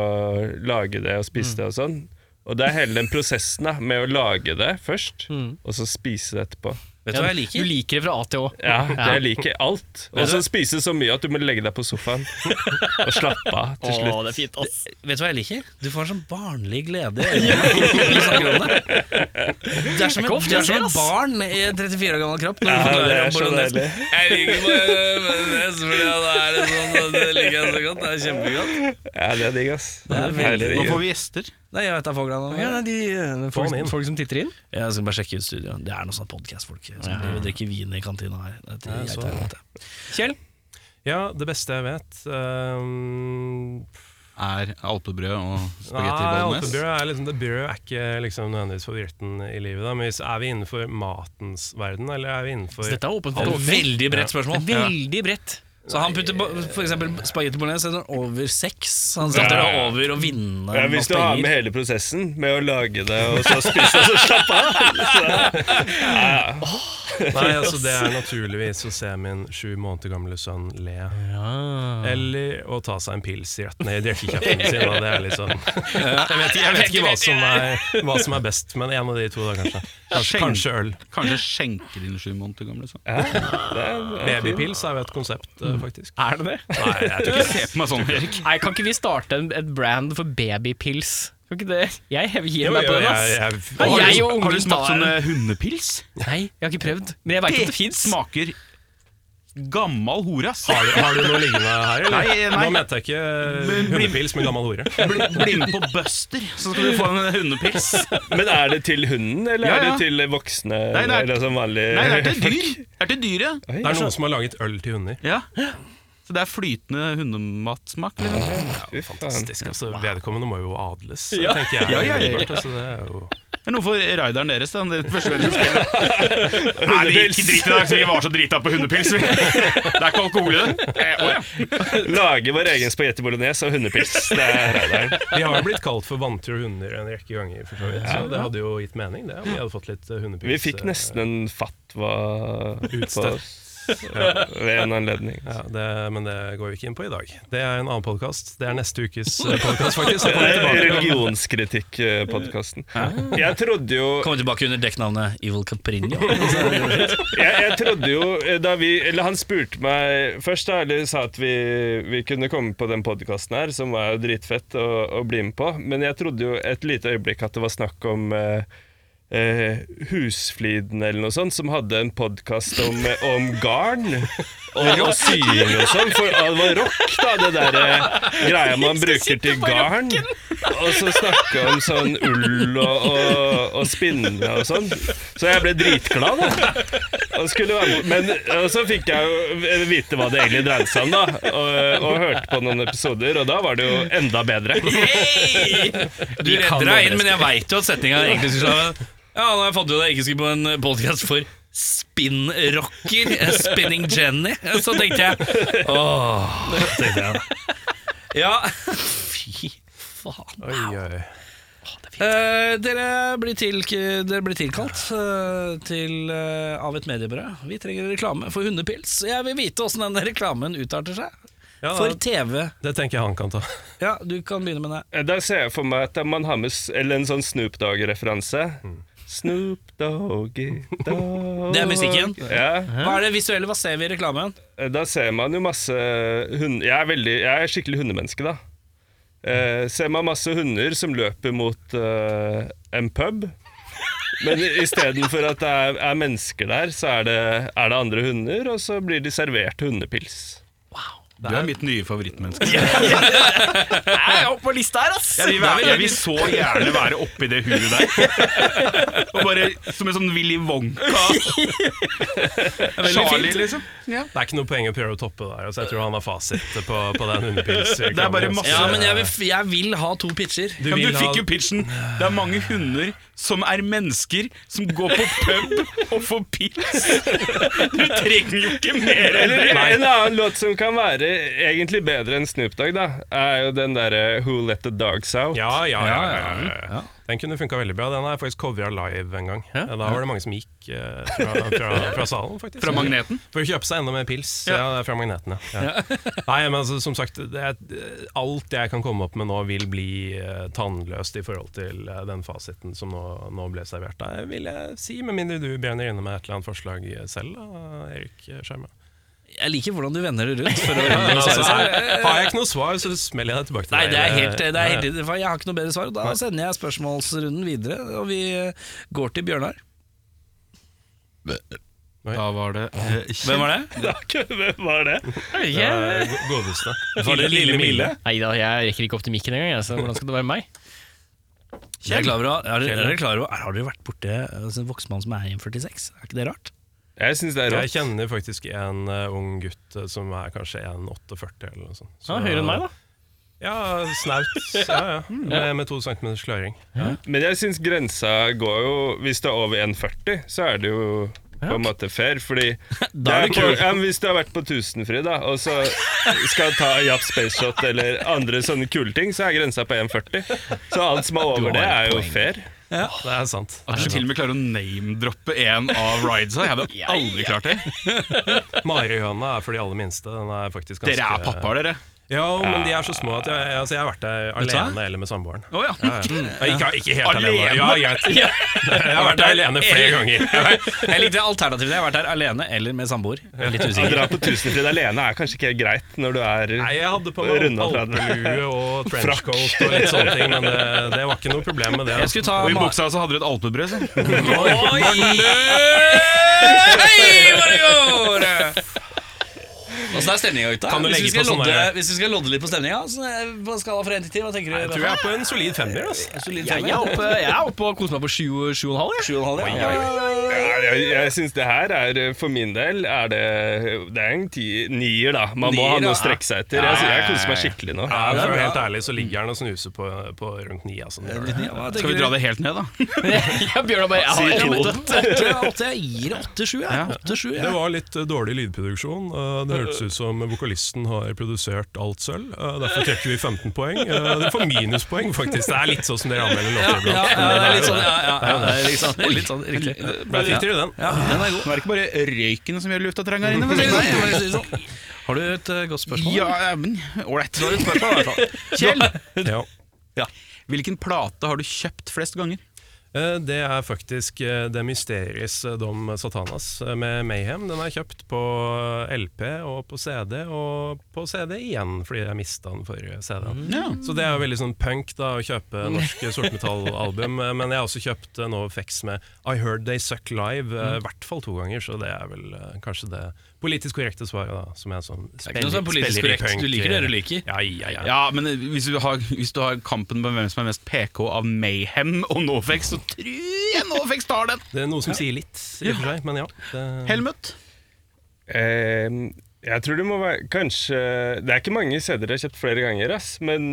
Speaker 8: lage det og spise
Speaker 1: Mm.
Speaker 8: det og sånn. Og det er hele den prosessen da med å lage det først,
Speaker 1: Mm.
Speaker 8: og så spise det etterpå.
Speaker 2: Vet du hva jeg liker?
Speaker 3: Du liker det fra A til Å.
Speaker 8: Ja, Jeg liker alt. Og så spise så mye at du må legge deg på sofaen og slappe av til slutt.
Speaker 3: det er fint, ass.
Speaker 2: Vet du hva jeg liker? Du får en sånn barnlig [LAUGHS] glede. i øynene når du snakker om Det Det er som, en,
Speaker 3: ofte
Speaker 2: det
Speaker 3: jeg
Speaker 2: er som
Speaker 3: ser,
Speaker 2: et
Speaker 3: ass.
Speaker 2: barn i en 34 år gammel kropp. Når du
Speaker 8: Ja, det
Speaker 2: forklarer
Speaker 8: er
Speaker 2: om
Speaker 8: så
Speaker 2: bolognesen.
Speaker 8: deilig.
Speaker 2: Jeg liker bolognese fordi det er en sånn Det liker jeg så godt. Det er kjempegodt.
Speaker 8: Ja, det er digg, ass.
Speaker 2: er veldig
Speaker 8: Herlig digg.
Speaker 1: Nå får vi gjester.
Speaker 2: Nei, jeg vet da fogla nå.
Speaker 7: Få han
Speaker 3: Folk,
Speaker 7: inn.
Speaker 3: folk som titter inn?
Speaker 2: Jeg skal bare sjekke ut studioet. Det er noen sånne podkast-folk som driver og drikker vin i kantina her. Det er
Speaker 7: så.
Speaker 2: greit, det.
Speaker 3: Kjell?
Speaker 7: Ja, det beste jeg vet eh, ehm,
Speaker 1: Er alpebrød og
Speaker 7: Nei,
Speaker 1: spagetti bolognese?
Speaker 7: alpebrød er liksom, det brød er ikke liksom nødvendigvis favoritten i livet. Da. Men hvis, er vi innenfor matens verden, eller er vi innenfor
Speaker 3: Så dette er åpent
Speaker 2: Det
Speaker 3: for
Speaker 2: er et veldig bredt spørsmål.
Speaker 3: Veldig bredt.
Speaker 2: Så han putter ba- for eksempel spagetti bolognese setter han over seks. Han setter det over å vinne
Speaker 8: Ja, hvis
Speaker 2: masse
Speaker 8: du har med
Speaker 2: penger.
Speaker 8: hele prosessen med å lage det, og så spise og så slappe av
Speaker 7: Nei, altså det er naturligvis å se min sju måneder gamle sønn le. Eller å ta seg en pils rett ned i drikkekjeften sin. Og det er [LAUGHS] liksom, jeg vet, jeg vet ikke hva som, er, hva som er best, men en av de to, da kanskje. Kanskje,
Speaker 1: Skjenk-
Speaker 7: kanskje øl.
Speaker 1: Kanskje skjenke din sju måneder gamle sønn?
Speaker 7: Babypils er jo et konsept, eh, faktisk.
Speaker 3: Er det det?
Speaker 7: Nei, jeg tror ikke
Speaker 1: Se på meg sånn, Erik.
Speaker 7: [LAUGHS]
Speaker 3: Nei, kan ikke vi starte en, et brand for babypils? Kan ikke det? Jeg hev- gir
Speaker 7: Jo,
Speaker 3: meg på
Speaker 7: jo,
Speaker 3: den,
Speaker 7: jeg,
Speaker 3: ass.
Speaker 7: jeg,
Speaker 3: Nei, jeg og
Speaker 7: har du-
Speaker 1: Har du
Speaker 3: ungdommen
Speaker 1: smakt
Speaker 3: tar-
Speaker 1: sånn eh, hundepils?
Speaker 3: Nei, jeg har ikke prøvd. Men jeg veit at det fins.
Speaker 1: Smaker gammal hore, ass.
Speaker 7: har du- har du noe liggende her, eller?
Speaker 1: Nei, nei.
Speaker 7: Nå mente jeg ikke hundepils med gammel hore.
Speaker 1: Bli, bli med på Buster, så skal du få en hundepils.
Speaker 8: Men er det til hunden,
Speaker 1: Ja,
Speaker 8: eller er
Speaker 1: ja.
Speaker 8: det til voksne?
Speaker 1: Nei, det er-
Speaker 8: eller sånn vanlig
Speaker 1: Nei, det er til dyr. Det er til dyret.
Speaker 7: Det er noen som har laget øl til hunder.
Speaker 1: Ja. Så det er flytende hundematsmak. Liksom.
Speaker 7: Fantastisk. Altså, vedkommende må jo adles, tenker jeg.
Speaker 1: Ja, ja, ja, ja.
Speaker 7: umiddelbart, Altså, det er jo...
Speaker 1: Det er noe for raideren deres. da, Det første veldig skrevet. [LAUGHS] Nei, vi
Speaker 8: Hundepils.
Speaker 1: gikk i drit i dag, så vi var så drita på hundepils. vi. Det er ikke alkohol i det. Eh, å ja.
Speaker 8: Lage vår egen spagetti bolognese og hundepils. Det er radaren.
Speaker 7: Vi har jo blitt kalt for vantro hunder en rekke ganger, for så vidt. Så det hadde jo gitt mening, det. Om vi hadde fått litt eh, hundepils.
Speaker 8: Vi fikk nesten en fatwa på
Speaker 7: Utstøtt.
Speaker 8: oss ved en anledning.
Speaker 7: Ja, det, men det går vi ikke inn på i dag. Det er en annen podkast. Det er neste ukes eh, podkast, faktisk. Så kommer vi tilbake.
Speaker 8: Religionskritikkpodkasten. eh, Jeg trodde jo
Speaker 2: Kommer tilbake under dekknavnet Evil Caprinio.
Speaker 8: jeg, jeg trodde jo eh, da vi Eller han spurte meg først, da, eller sa at vi, vi kunne komme på den podkasten her, som var jo dritfett å, å bli med på. Men jeg trodde jo et lite øyeblikk at det var snakk om eh, eh, Husfliden eller noe sånt, som hadde en podkast om, eh, om garn. Og, og sying og sånn. For ah, det var rock, da, det der eh, greia man bruker til garn. Og så snakke om sånn ull og, og, og spinne og sånn. Så jeg ble dritglad, da. Og skulle være med. Men og så fikk jeg jo vite hva det egentlig dreide seg om, da. Og, og hørte på noen episoder, og da var det jo enda bedre.
Speaker 2: Du redder deg inn, men jeg veit jo at setninga egentlig skulle være Ja, nå har jeg fått ut at jeg ikke skulle på en podkast for spinnrocker, eh, Spinning Jenny. Så tenkte jeg Åh, tenkte jeg da. Ja. Fy faen.
Speaker 7: Oi, oi.
Speaker 2: Eh, dere, blir til, dere blir tilkalt eh, til, eh, av et mediebyrå. Vi trenger reklame for hundepils. Jeg vil vite åssen den reklamen utarter seg.
Speaker 7: Ja,
Speaker 2: For TV.
Speaker 7: det tenker jeg han kan ta.
Speaker 2: Ja, du kan begynne med det.
Speaker 8: Da Eh, ser jeg for meg at man har med s- eller en sånn Snoop Dogg-referanse.
Speaker 1: Mm.
Speaker 8: Snoop Doggy Dogg
Speaker 2: [LAUGHS] Det er musikken.
Speaker 8: Ja. Eh,
Speaker 2: Hva er det visuelle? Hva ser vi i reklamen?
Speaker 8: Da ser man jo masse hund... Jeg er, veldig, jeg er skikkelig hundemenneske, da. Eh, ser man masse hunder som løper mot eh, en pub. Men istedenfor at det er, er mennesker der, så er det, er det andre hunder, og så blir de servert hundepils.
Speaker 1: Du er mitt nye favorittmenneske.
Speaker 3: Jeg er oppe på lista her, ass!
Speaker 1: Jeg vil, være, jeg vil så gjerne være oppi det huet der. Og bare Som en sånn Willy [LAUGHS] Wonka. Charlie, liksom.
Speaker 7: Det er ikke noe poeng å prøve å toppe der. Altså, jeg tror han har fasit på, på
Speaker 1: [LAUGHS]
Speaker 7: den hundepils.
Speaker 1: Det er bare masse-
Speaker 2: Ja, men jeg vil, jeg vil ha to pitcher.
Speaker 1: Du,
Speaker 7: Du vil
Speaker 1: du
Speaker 7: ha-
Speaker 1: fikk jo pitchen. Det er mange hunder som er mennesker, som går på pub og får pils. Du trenger jo ikke mer enn
Speaker 8: Eller
Speaker 1: det.
Speaker 8: en annen låt som kan være egentlig bedre enn Snoop Dogg, da, er jo den derre Who Let The Dogs Out.
Speaker 7: Ja, ja, ja, ja, ja, ja. Den kunne funka veldig bra. Den har jeg faktisk covra live en gang. Da var det mange som gikk eh, fra, fra, fra salen, faktisk.
Speaker 1: Fra Magneten?
Speaker 7: For å kjøpe seg enda mer pils. Ja, det er fra magneten, ja. ja. [LAUGHS] Nei, men altså, som sagt, det er, alt jeg kan komme opp med nå vil bli eh, tannløst i forhold til eh, den fasiten som nå, nå ble servert deg, vil jeg si. Med mindre du brenner inne med et eller annet forslag selv, da, Erik Skjerma.
Speaker 2: Jeg liker hvordan du vender det rundt. For å
Speaker 7: Men altså, her- har jeg ikke noe svar, så smeller jeg det tilbake til
Speaker 2: Nei,
Speaker 7: deg.
Speaker 2: det er helt, det er
Speaker 7: Ja, ja.
Speaker 2: helt for Jeg har ikke noe bedre svar. og Da sender jeg spørsmålsrunden videre, og vi eh, går til Bjørnar.
Speaker 1: Da var det
Speaker 2: Hvem var det?
Speaker 8: Hvem var det?
Speaker 7: Det er go- Godeste.
Speaker 2: Var det Lille Mille?
Speaker 3: [LAUGHS] Nei da, jeg rekker ikke opp til mikken engang, jeg, så hvordan skal det være meg?
Speaker 2: Jeg er klar over, å- er, dere- er dere klar over, har dere vært borti altså, en voksen mann som er 1,46? Er ikke det rart?
Speaker 8: Jeg syns det er
Speaker 7: Jeg
Speaker 8: rått.
Speaker 7: kjenner faktisk en eh, ung gutt eh, som er kanskje 1,48 eller noe sånt.
Speaker 3: Ja, høyere enn meg, da.
Speaker 7: Ja, snaut. Ja, ja. Med,
Speaker 6: eh,
Speaker 7: med to centimeters sløring.
Speaker 8: Men jeg syns grensa går jo Hvis det er over 1,40, så er det jo på en måte fair, fordi
Speaker 2: Da er
Speaker 8: det
Speaker 2: det
Speaker 8: er på,
Speaker 2: kult.
Speaker 8: ja, men Hvis du har vært på Tusenfryd, da, og så skal ta Japp Space Shot eller andre sånne kule ting, så er grensa på 1,40. Så alt som er over det, er jo fair.
Speaker 7: Det er sant.
Speaker 1: At du til og med klarer å name-droppe en av ridesa. Jeg hadde aldri klart det.
Speaker 7: Marihøna er for de aller minste. Den er faktisk ganske
Speaker 1: Dere er pappaer, dere.
Speaker 7: Ja, men de er så små at jeg, altså, jeg har vært der
Speaker 2: du hva?
Speaker 7: alene eller med samboeren.
Speaker 1: Å ja.
Speaker 7: Ja, ja. Ikke, ikke helt alene.
Speaker 1: Alene?
Speaker 7: Ja, greit. Jeg har vært der alene flere ganger.
Speaker 2: Jeg likte alternativet. Jeg har vært der alene eller med samboer. Jeg er Litt
Speaker 8: Å
Speaker 2: usikker.
Speaker 8: dra på Tusenfryd alene er kanskje ikke helt greit når du er
Speaker 7: Nei, jeg hadde på meg
Speaker 8: Runda 30.
Speaker 7: alpelue og trenchcoat og litt sånne ting, men det, det var ikke noe problem med det.
Speaker 2: Jeg skulle ta
Speaker 1: Og i
Speaker 2: Ma-
Speaker 1: buksa så hadde du et alpebrød. så.
Speaker 2: Oi! Hei, hva det går! Åssen er stemninga ute?
Speaker 7: Kan du
Speaker 2: Hvis vi
Speaker 7: legge
Speaker 2: skal
Speaker 7: på sånn
Speaker 2: lodde-
Speaker 7: der-
Speaker 2: Hvis vi skal lodde litt på stemninga, så, eh, på en skala fra 1 til 10, hva tenker du?
Speaker 7: Jeg tror jeg er på en solid femmer. Altså.
Speaker 2: Solid
Speaker 3: Jeg
Speaker 2: femmer?
Speaker 3: er oppe, jeg er oppe og koser meg på sju sju og en halv. jeg.
Speaker 2: Sju og en halv, ja.
Speaker 8: Ja, jeg, jeg syns det her er eh, For min del er det Det er en ti, nier, da. Man må
Speaker 2: Nier,
Speaker 8: ha noe
Speaker 2: ja.
Speaker 8: å strekke seg etter. Jeg, jeg koser meg skikkelig nå.
Speaker 7: Ja, for å være helt ærlig så ligger han og snuser på, på rundt ni. Altså, når det
Speaker 2: Ja,
Speaker 7: er.
Speaker 2: hva
Speaker 1: Skal
Speaker 2: tenker
Speaker 1: vi
Speaker 2: du?
Speaker 1: dra det helt ned, da?
Speaker 3: Ja, Bjørnar bare jeg har ikke noe.
Speaker 2: Åtte, ja, åtte, jeg gir det åtte-sju. Ja. Åtte-sju,
Speaker 7: det
Speaker 2: ja.
Speaker 7: var litt eh, dårlig lydproduksjon. Eh, Det hørtes ut som vokalisten har produsert alt sølv. eh, Derfor trekker vi 15 poeng. Eh, Dere får minuspoeng, faktisk. Det er litt sånn som dere anmelder
Speaker 2: Ja, ja,
Speaker 7: låter iblant.
Speaker 2: ja, det er litt sånn, ja, ja, ja, det er litt sånn, litt sånn riktig.
Speaker 7: Ble riktigere, den.
Speaker 2: Ja, den er god.
Speaker 1: Nå eh, er det ikke bare røyken som gjør lufta trang her inne. for å si
Speaker 2: Nei,
Speaker 1: det sånn.
Speaker 2: jeg må si det sånn. Har du et eh, godt spørsmål?
Speaker 1: Ja, ja, men ålreit. Kjell,
Speaker 7: Ja.
Speaker 1: hvilken plate har du kjøpt flest ganger?
Speaker 7: Eh, Det er faktisk eh, The Mysteries eh, Dom Satanas eh, med Mayhem. Den er kjøpt på eh, LP og på CD, og på CD igjen fordi jeg mista den forrige
Speaker 2: Mm.
Speaker 7: CD-en. Så det er jo veldig sånn punk da å kjøpe norske sortmetallalbum. eh, Men jeg har også kjøpt eh, nå Fex med I Heard They Suck Live,
Speaker 2: Mm.
Speaker 7: eh, i hvert fall to ganger, så det er vel eh, kanskje det politisk korrekte svaret, da. Som er sånn
Speaker 2: er ikke noe som er politisk
Speaker 7: spiller i
Speaker 2: korrekt.
Speaker 7: punk,
Speaker 2: Du liker det du
Speaker 7: eh,
Speaker 2: liker.
Speaker 7: Ja, ja, ja.
Speaker 1: Ja, men eh, hvis du, har, hvis du har kampen på hvem som er mest PK av Mayhem og Nofex, så tror igjen, og fikk star den!
Speaker 7: Det er noe som sier litt, i og for seg, men ja. Det,
Speaker 1: Helmut.
Speaker 8: Eh, jeg tror det må være Kanskje Det er ikke mange CD-er jeg har kjøpt flere ganger, ass, men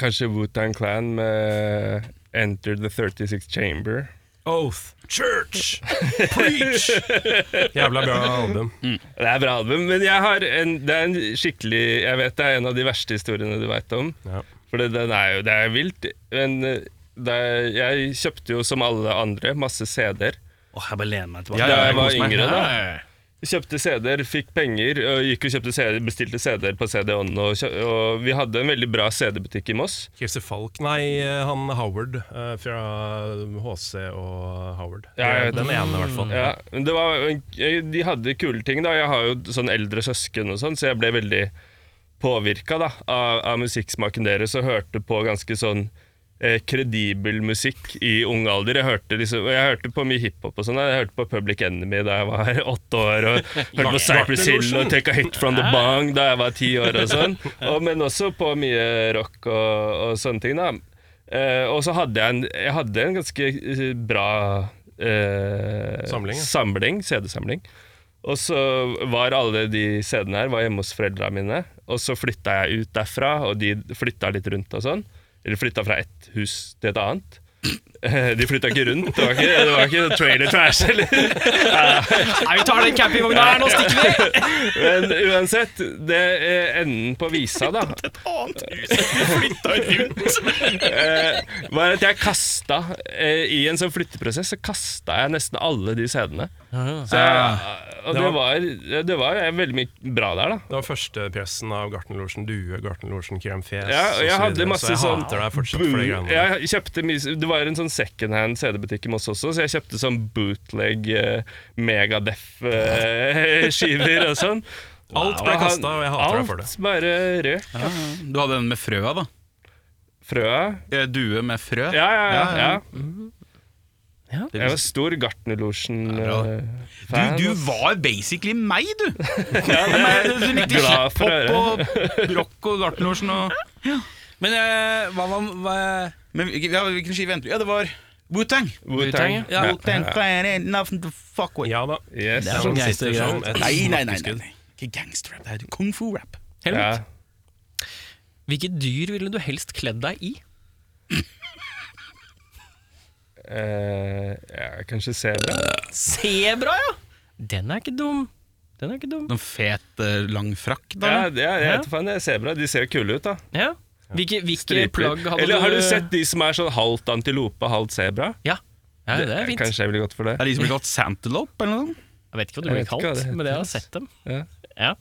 Speaker 8: kanskje Wootan Clan med Enter the 36 Chamber.
Speaker 7: Oath.
Speaker 1: Church!
Speaker 8: [LAUGHS]
Speaker 7: Jævla bra album.
Speaker 8: Det er bra album, men jeg har en, det er en skikkelig Jeg vet det er en av de verste historiene du veit om.
Speaker 7: Ja.
Speaker 8: For det, den er jo Det er vilt. Men eh, det er, jeg kjøpte jo som alle andre masse CD-er.
Speaker 2: Åh, jeg bare lener meg tilbake.
Speaker 1: Ja,
Speaker 8: Da
Speaker 1: ja, jeg
Speaker 8: jeg var
Speaker 1: koser meg.
Speaker 8: yngre, da.
Speaker 2: Ja, ja, ja.
Speaker 8: Kjøpte CD-er, fikk penger, og gikk og kjøpte CD-er, bestilte CD-er på CD-ånd. Og, kjø- og vi hadde en veldig bra CD-butikk i Moss.
Speaker 7: Kirsi Falk Nei, eh, han Howard eh, fra HC og Howard. Mm.
Speaker 8: Ja, jeg vet
Speaker 7: Den ene, i hvert fall.
Speaker 8: Ja, men det var, de hadde kule ting, da. Jeg har jo sånn eldre søsken og sånn, så jeg ble veldig påvirka da, av, av musikksmaken deres og hørte på ganske sånn eh, kredibel musikk i ung alder. Jeg hørte, liksom, jeg hørte på mye hiphop og sånn. Jeg hørte på Public Enemy da jeg var [LAUGHS] åtte år,
Speaker 7: [LAUGHS]
Speaker 8: og hørte på Cypress Hill og Take a Hit from the Bang da jeg var ti år og
Speaker 7: [LAUGHS]
Speaker 8: sånn. Og, men også på mye rock og, og sånne ting, da. Eh, og så hadde jeg en, jeg hadde en ganske eh, bra eh,
Speaker 7: Samling, ja.
Speaker 8: samling, CD-samling. Og så var alle de CD-ene her var hjemme hos foreldrene mine. Og så flytta jeg ut derfra, og de flytta litt rundt og sånn. Eller flytta fra ett hus til et annet. [LAUGHS] Eh, De flytta ikke rundt. Det var ikke, det var ikke trailer trash, eller
Speaker 3: Nei, vi tar den campingvogna her, nå stikker vi!
Speaker 8: Men uansett, det er enden på visa, da eh, Var at jeg kasta eh, I en sånn flytteprosess så kasta jeg nesten alle de CD-ene. Så jeg, og Ah. det var, det var veldig mye bra der, da.
Speaker 7: Det var førstepressen av Gartnerlosjen Due, Gartnerlosjen Krem Fjes
Speaker 8: Ja, og
Speaker 7: og
Speaker 8: jeg
Speaker 7: så
Speaker 8: hadde
Speaker 7: videre,
Speaker 8: masse
Speaker 7: så jeg
Speaker 8: sånn
Speaker 7: hater deg fortsatt for de
Speaker 8: Boo-
Speaker 7: greiene der.
Speaker 8: Jeg kjøpte mye Det var en sånn secondhand CD-butikk i Moss også, så jeg kjøpte sånn bootleg eh, [LAUGHS] Megadef-skiver og sånn.
Speaker 7: Alt ble kastet, og jeg hater deg for det.
Speaker 8: Alt bare røk.
Speaker 1: Du hadde den med frøa, da.
Speaker 8: Frøa.
Speaker 1: Eh, Due med frø.
Speaker 8: Ja, ja, ja.
Speaker 1: Ja,
Speaker 8: ja.
Speaker 1: ja.
Speaker 8: Jeg var stor eh, Gartnerlosjen-fan.
Speaker 1: Ja, bra. Du, du var basically meg,
Speaker 8: [LAUGHS]
Speaker 1: du! du likte
Speaker 8: glad for å
Speaker 1: hiphop og rock og Gartnerlosjen og
Speaker 2: Men eh, hva var hva,
Speaker 1: Men hvilken- ja, hvilken skive endte du Ja, det var Wu-Tang.
Speaker 8: Wu-Tang.
Speaker 2: Ja,
Speaker 1: Wu-Tang Clan ain't nothing to fuck with.
Speaker 7: Ja da.
Speaker 8: Yes.
Speaker 2: er sånn gangstergreier.
Speaker 1: Nei, nei, nei. nei, nei. Ikke gangsterrap, det er kung fu-rap.
Speaker 8: Ja.
Speaker 3: Helmut, hvilket dyr ville du helst kledd deg i?
Speaker 8: Eh, ja, kanskje sebra.
Speaker 3: Sebra, ja! Den er ikke dum. Den er ikke dum.
Speaker 1: Noen fet, eh, lang frakk, da?
Speaker 8: Ja, ja, jeg
Speaker 3: Ja.
Speaker 8: vet faen, det er sebra. De ser jo kule ut, da.
Speaker 3: Ja. Hvilke, hvilke
Speaker 8: Striper.
Speaker 3: plagg hadde
Speaker 8: Eller har du sett de som er sånn halvt antilope, halvt sebra?
Speaker 3: Ja. ja, det er fint.
Speaker 8: Kanskje jeg ville gått for det.
Speaker 1: Er de som blir kalt Santelope, eller noe sånt?
Speaker 3: Jeg vet ikke hva du ble
Speaker 8: Jeg vet ikke hva
Speaker 3: kalt,
Speaker 8: det heter.
Speaker 3: men jeg har sett dem.
Speaker 8: Ja.
Speaker 3: Ja.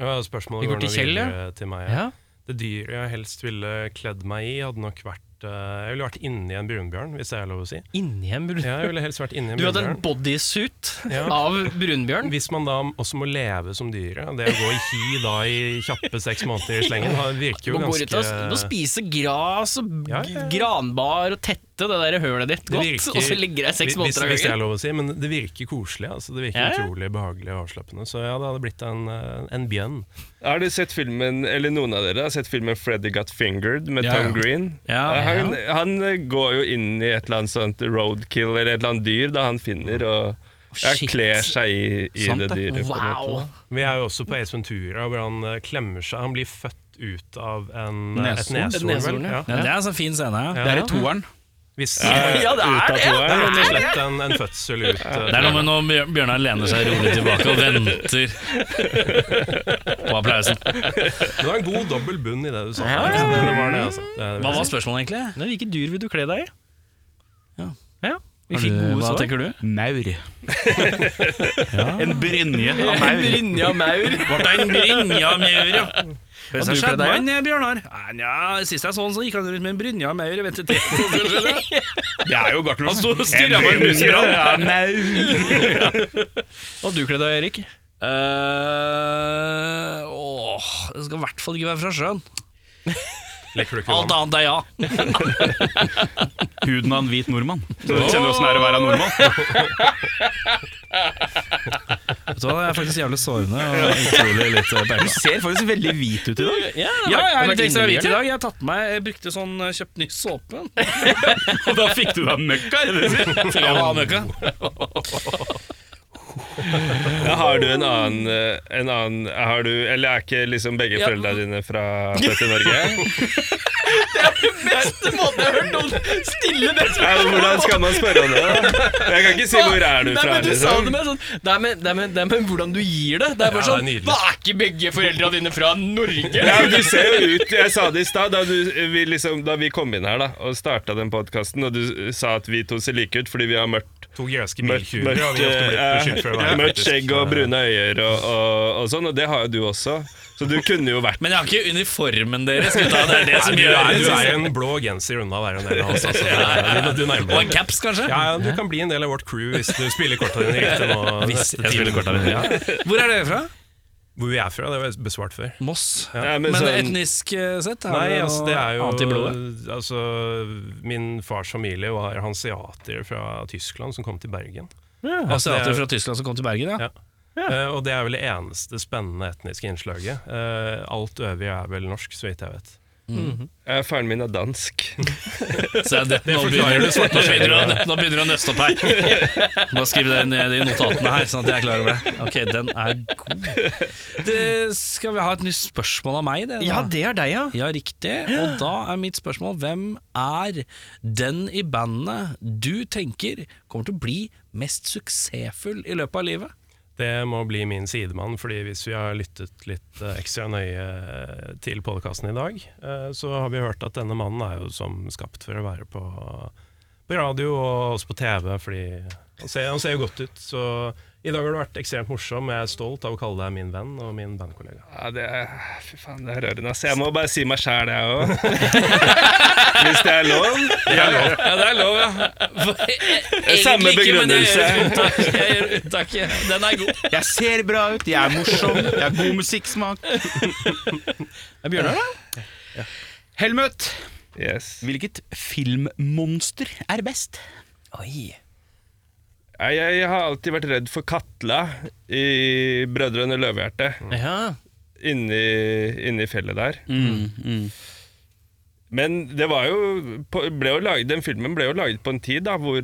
Speaker 7: Ja, spørsmålet
Speaker 3: Vi går
Speaker 7: går nå
Speaker 3: til Kjell, ja.
Speaker 7: videre til meg.
Speaker 3: Ja.
Speaker 7: Det dyret jeg helst ville kledd meg i, hadde nok vært eh, Jeg ville vært inni en brunbjørn, hvis det er lov å si.
Speaker 3: Inni en brun...
Speaker 7: Ja, jeg ville helst vært inni en
Speaker 3: Du hadde en
Speaker 7: brunbjørn.
Speaker 3: bodysuit
Speaker 7: Ja.
Speaker 3: av brunbjørn.
Speaker 7: Hvis man da også må leve som dyret, det å gå i hi da i kjappe seks måneder i slengen, har- virker jo
Speaker 3: Man går ut
Speaker 7: ganske
Speaker 3: og s- og spiser gras og g-
Speaker 7: Ja, ja, ja.
Speaker 3: granbar og tette det der hølet ditt
Speaker 7: Det
Speaker 3: godt,
Speaker 7: virker-
Speaker 3: og så ligger jeg seks
Speaker 7: hvis,
Speaker 3: måneder av
Speaker 7: hvis det er
Speaker 3: gangen.
Speaker 7: lov å si, men det virker koselig. Altså. Det virker
Speaker 3: Ja, ja.
Speaker 7: utrolig behagelig og avslappende. Så ja, det hadde blitt en, eh, en bjønn.
Speaker 8: Har du sett filmen, eller noen av dere har sett filmen 'Freddy Got Fingered' med
Speaker 2: Ja,
Speaker 8: Tom
Speaker 2: ja.
Speaker 8: Green?
Speaker 2: Ja, ja.
Speaker 8: han, han eh, går jo inn i et eller annet sånt roadkill eller et eller annet dyr da han finner, og ja,
Speaker 3: shit.
Speaker 8: kler seg i, i
Speaker 1: Sant
Speaker 8: det
Speaker 1: det.
Speaker 8: dyret. på en måte.
Speaker 3: Wow!
Speaker 7: Vi er jo også på Ace Ventura, hvor han eh, klemmer seg. Han blir født ut av en, eh,
Speaker 1: Neshorn.
Speaker 7: et
Speaker 3: Et neshorn,
Speaker 7: neshorn. vel?
Speaker 3: ja.
Speaker 7: Ja.
Speaker 2: ja, Det er en sånn fin scene. Ja.
Speaker 7: Ja.
Speaker 1: Det er i toeren.
Speaker 7: Hvis,
Speaker 3: Ja, det er det!
Speaker 7: Det er rett og slett en, en fødsel ut.
Speaker 2: Det
Speaker 7: eh,
Speaker 2: er noe med når Bjør- Bjørnar lener seg rolig tilbake og
Speaker 3: [LAUGHS]
Speaker 2: venter på applausen.
Speaker 7: Det var en god dobbel bunn i det du sa.
Speaker 3: Ja, ja,
Speaker 7: Det var det, altså. Det er-
Speaker 2: Hva var spørsmålet, egentlig?
Speaker 3: Nei, Hvilke dyr vil du kle deg i?
Speaker 2: Ja.
Speaker 3: Ja, Vi
Speaker 2: Har
Speaker 3: fikk
Speaker 2: du-
Speaker 3: gode
Speaker 2: Hva
Speaker 3: svar.
Speaker 2: tenker du?
Speaker 1: [LAUGHS] Maur. En brynje av maur.
Speaker 3: Brynja maur.
Speaker 2: Ble det en brynja maur, ja? Hva
Speaker 3: du
Speaker 2: skjedde
Speaker 3: kle deg i?
Speaker 2: med han, eh, Bjørnar? Nei, nja, Sist jeg så han, så gikk han rundt med en brynja maur. Jeg vet
Speaker 7: [LAUGHS]
Speaker 2: ikke.
Speaker 1: Det er jo Gartnerlosjen.
Speaker 2: Han sto og stirra på en muskelmann.
Speaker 3: Og du kle deg, Erik?
Speaker 2: Eh, Åh, det skal i hvert fall ikke være fra
Speaker 3: [LAUGHS]
Speaker 2: sjøen.
Speaker 7: Lekker du ikke
Speaker 2: Alt
Speaker 7: vann?
Speaker 2: annet er ja.
Speaker 1: Huden av en hvit nordmann. Så du kjenner åssen det er å være nordmann.
Speaker 2: Vet du hva, det er faktisk jævlig sårende og utrolig eh, lite
Speaker 1: Du ser faktisk veldig hvit ut i dag.
Speaker 2: Ja,
Speaker 3: Ja,
Speaker 2: jeg er litt ekstra hvit i dag. Jeg har tatt med meg Jeg brukte sånn eh, Kjøpt ny såpe.
Speaker 1: Og da fikk du deg møkka! er det det du sier?
Speaker 2: Fra Møkka.
Speaker 8: Ja, har du en annen, eh, en annen har du, Eller er ikke liksom begge foreldrene dine fra
Speaker 3: [LAUGHS]
Speaker 8: født i Norge?
Speaker 3: Beste måten jeg har hørt noen stille det
Speaker 8: Ja, men hvordan skal man spørre om det? da? Jeg kan ikke si hvor er du
Speaker 3: Nei,
Speaker 8: fra,
Speaker 3: men du sa det
Speaker 8: liksom.
Speaker 3: med sånn Det er med, det er med, det er med hvordan du gir det. Det er bare
Speaker 7: Ja, det er
Speaker 3: sånn
Speaker 7: nydelig.
Speaker 3: Hva er ikke begge foreldra dine fra Norge?
Speaker 8: Ja, men du ser jo ut Jeg sa det i stad, da, du- vi liksom, da vi kom inn her da og starta den podkasten, og du eh, sa at vi to ser like ut fordi vi har mørkt
Speaker 7: To greske
Speaker 8: Mørkt,
Speaker 7: biltjuver har
Speaker 8: mørkt,
Speaker 7: vi ofte blitt
Speaker 8: eh,
Speaker 7: beskyldt for å være.
Speaker 8: mørkt
Speaker 7: faktisk. eh,
Speaker 8: skjegg og brune øyer og, og, og sånn, og det har jo du også. Så du kunne jo
Speaker 7: [LAUGHS]
Speaker 8: vært
Speaker 3: Men jeg har ikke uniformen deres. Gutta. Det er det
Speaker 7: Nei,
Speaker 3: som
Speaker 7: du,
Speaker 3: gjør
Speaker 7: er,
Speaker 3: det.
Speaker 7: du er en blå genser unna å være en del av oss. Altså. Du, du nærmer
Speaker 3: Og
Speaker 7: deg.
Speaker 3: en caps, kanskje?
Speaker 7: Ja, ja, du kan bli en del av vårt crew hvis du spiller korta dine riktig nå. neste time. [LAUGHS]
Speaker 2: Hvor er dere fra?
Speaker 7: Hvor vi er fra, det har jeg besvart før.
Speaker 2: Moss.
Speaker 8: Nei,
Speaker 2: Men
Speaker 8: sånn-
Speaker 2: etnisk eh, sett? har
Speaker 7: Nei,
Speaker 2: dere
Speaker 7: altså,
Speaker 2: noe
Speaker 7: det er
Speaker 2: annet i blodet?
Speaker 7: jo altså, Min fars familie var hanseatere fra Tyskland som kom til Bergen. Altså,
Speaker 2: Asiater
Speaker 7: det er-
Speaker 2: fra Tyskland som kom til Bergen, ja.
Speaker 7: Ja. Eh, og det er vel det eneste spennende etniske innslaget. Eh, alt øvrig er vel norsk, så vidt jeg vet.
Speaker 8: Ja, Faren min er dansk.
Speaker 2: Så det, nå, begynner, nå, begynner å, nå begynner det å nøste opp her. Må skrive det ned i notatene her, sånn at jeg er klar over det. Ok, den er god. Det, skal vi ha et nytt spørsmål av meg? Det, da?
Speaker 3: det er deg, [LAUGHS] ja.
Speaker 2: Ja, riktig. Og da er mitt spørsmål hvem er den i bandet du tenker kommer til å bli mest suksessfull i løpet av livet?
Speaker 7: Det må bli min sidemann, fordi hvis vi har lyttet litt eh, ekstra nøye eh, til podkasten i dag, eh, så har vi hørt at denne mannen er jo som skapt for å være på, på radio og også på TV, fordi han ser, han ser jo godt ut. Så i dag har du vært ekstremt morsom. Jeg er stolt av å kalle deg min venn og min bandkollega.
Speaker 8: Ja, det er, fy faen, det er rørende. ass. jeg må bare si meg sjæl, jeg
Speaker 7: [LAUGHS]
Speaker 8: òg. Hvis det er lov.
Speaker 2: Ja, det er lov, ja.
Speaker 8: Samme begrunnelse.
Speaker 2: Jeg
Speaker 1: [LAUGHS]
Speaker 2: gjør unntaket. Den er god.
Speaker 1: Jeg ser bra ut, jeg er morsom, jeg har god musikksmak. Er Bjørnar, da? Helmut,
Speaker 8: Yes.
Speaker 1: hvilket filmmonster er best?
Speaker 3: Oi.
Speaker 8: Nei, Jeg har alltid vært redd for Katla i Brødrene Løvehjerte.
Speaker 3: Ja.
Speaker 8: Inni, inni fjellet der.
Speaker 2: Mm,
Speaker 8: Men det var jo, på- ble jo laget, den filmen ble jo laget på en tid da, hvor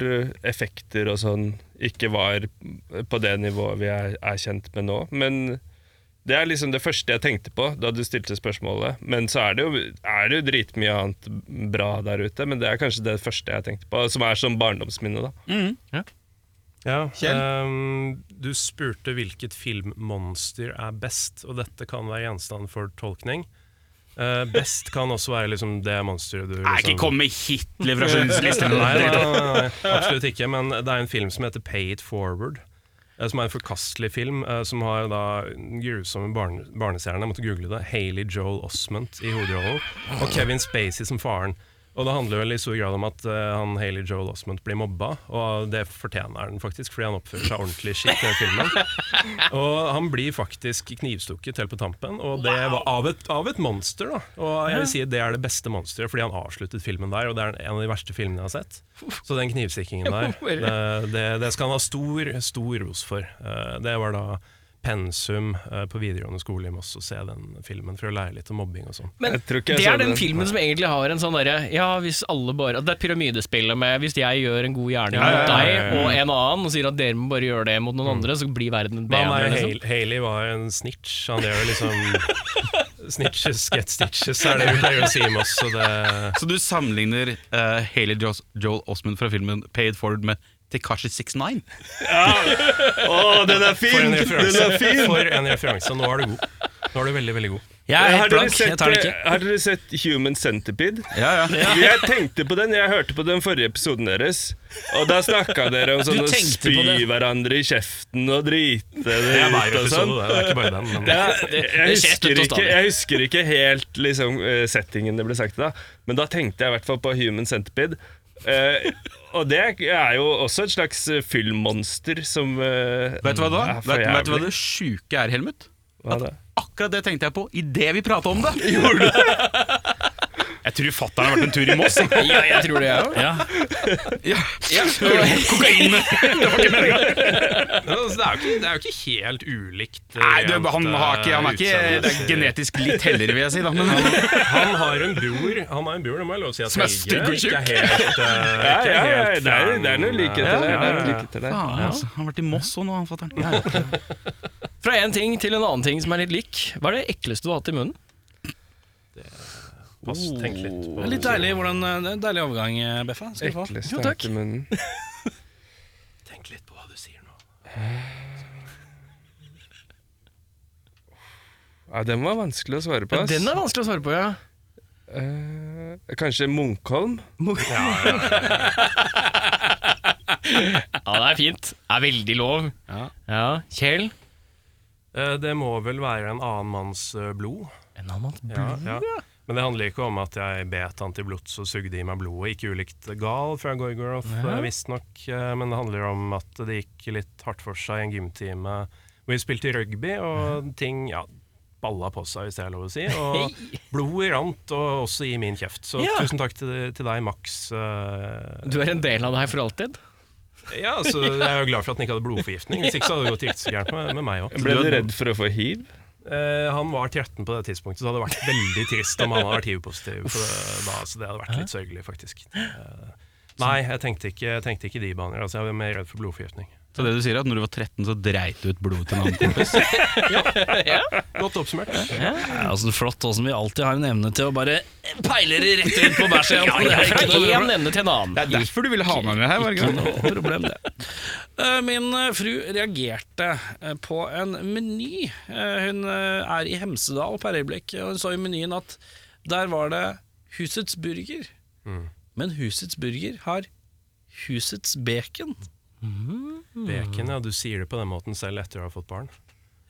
Speaker 8: effekter og sånn ikke var på det nivået vi er, er kjent med nå. Men det er liksom det første jeg tenkte på da du stilte spørsmålet. Men så er det jo, er det jo dritmye annet bra der ute, men det er kanskje det første jeg tenkte på, som er som barndomsminne. da.
Speaker 7: Ja, ehm, du spurte hvilket filmmonster er best, og dette kan være gjenstand for tolkning. Eh, best kan også være liksom det monsteret du
Speaker 1: Nei,
Speaker 7: liksom-
Speaker 1: ikke kom med Hitler fra Schunslisten.
Speaker 7: nei, nei, nei, nei, [LAUGHS] absolutt ikke. Men det er en film som heter Pay It Forward. eh, Som er en forkastelig film eh, som har da den grusomme barne, barnestjerne, jeg måtte google det, Haley Joel Osment i hovedrollen, og Kevin Spacey som faren. Og det handler vel i stor grad om at eh, han Haley Joel Osment blir mobba, og det fortjener han faktisk, fordi han oppfører seg ordentlig skitt i den filmen. [LAUGHS] Og han blir faktisk knivstukket helt på tampen, og det var av et, av et monster, da. Og jeg vil si det er det beste monsteret, fordi han avsluttet filmen der, og det er en av de verste filmene jeg har sett. Så den knivstikkingen der, det, det, Eh, det skal han ha stor, stor ros for. Eh, Det var da pensum eh, på videregående skole i Moss å se den filmen for å lære litt om mobbing og sånn.
Speaker 3: Men
Speaker 8: Jeg tror ikke jeg
Speaker 3: det
Speaker 8: så
Speaker 3: er den
Speaker 8: den.
Speaker 3: filmen som egentlig har en sånn derre Ja, hvis alle bare Det er pyramidespillet med Hvis jeg gjør en god gjerning mot
Speaker 7: ja, ja,
Speaker 3: deg og en annen, og sier at dere må bare gjøre det mot noen
Speaker 8: Mm.
Speaker 3: andre, så blir verden
Speaker 7: Men
Speaker 3: bedre.
Speaker 7: han er,
Speaker 3: Liksom.
Speaker 7: Hal- Haley var en snitch. Han drev jo liksom [LAUGHS] Snitches get stitches, er det vi pleier å si om oss. Så det
Speaker 1: Så du sammenligner eh, Haley Joel, Joel Osment fra filmen Paid Forward med Tekashi 69?
Speaker 8: Å, den er
Speaker 7: For
Speaker 8: fin!
Speaker 7: en
Speaker 8: Den er
Speaker 7: referanse.
Speaker 8: fin!
Speaker 7: For en referanse. Nå er du god. Nå er du veldig, veldig god.
Speaker 2: Jeg er
Speaker 8: Har
Speaker 2: helt
Speaker 8: dere,
Speaker 2: blank.
Speaker 8: sett, eh,
Speaker 2: Jeg tar det ikke.
Speaker 8: har dere sett Human Centipede?
Speaker 1: Ja, ja.
Speaker 8: Jeg tenkte på den, jeg hørte på den forrige episoden deres. Og da snakka dere om sånn å
Speaker 2: tenkte
Speaker 8: spy
Speaker 2: på det.
Speaker 8: hverandre i kjeften og drite
Speaker 7: Det
Speaker 8: det
Speaker 7: er hver
Speaker 8: ut og
Speaker 7: episode,
Speaker 8: sånn.
Speaker 7: det er ikke bare den. Men
Speaker 8: Ja, jeg,
Speaker 3: det skjer
Speaker 8: husker
Speaker 3: støtt og
Speaker 8: ikke,
Speaker 3: stadig.
Speaker 8: jeg husker ikke helt liksom, eh, settingen det ble sagt i da, men da tenkte jeg i hvert fall på Human Centipede. Eh, og det er jo også et slags eh, fyllmonster som eh,
Speaker 1: Vet du hva da?
Speaker 8: er for
Speaker 1: Vet, vet du hva
Speaker 8: jævlig.
Speaker 1: det sjuke er, Helmut?
Speaker 8: Hva da?
Speaker 1: [LAUGHS] Akkurat det tenkte jeg på idet vi prata om det! Jeg tror fatter'n har vært en tur i Moss.
Speaker 7: altså.
Speaker 3: Ja, jeg tror det, jeg òg.
Speaker 2: Ja.
Speaker 1: [LAUGHS]
Speaker 7: Men altså, det, er jo ikke, det er jo ikke [LAUGHS] helt ulikt. eh,
Speaker 1: Nei, du,
Speaker 7: rent,
Speaker 1: han, har ikke, han er ikke
Speaker 7: eh,
Speaker 1: det er genetisk litt heller, vil jeg si. Da, [LAUGHS] men,
Speaker 7: utseende. Han har en bror, han har en bror, det må jeg lov å si at
Speaker 1: Som er
Speaker 7: Helge
Speaker 1: stygg og
Speaker 7: ikke er helt, eh,
Speaker 8: Ja,
Speaker 7: ikke
Speaker 8: ja, ja, det
Speaker 7: helt
Speaker 8: er,
Speaker 7: fan,
Speaker 8: det er noe likheter
Speaker 7: eh,
Speaker 8: der. Det er
Speaker 7: ja, ja,
Speaker 8: noe
Speaker 7: ja.
Speaker 8: likheter der.
Speaker 1: faen, altså, han har vært i Moss òg nå, han fatter'n. Ja, ja.
Speaker 3: Fra én ting til en annen ting som er litt lik. Hva er det ekleste du har hatt i munnen?
Speaker 7: Pass, tenk litt på
Speaker 2: eh, Litt deilig, hvordan, det er en deilig overgang, eh, Beffa. Skal du få.
Speaker 8: Ekle
Speaker 3: Jo,
Speaker 8: stank i munnen.
Speaker 7: [LAUGHS] Tenk litt på hva du sier nå.
Speaker 8: [SIGHS] Ja, den var vanskelig å svare på.
Speaker 3: Ja,
Speaker 8: ass.
Speaker 3: den er vanskelig å svare på, ja.
Speaker 8: Eh, kanskje Munkholm?
Speaker 3: Ja, det er fint. Det er veldig lov. Ja, Kjell?
Speaker 7: Eh, Det må vel være en annen manns eh, blod.
Speaker 3: En annen mann.
Speaker 7: Ja, ja. Men det handler ikke om at jeg bet han til blods og sugde i meg blodet. Ikke ulikt gal fra Gorgoroth, ja. visstnok. eh, Men det handler om at det gikk litt hardt for seg i en gymtime hvor vi spilte rugby, og ting ja, balla på seg, hvis det er lov å
Speaker 3: [LAUGHS]
Speaker 7: si. Og blodet rant, og også i min kjeft. Så
Speaker 3: Ja.
Speaker 7: tusen takk til, til deg, Max. eh,
Speaker 3: Du er en del av det her for alltid.
Speaker 7: Ja, altså, Jeg er jo glad for at han ikke hadde blodforgiftning. Hvis ikke så hadde det gått riktig så gærent med, med meg òg.
Speaker 8: Ble du redd for å få hiv?
Speaker 7: Eh, han var 13 på det tidspunktet, så det hadde vært veldig trist om han hadde vært hiv-positiv. på det da, Så det hadde vært litt sørgelig, faktisk. Eh, nei, jeg tenkte, ikke, jeg tenkte ikke de baner. Altså, jeg var mer redd for blodforgiftning.
Speaker 1: Så det du sier er at når du var 13, så dreit du ut blodet til en annen kompis?
Speaker 7: Godt oppsummert.
Speaker 2: Ja, altså, flott hvordan vi alltid har en evne til å bare peile det rett ut på bæsja. [LAUGHS] ja, det er ikke
Speaker 3: Fra
Speaker 2: noe
Speaker 3: én
Speaker 2: problem.
Speaker 3: ende til en annen.
Speaker 1: Det er [LAUGHS] derfor du ville ha meg med her. var det
Speaker 2: Ikke
Speaker 1: ikke det?
Speaker 2: noe problem, det. Eh, Min eh, fru reagerte eh, på en meny. Eh, Hun eh, er i Hemsedal per øyeblikk, og hun så i menyen at der var det Husets burger. Mm. Men Husets burger har Husets bacon.
Speaker 7: Bacon, ja. Du sier det på den måten selv etter å ha fått barn.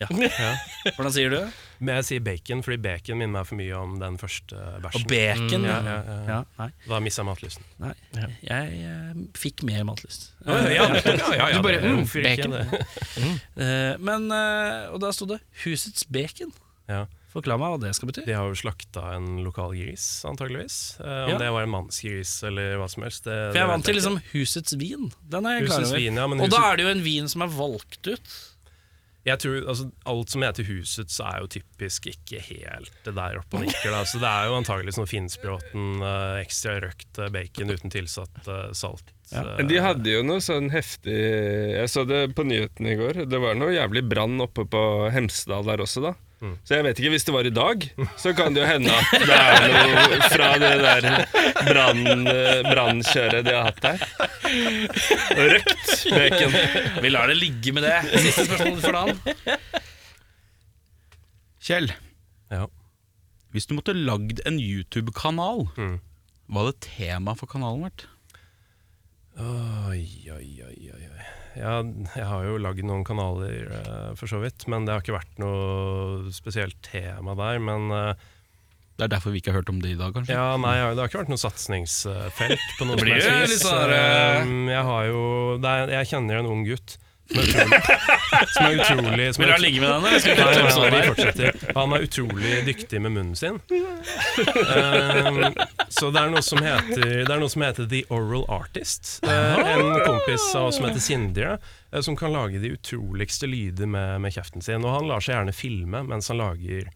Speaker 2: Hvordan sier du det?
Speaker 7: Men jeg sier bacon fordi bacon minner meg for mye om den første bæsjen.
Speaker 2: Bacon,
Speaker 7: ja,
Speaker 2: Mm, ja.
Speaker 7: ja, ja.
Speaker 2: ja. Nei,
Speaker 7: Da mista jeg matlysten.
Speaker 2: nei. Jeg eh, fikk mer matlyst.
Speaker 7: Ja, ja, ja,
Speaker 3: bare,
Speaker 7: det-
Speaker 3: mm,
Speaker 7: hvorfor
Speaker 3: bacon.
Speaker 7: ikke det?
Speaker 2: [LAUGHS] Eh, Men, eh, og da sto det 'Husets bacon'.
Speaker 7: Ja.
Speaker 2: Forklar meg hva det skal bety.
Speaker 7: De har jo slakta en lokal gris, antageligvis. Eh, om
Speaker 2: Ja.
Speaker 7: det var en mannsgris eller hva som helst. Det,
Speaker 2: For jeg er vant til
Speaker 7: vet
Speaker 2: liksom 'Husets vin'. Den er jeg klar
Speaker 7: Husets
Speaker 2: over.
Speaker 7: vin, ja, men
Speaker 2: og da
Speaker 7: huset-
Speaker 2: er det jo en vin som er valgt ut.
Speaker 7: Jeg tror, altså, Alt som heter Huset, så er jo typisk ikke helt det der oppe og nikker. Da. Så det er jo antagelig sånn Finnsbråten, eh, ekstra røkt eh, bacon uten tilsatt eh, salt. eh,
Speaker 8: Men De hadde jo noe sånn heftig Jeg så det på nyhetene i går. Det var noe jævlig brann oppe på Hemsedal der også, da.
Speaker 7: Mm.
Speaker 8: Så jeg vet ikke, hvis det var i dag,
Speaker 7: [LAUGHS]
Speaker 8: så kan det jo hende at det er noe fra det der brann- eh, brannkjøret de har hatt
Speaker 7: [LAUGHS]
Speaker 8: der. Og Røkt bacon.
Speaker 2: Vi lar det ligge med det. Siste spørsmål for dagen.
Speaker 1: Kjell,
Speaker 7: ja.
Speaker 1: hvis du måtte lagd en YouTube-kanal, hva hadde temaet for kanalen vært?
Speaker 7: Oi, oi, oi, oi. oi. Ja, jeg har jo lagd noen kanaler, eh, for så vidt. Men det har ikke vært noe spesielt tema der. Men eh,
Speaker 1: Det er derfor vi ikke har hørt om det i dag, kanskje?
Speaker 7: Ja, nei, ja, det har ikke vært noe satsingsfelt på noe som
Speaker 2: blir
Speaker 7: helst
Speaker 2: jo
Speaker 3: liksom
Speaker 7: vis.
Speaker 2: litt sånn der,
Speaker 7: Um, Jeg har jo det er, Jeg kjenner en ung gutt som er utrolig [LAUGHS] Som er utrolig som
Speaker 2: Vil
Speaker 7: er
Speaker 2: du ha
Speaker 7: ut-
Speaker 2: ligge med den? eller skal vi
Speaker 7: Nei,
Speaker 2: ta
Speaker 7: nei,
Speaker 2: episoden
Speaker 7: nei, vi
Speaker 2: her?
Speaker 7: fortsetter. Han er utrolig dyktig med munnen sin. Um, så det er noe som heter Det er noe som heter The Oral Artist. Uh, en kompis av oss som heter Sindre, uh, som kan lage de utroligste lyder med, med kjeften sin. Og han lar seg gjerne filme mens han lager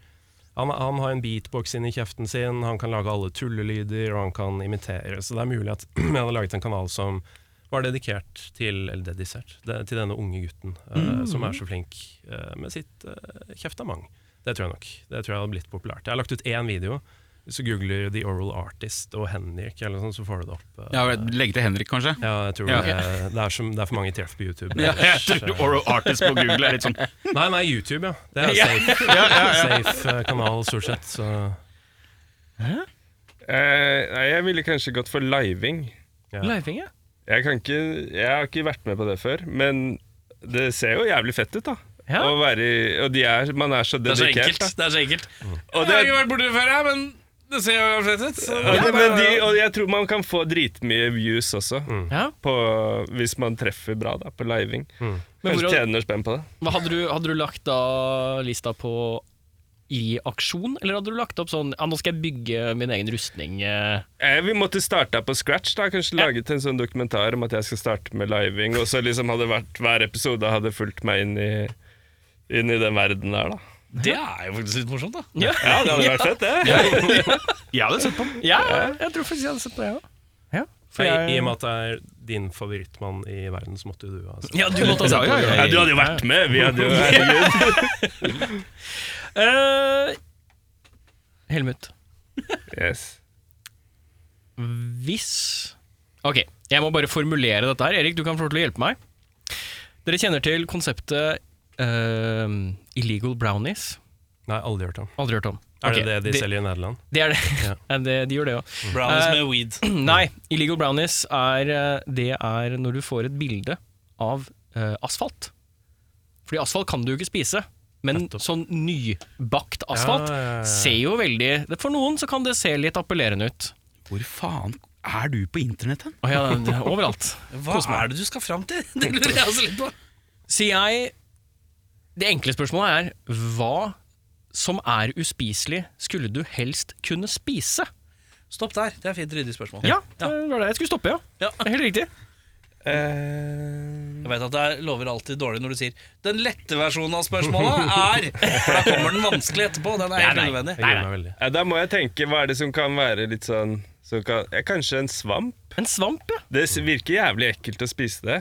Speaker 7: han, han har en beatbox inni kjeften sin, han kan lage alle tullelyder, og han kan imitere. Så det er mulig at [CLEARS THROAT] jeg hadde laget en kanal som var dedikert til eller dedisert, det, til denne unge gutten eh, som er så flink eh, med sitt uh, kjeftamang. Det tror jeg nok. Det tror jeg hadde blitt populært. Jeg har lagt ut én video. Hvis du googler The Oral Artist og Henrik, eller noe sånt, så får du det opp. eh.
Speaker 1: Ja, Legge til Henrik, kanskje?
Speaker 7: Ja, jeg tror
Speaker 1: Ja.
Speaker 7: det, det, er som, det er for mange treff på YouTube.
Speaker 1: Ja, jeg
Speaker 7: Ellers,
Speaker 1: tror
Speaker 7: eh,
Speaker 1: Oral Artist på Google er litt sånn
Speaker 7: Nei, nei, YouTube, ja. Det er safe, safe eh, kanal, stort sett. Så
Speaker 8: Eh, nei, jeg ville kanskje gått for living.
Speaker 7: ja.
Speaker 3: Leifing, ja.
Speaker 8: Jeg, kan ikke, jeg har ikke vært med på det før, men det ser jo jævlig fett ut, da.
Speaker 3: Ja.
Speaker 8: Å være i, og de er, man er så
Speaker 2: Det er så
Speaker 8: dedikert.
Speaker 2: enkelt.
Speaker 8: Da.
Speaker 2: [LAUGHS] Det er så enkelt.
Speaker 8: Og,
Speaker 2: Jeg
Speaker 8: det,
Speaker 2: har ikke vært borti det før, jeg, men det ser jo flett ut. så-
Speaker 8: og, det, men de, og jeg tror man kan få dritmye views også,
Speaker 3: ja.
Speaker 8: på, hvis man treffer bra da, på living.
Speaker 3: Men
Speaker 8: Kanskje
Speaker 3: hvordan-
Speaker 8: tjener spenn på det.
Speaker 3: Hva Hadde, du, hadde du lagt da lista på i aksjon, eller hadde du lagt opp sånn ja, nå skal jeg bygge min egen rustning? eh,
Speaker 8: Eh, Vi måtte starta på scratch. da Kanskje laget en sånn dokumentar om at jeg skal starte med living. Og så liksom hadde vært, hver episode hadde fulgt meg inn i, inn i den verden der, da.
Speaker 2: Det er jo faktisk litt morsomt, da.
Speaker 8: Ja, det hadde vært fett, det.
Speaker 7: Jeg hadde sett på den.
Speaker 3: Ja, jeg tror faktisk jeg hadde sett det, jeg ja.
Speaker 7: For I, I og med at det er din favorittmann i verden, så måtte jo du ha sett
Speaker 2: Ja, du måtte ha sett på det.
Speaker 8: Ja, du hadde jo vært med. Vi hadde jo herregud.
Speaker 3: Eh, Helmut,
Speaker 8: Yes.
Speaker 3: hvis Ok, jeg må bare formulere dette her. Erik, du kan få lov til å hjelpe meg. Dere kjenner til konseptet eh, illegal brownies?
Speaker 7: Nei, aldri hørt om.
Speaker 3: Aldri hørt om.
Speaker 7: Er
Speaker 3: Ok,
Speaker 7: det det de selger i Nederland?
Speaker 3: Det er det. [LAUGHS] Ja, det de gjør det òg.
Speaker 2: Brownies
Speaker 3: Eh,
Speaker 2: med weed.
Speaker 3: [CLEARS THROAT] Nei, illegal brownies er, eh, det er når du får et bilde av eh, asfalt. Fordi asfalt kan du jo ikke spise, men sånn nybakt asfalt
Speaker 7: Ja, ja, ja, ja.
Speaker 3: ser jo veldig det- For noen så kan det se litt appellerende ut.
Speaker 1: Hvor faen er du på internett hen?
Speaker 3: Å ja, det er overalt.
Speaker 2: [LAUGHS] Hva er det du skal fram til? [LAUGHS] Det lurer jeg også litt på.
Speaker 3: Sier jeg Det enkle spørsmålet er hva som er uspiselig, skulle du helst kunne spise?
Speaker 2: Stopp der. Det er fint ryddig spørsmål.
Speaker 3: Ja, det var det jeg skulle stoppe, ja.
Speaker 2: Ja.
Speaker 3: Helt riktig.
Speaker 8: Eh,
Speaker 2: Jeg vet at det er- lover alltid dårlig når du sier 'den lette versjonen av spørsmålet er' For da kommer den vanskelig etterpå. Den er helt unødvendig.
Speaker 7: Jeg gruer meg veldig.
Speaker 8: Ja, da må jeg tenke, hva er det som kan være litt sånn som kan, ja, Kanskje en svamp?
Speaker 3: En svamp, ja.
Speaker 8: Det s- virker jævlig ekkelt å spise det.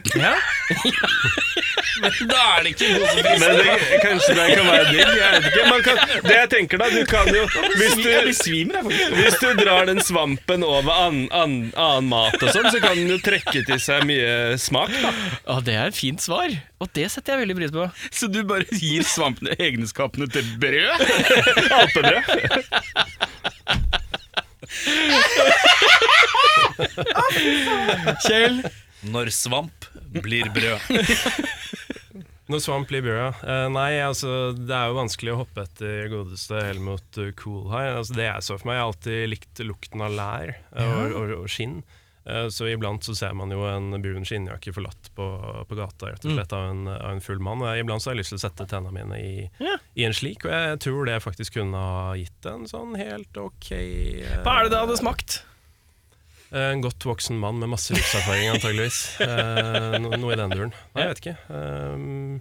Speaker 2: Da er det ikke noe som
Speaker 8: Men det, kanskje det kan være digg? Jeg vet ikke. Man kan, det jeg tenker da, du kan jo Hvis du, hvis du drar den svampen over annen an, annen mat og sånn, så kan den jo trekke til seg mye smak. da
Speaker 3: Ja, Det er et fint svar, og det setter jeg veldig pris på.
Speaker 1: Så du bare gir svampene egenskapene til brød?
Speaker 8: Alpebrød.
Speaker 2: Når svamp blir brød.
Speaker 7: Når svamp blir brød, ja. Eh, nei, altså, det er jo vanskelig å hoppe etter godeste Helmut eh, Coolhai. Altså, det jeg så for meg, jeg har alltid likt lukten av lær eh, og, og, og skinn. Eh, Så iblant så ser man jo en brun skinnjakke forlatt på, på gata rett og slett av en, av en full mann. Og jeg- Iblant så har jeg lyst til å sette tennene mine i, i en slik, og jeg tror det faktisk kunne ha gitt en sånn helt ok eh,
Speaker 3: Hva er det det hadde smakt?
Speaker 7: Eh, En godt voksen mann med masse livserfaring, antageligvis. Eh, no, noe i den duren. Nei, jeg vet ikke. Um,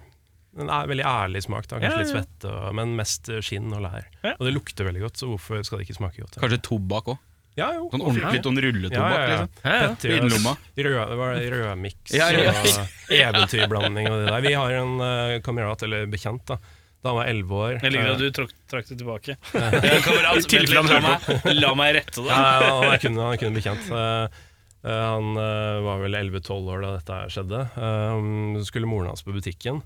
Speaker 7: en æ- veldig ærlig smak, da. kanskje litt svette, og, men mest skinn og lær. Og det lukter veldig godt, så hvorfor skal det ikke smake godt?
Speaker 1: Kanskje tobakk òg.
Speaker 7: Ja, jo.
Speaker 1: Sånn ordentlig sånn rulletobakk. liksom.
Speaker 7: Petter,
Speaker 1: I innlomma.
Speaker 7: Rød, hva er det, rødmiks
Speaker 1: Ja, ja.
Speaker 7: og [LAUGHS] eventyrblanding og det der. Vi har en eh, kamerat, eller bekjent, da. Da han var elleve år.
Speaker 2: Jeg liker
Speaker 7: eh,
Speaker 2: at du trakk trakk det tilbake. Ja, kamerat, vent litt, la, meg, la meg rette det.
Speaker 7: Ja, ja, han, er kun, han er kun bekjent. [LAUGHS] Eh, eh, han eh, var vel 11-12 år da dette her skjedde. Eh, så skulle moren hans på butikken.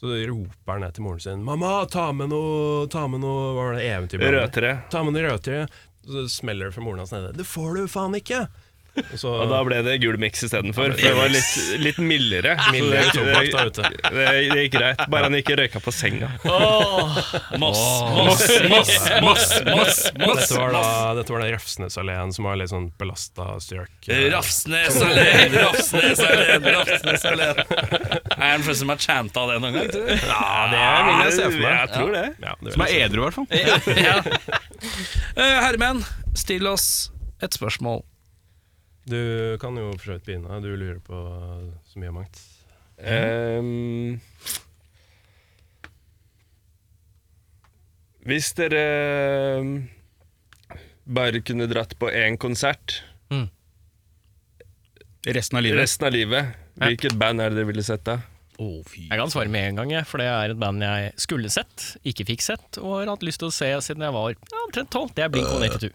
Speaker 7: Så roper han ned til moren sin 'Mamma, ta med noe, ta med noe Hva var det eventyr?
Speaker 8: Rødtre.
Speaker 7: Ta med noe rødtere. Så smeller det fra moren hans nede. 'Det får du faen ikke!' Og så
Speaker 8: Og da ble det gul miks istedenfor. For det var litt, litt mildere. Så
Speaker 7: Mildere tobakk der
Speaker 8: det,
Speaker 7: ute.
Speaker 8: det, det gikk greit. Bare han ikke røyka på senga.
Speaker 2: Moss, Moss, Moss, Moss, Moss, Moss.
Speaker 7: Dette var da, dette var da Rafsnesalleen, som var litt sånn belasta strøk. eh,
Speaker 2: Rafsnes alene, Rafsnes alene, Rafsnes alene. Er han først som har chanta det noen gang? tror du?
Speaker 7: Ja, det vil jeg se for meg.
Speaker 8: Jeg tror det.
Speaker 7: Ja, det vil
Speaker 1: Som er
Speaker 7: jeg se.
Speaker 1: edru, i hvert fall.
Speaker 2: Eh, Herman, still oss et spørsmål.
Speaker 7: Du kan jo for så vidt begynne. Du lurer på så mye mangt.
Speaker 8: Ehm, hvis dere ehm, bare kunne dratt på én konsert
Speaker 1: Resten av livet.
Speaker 8: resten av livet, hvilket band er det dere ville sett da?
Speaker 3: Jeg kan svare med en gang, jeg, for det er et band jeg skulle sett, ikke fikk sett, og har hatt lyst til å se siden jeg var ja, omtrent tolv. Det er Blink 182.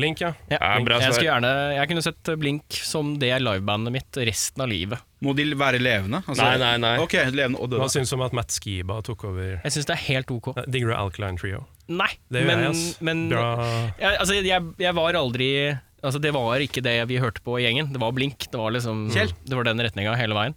Speaker 7: Blink, Øh. ja.
Speaker 3: Ja,
Speaker 8: Ja, bra
Speaker 3: jeg,
Speaker 8: svar.
Speaker 3: skulle gjerne, jeg kunne sett Blink som det er livebandet mitt resten av livet.
Speaker 1: Må de være levende? Altså-
Speaker 8: Nei, nei, nei.
Speaker 1: Ok, levende og
Speaker 7: Hva
Speaker 1: døde.
Speaker 7: syns du om at Matt Skiba tok over
Speaker 3: Jeg syns det er helt ok.
Speaker 7: Nei, Digger du Alkaline Trio?
Speaker 3: Nei,
Speaker 7: Det gjør
Speaker 3: men,
Speaker 7: jeg, ass.
Speaker 3: men
Speaker 7: Bra
Speaker 3: jeg, altså, jeg, jeg var aldri
Speaker 2: Mm.
Speaker 3: Altså Det var ikke det vi hørte på i gjengen. Det var blink. Det var liksom Det var den retninga hele veien.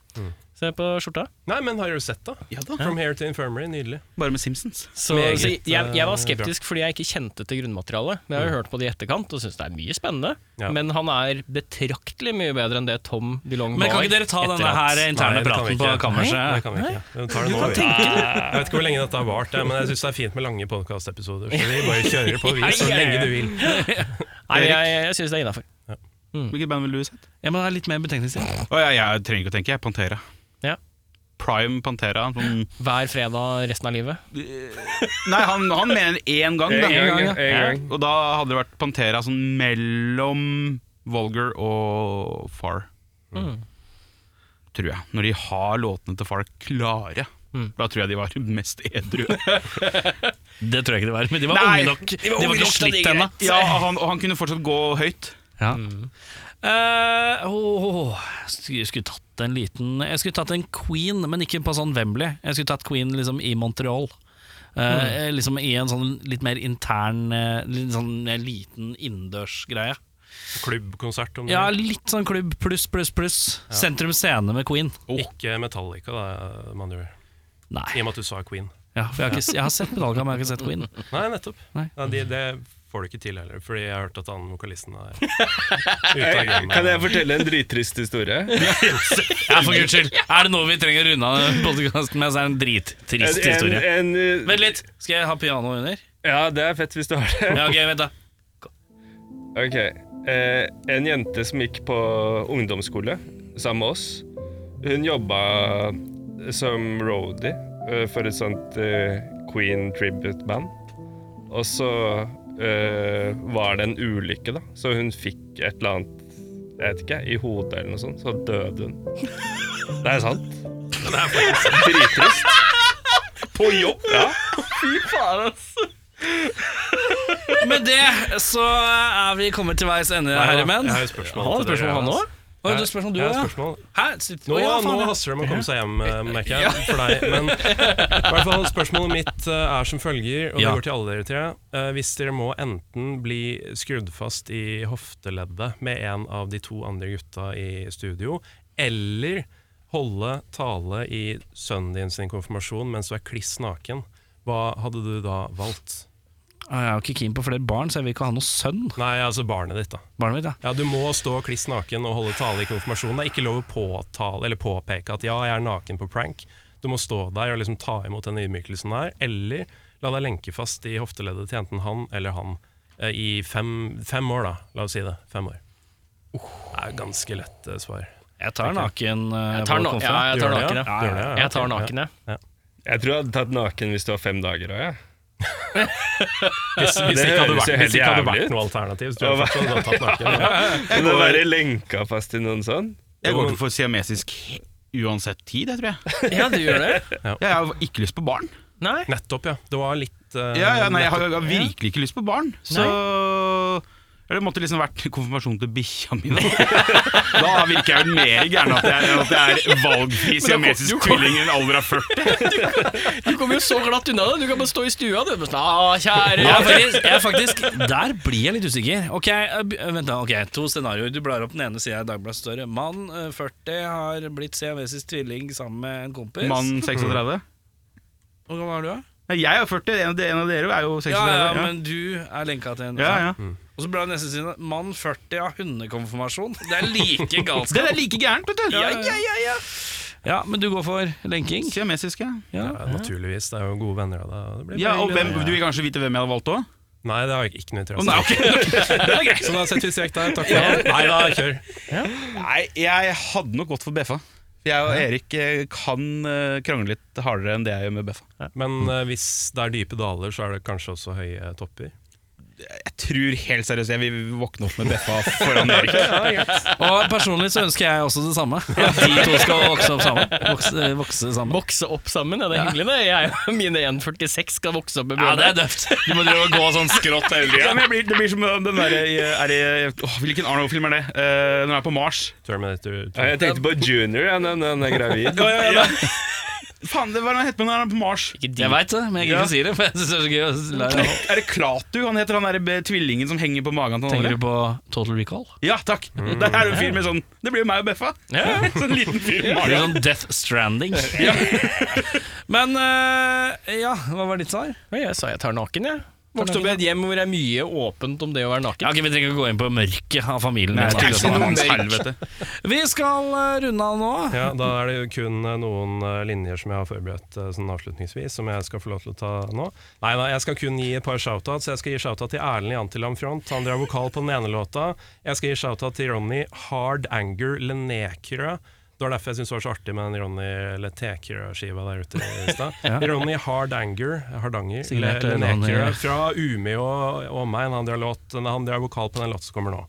Speaker 3: Se på skjorta.
Speaker 7: Nei, men har du sett da?
Speaker 1: Ja da.
Speaker 7: From Here to Infirmary, nydelig.
Speaker 1: Bare med Simpsons.
Speaker 3: Så,
Speaker 7: Meget,
Speaker 3: så jeg, jeg var
Speaker 7: eh,
Speaker 3: skeptisk fordi jeg ikke kjente til grunnmaterialet. Men jeg har
Speaker 2: Mm.
Speaker 3: jo hørt på det i etterkant og syns det er mye spennende.
Speaker 7: Ja.
Speaker 3: Men han er betraktelig mye bedre enn det Tom DeLong
Speaker 2: Men
Speaker 3: var.
Speaker 2: kan ikke dere ta
Speaker 3: etter
Speaker 2: denne
Speaker 3: at-
Speaker 2: her interne
Speaker 7: Nei, det kan vi
Speaker 2: praten på
Speaker 7: ikke. Nei,
Speaker 2: kammerset?
Speaker 7: det kan vi ikke. Vi tar det nå, vi. Jeg vet ikke hvor lenge dette har vart, jeg, men jeg syns det er fint med lange podkastepisoder. Så vi bare kjører på vi
Speaker 3: Ja,
Speaker 7: så
Speaker 3: ja, ja.
Speaker 7: lenge du vil.
Speaker 3: [LAUGHS] Nei, jeg, jeg syns det er innafor.
Speaker 1: Hvilket band ville du sett?
Speaker 2: Jeg må ha litt mer betenkningstid.
Speaker 1: Å, jeg, jeg trenger ikke å tenke, jeg. Pantera.
Speaker 3: Ja.
Speaker 1: Prime Pantera. Sånn.
Speaker 3: Hver fredag resten av livet.
Speaker 1: Nei, han, han mener én gang, da.
Speaker 8: En gang, ja. En gang.
Speaker 1: Og da hadde det vært Pantera sånn mellom Vulgar og Far.
Speaker 2: Mm.
Speaker 1: Tror jeg. Når de har låtene til Far klare.
Speaker 2: Mm.
Speaker 1: Da tror jeg de var mest
Speaker 2: [LAUGHS]
Speaker 1: edru.
Speaker 2: Det tror jeg ikke det var. Men de var
Speaker 1: Nei,
Speaker 2: unge nok. De var, ikke slitt ennå.
Speaker 1: Ja, han, og han kunne fortsatt gå høyt.
Speaker 2: Ja. Eh, åh, åh, Jeg skulle tatt en liten Jeg skulle tatt en Queen, men ikke på sånn Wembley. Jeg skulle tatt Queen liksom i Montreal.
Speaker 7: Mm.
Speaker 2: Eh, Liksom I en sånn litt mer intern, eh, litt sånn eh, liten innendørsgreie.
Speaker 7: Klubbkonsert, om du
Speaker 2: Ja,
Speaker 7: vil.
Speaker 2: litt sånn klubb pluss, pluss, pluss. Sentrum scene med Queen.
Speaker 7: Ikke Metallica, da, med andre ord.
Speaker 2: Nei.
Speaker 7: Oh, I og med at du sa Queen.
Speaker 2: Ja, for jeg, har ikke, jeg har sett Metallica, men jeg har ikke sett
Speaker 7: [LAUGHS]
Speaker 2: Queen.
Speaker 7: Nei, nettopp.
Speaker 2: Nei.
Speaker 7: Ja, de, det får du ikke til heller, fordi jeg har hørt at han vokalisten er ute av gamet.
Speaker 8: Kan jeg fortelle en drittrist historie?
Speaker 2: Ja, for guds skyld! Er det noe vi trenger å runde av podkasten med, så er det en drittrist
Speaker 8: En,
Speaker 2: historie.
Speaker 8: en, en,
Speaker 2: Vent litt, skal jeg ha piano under?
Speaker 8: ja, det er fett hvis du har det.
Speaker 2: Ja, ok, vent da
Speaker 8: Ok, eh, En jente som gikk på ungdomsskole sammen med oss, hun jobba som roadie eh, for et sånt eh, Queen tribute-band. Og så eh, var det en ulykke, da, så hun fikk et eller annet jeg vet ikke, i hodet eller noe sånt, så døde hun. Det er sant. Det er faktisk drittrist. På jobb? Ja.
Speaker 2: Med det så er vi kommet til veis ende,
Speaker 7: Nei,
Speaker 2: herre menn.
Speaker 7: Jeg har et spørsmål
Speaker 3: Han har
Speaker 7: til dere,
Speaker 3: spørsmål, han
Speaker 7: altså.
Speaker 3: òg.
Speaker 2: Å, det er spørsmål du
Speaker 7: Jeg har
Speaker 2: ja.
Speaker 7: et spørsmål.
Speaker 2: Hæ? Sitt-
Speaker 7: Nå,
Speaker 2: Å, ja,
Speaker 7: nå
Speaker 2: faen, ja.
Speaker 7: haster det med å komme seg hjem, eh,
Speaker 2: [LAUGHS]
Speaker 7: merker jeg. For deg. Men i hvert fall spørsmålet mitt eh, er som følger, og det
Speaker 2: Ja.
Speaker 7: går til alle dere tre. Eh, Hvis dere må enten bli skrudd fast i hofteleddet med en av de to andre gutta i studio, eller holde tale i sønnen din sin konfirmasjon mens du er kliss naken, hva hadde du da valgt?
Speaker 2: Ah, Jeg er jo ikke keen på flere barn, så jeg vil ikke ha noe sønn.
Speaker 7: Nei, altså barnet ditt, da.
Speaker 2: Barnet mitt, ja.
Speaker 7: Ja, Du må stå kliss naken og holde tale i konfirmasjonen. Det er ikke lov å påtale eller påpeke at ja, jeg er naken på prank. Du må stå der og liksom ta imot den ydmykelsen der, eller la deg lenke fast i hofteleddet til enten han eller han eh, i fem, fem år, da. La oss si det. Fem år. Det er ganske lett eh, svar.
Speaker 2: Jeg tar naken. eh,
Speaker 3: Jeg tar,
Speaker 2: på
Speaker 3: na ja,
Speaker 2: konferanse.
Speaker 7: Du
Speaker 3: jeg tar
Speaker 7: gjør det,
Speaker 3: naken,
Speaker 7: ja? Du gjør det,
Speaker 3: ja.
Speaker 7: ja,
Speaker 3: Jeg tar
Speaker 7: ok, ja.
Speaker 3: naken,
Speaker 2: [LAUGHS]
Speaker 3: jeg.
Speaker 8: Jeg tror jeg hadde tatt naken hvis det var fem dager òg, jeg.
Speaker 7: Hvis, hvis det
Speaker 8: Det
Speaker 7: ikke hadde
Speaker 8: høres
Speaker 7: vært,
Speaker 8: jo
Speaker 7: hvis
Speaker 8: helt
Speaker 7: det ikke hadde
Speaker 8: jævlig
Speaker 7: vært
Speaker 8: ut.
Speaker 7: noe alternativ, så tror jeg fortsatt du hadde tatt naken.
Speaker 8: Men å være lenka fast i noen sånn
Speaker 1: Jeg går for siamesisk uansett tid, jeg tror jeg.
Speaker 3: Ja, du gjør det?
Speaker 1: Jeg har ikke lyst på barn.
Speaker 3: Nei?
Speaker 7: Nettopp, ja. Det var litt eh,
Speaker 1: Ja, ja, nei, jeg har, jeg har virkelig ikke lyst på barn. Så Eller det måtte liksom vært [LAUGHS] konfirmasjon til bikkja mi. Da Da virker jeg jo mer gæren at jeg, at jeg er valgfri siamesisk tvilling i en alder av 40.
Speaker 3: Du kommer jo så glatt unna det. Du kan bare stå i stua, du. Bare sånn, «Ah, kjære
Speaker 2: Jeg er faktisk, jeg er faktisk, der blir jeg litt usikker. Ok, eh, b- vent da, ok, To scenarioer. Du blar opp den ene sida i Dagbladet Større. Mann eh, 40 har blitt siamesisk tvilling sammen med en kompis.
Speaker 1: Mann 36.
Speaker 2: Hvor gammel er du? da?
Speaker 1: Nei, jeg er 40, en av de- en av dere er jo 36.
Speaker 2: Ja, ja, men du er lenka til en altså.
Speaker 1: ja, ja.
Speaker 2: Og så ble det neste side Mann 40 har hundekonfirmasjon. Det er like galskap.
Speaker 1: Den er like gærent, vet du!
Speaker 2: Ja, ja, ja, ja. ja, men du går for lenking?
Speaker 1: Siamesiske.
Speaker 2: Ja.
Speaker 7: Ja, naturligvis. Det er jo gode venner av deg. og det blir
Speaker 1: Ja,
Speaker 7: bare
Speaker 1: og
Speaker 7: hyggelig,
Speaker 1: hvem,
Speaker 7: da.
Speaker 1: Du vil kanskje vite hvem jeg hadde valgt òg?
Speaker 7: Nei, det har jeg ikke noe interesse
Speaker 1: nei, ok.
Speaker 7: Det er greit. Så da setter vi strek der. Takk for nå. Nei da, kjør.
Speaker 1: Nei, jeg hadde nok gått for Beffa. Jeg og Erik eh, kan eh, krangle litt hardere enn det jeg gjør med Beffa.
Speaker 7: Men eh, hvis det er dype daler, så er det kanskje også høye topper.
Speaker 1: Jeg tror helt seriøst jeg vil våkne opp med Beffa foran Erik.
Speaker 2: [LAUGHS] Og personlig så ønsker jeg også det samme. At de to skal vokse opp sammen. Vokse, vokse sammen.
Speaker 3: [LAUGHS] Vokse opp sammen, ja. Det er hyggelig, det. Jeg og [LAUGHS] mine 1,46 skal vokse opp med
Speaker 2: Ja, det
Speaker 3: Bjørnar.
Speaker 2: er døvt.
Speaker 3: [LAUGHS] Du må drive og gå sånn skrått hele
Speaker 1: Ja, men jeg blir, det blir som eh, den derre i, eh, er i- åh, Hvilken Arnold-film er det? Eh, når han er på Mars.
Speaker 7: Terminator
Speaker 8: Ja,
Speaker 7: 2.
Speaker 8: Jeg tenkte på junior, ja, når når han er
Speaker 1: [LAUGHS]
Speaker 8: gravid.
Speaker 1: Faen, det var han het på når han er på Mars.
Speaker 2: Jeg veit det, men jeg gidder ikke si det. For jeg synes det Er så gøy å lære.
Speaker 1: Er det Klatu han heter, han der be- tvillingen som henger på magen til han
Speaker 2: Tenker
Speaker 1: andre?
Speaker 2: du på Total Recall?
Speaker 1: Ja, takk. Der er det en fyr med sånn Det blir jo meg og Beffa. [LAUGHS] Sånn liten fyr med
Speaker 2: Det blir
Speaker 1: magen.
Speaker 2: sånn Death
Speaker 3: [LAUGHS]
Speaker 2: Stranding. [LAUGHS] Men eh, ja, hva var ditt svar?
Speaker 3: Oi, jeg sa jeg tar naken, jeg. Vokste opp i et hjem hvor det er mye åpent om det å være naken.
Speaker 2: Ja, ok, Vi trenger ikke gå inn på mørket av familien.
Speaker 1: Nei,
Speaker 2: din,
Speaker 1: det er
Speaker 2: altså.
Speaker 1: ikke noe helvete.
Speaker 2: vi skal eh, runde av nå.
Speaker 7: [LAUGHS] Ja, da er det jo kun eh, noen eh, linjer som jeg har forberedt eh, sånn avslutningsvis, som jeg skal få lov til å ta nå. Nei da, jeg skal kun gi et par shoutouts. Jeg skal gi shoutout til Erlend i Antilam Front. Han drar vokal på den ene låta. Jeg skal gi shoutout til Ronny Hard Anger Lenekra. Det var derfor jeg syntes det var så artig med den Ronny Letekra-skiva der ute i stad. Ronny Hard Anger, Hardanger, Le-
Speaker 2: Signert, eh,
Speaker 7: Lenekra,
Speaker 2: Ronny.
Speaker 7: fra Umi og og omegn. Han drar låt- han drar vokal på den låta som kommer nå.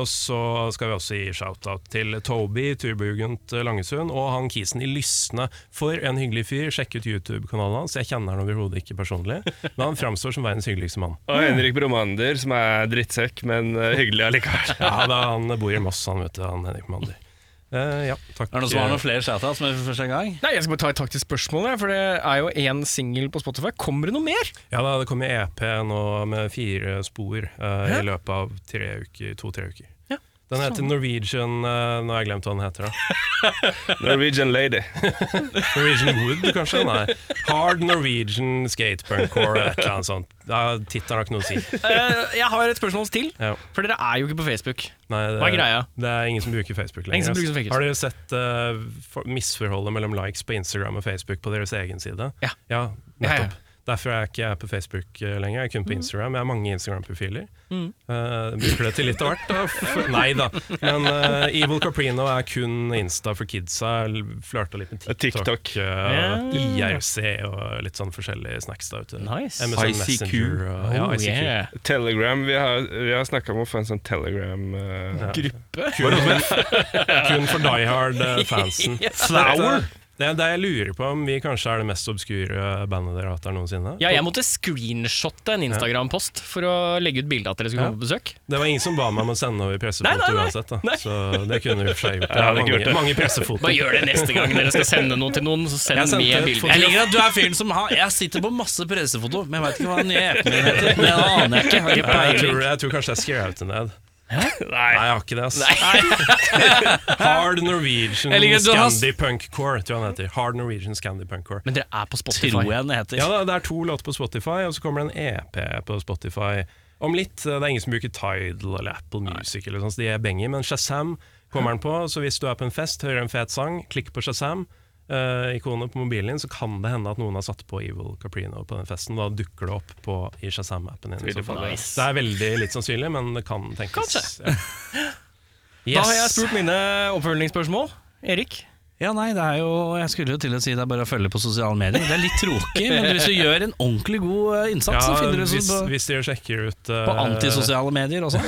Speaker 7: Og så skal vi også gi shout-out til Toby, turbugent Langesund, og han Kisen i Lysne. For en hyggelig fyr. Sjekk ut YouTube-kanalen hans. Jeg kjenner han overhodet ikke personlig, men han framstår som verdens hyggeligste mann.
Speaker 8: Og Henrik Bromander, som er drittsekk, men eh, hyggelig allikevel.
Speaker 7: Ja, da Han bor i Moss, han vet du, han Henrik Mander. Eh, ja, takk.
Speaker 2: Er det noen som har noen flere shoutouts med for første gang?
Speaker 3: Nei, Jeg skal bare ta et taktisk spørsmål, jeg, for det er jo én singel på Spotify. Kommer det noe mer?
Speaker 7: Ja, da, Det kommer EP nå med fire spor eh, i løpet av tre uker, to-tre uker.
Speaker 3: Ja,
Speaker 7: Den heter Norwegian eh, Nå har jeg glemt hva den heter. da
Speaker 3: [LAUGHS]
Speaker 8: Norwegian lady.
Speaker 7: [LAUGHS] Norwegian Wood, kanskje? Nei. Hard Norwegian Skatepunkcore, et eller annet sånt. Da Tittelen har ikke noe å si.
Speaker 3: Eh, jeg har et spørsmål til,
Speaker 7: Ja.
Speaker 3: for dere er jo ikke på Facebook.
Speaker 7: Nei, det,
Speaker 3: Hva er greia?
Speaker 7: Det er ingen som bruker Facebook lenger.
Speaker 3: Ingen som
Speaker 7: ass.
Speaker 3: bruker Facebook.
Speaker 7: Har dere sett eh, for- misforholdet mellom likes på Instagram og Facebook på deres egen side?
Speaker 3: Ja. Ja, ja.
Speaker 7: nettopp. Derfor er ikke jeg på Facebook eh, lenger, jeg er kun på Instagram. Jeg har mange Instagram-profiler. Eh, bruker det til litt av hvert. da. F- Nei da. Men eh, Evil Caprino er kun Insta for kidsa. L- Flørta litt med TikTok,
Speaker 8: TikTok.
Speaker 7: eh, IRC og litt sånn forskjellige snacks der ute.
Speaker 3: Nice.
Speaker 7: MSN
Speaker 1: ICQ.
Speaker 7: Messenger og
Speaker 2: Oh,
Speaker 7: ja, ICQ.
Speaker 8: Telegram. Vi har, vi har snakka om å få en sånn Telegram eh,
Speaker 7: [LAUGHS] Kun for
Speaker 2: [LAUGHS]
Speaker 7: Die Hard-fansen. Flower? Det, det jeg lurer på om vi kanskje er det mest obskure bandet dere har hatt her noensinne.
Speaker 3: Ja, jeg måtte screenshotte en Instagram-post for å legge ut bilde av at dere skulle komme på besøk.
Speaker 7: Det var ingen som ba meg om å sende over
Speaker 3: Nei,
Speaker 7: pressefoto
Speaker 3: nei, nei.
Speaker 7: uansett, da.
Speaker 3: Nei.
Speaker 7: så det kunne vi i og for seg gjort.
Speaker 8: Jeg hadde ikke
Speaker 7: mange,
Speaker 8: gjort det.
Speaker 7: mange pressefoto.
Speaker 3: Bare gjør det neste gang dere skal sende noe til noen. Så
Speaker 7: Jeg
Speaker 3: send
Speaker 7: sendte
Speaker 3: med
Speaker 7: et
Speaker 3: bilde.
Speaker 2: Jeg liker at du er fyren som har Jeg sitter på masse pressefoto, men jeg veit ikke hva den nye appen min heter. Det aner jeg ikke. Jeg har ikke
Speaker 7: Nei, jeg,
Speaker 2: peiling.
Speaker 7: tror, jeg tror kanskje jeg skrev det ned. Nei. jeg har ikke det. ass [LAUGHS] Hard Norwegian
Speaker 2: Jeg liker at du har-
Speaker 7: Scandi Punk Core, tror jeg han heter. Hard Norwegian Scandi Punk Core.
Speaker 3: Men dere er på
Speaker 2: Tror
Speaker 3: Spotify.
Speaker 2: jeg den heter.
Speaker 7: Ja, da, det er to låter på Spotify, og så kommer det en EP på Spotify om litt. Det er ingen som bruker Tidal eller Apple Music, eller sånt, så de er bengi, men Shazam kommer den på. Så hvis du er på en fest, hører en fet sang, klikk på Shazam. eh, ikonet på mobilen din, så kan det hende at noen har satt på Evil Caprino på den festen. Da dukker det opp på, i Shazam-appen din. i så fall. Det er veldig litt sannsynlig, men det kan tenkes. Ja.
Speaker 3: Da har jeg spurt mine Eh, oppfølgingsspørsmål. Erik?
Speaker 2: Ja, nei, det er jo Jeg skulle jo til å si det er bare å følge på sosiale medier. Det er litt tråkig, men hvis du gjør en ordentlig god eh, innsats, så
Speaker 7: Ja,
Speaker 2: finner du
Speaker 7: hvis,
Speaker 2: det på,
Speaker 7: hvis dere sjekker ut
Speaker 2: på
Speaker 7: eh,
Speaker 2: antisosiale medier også.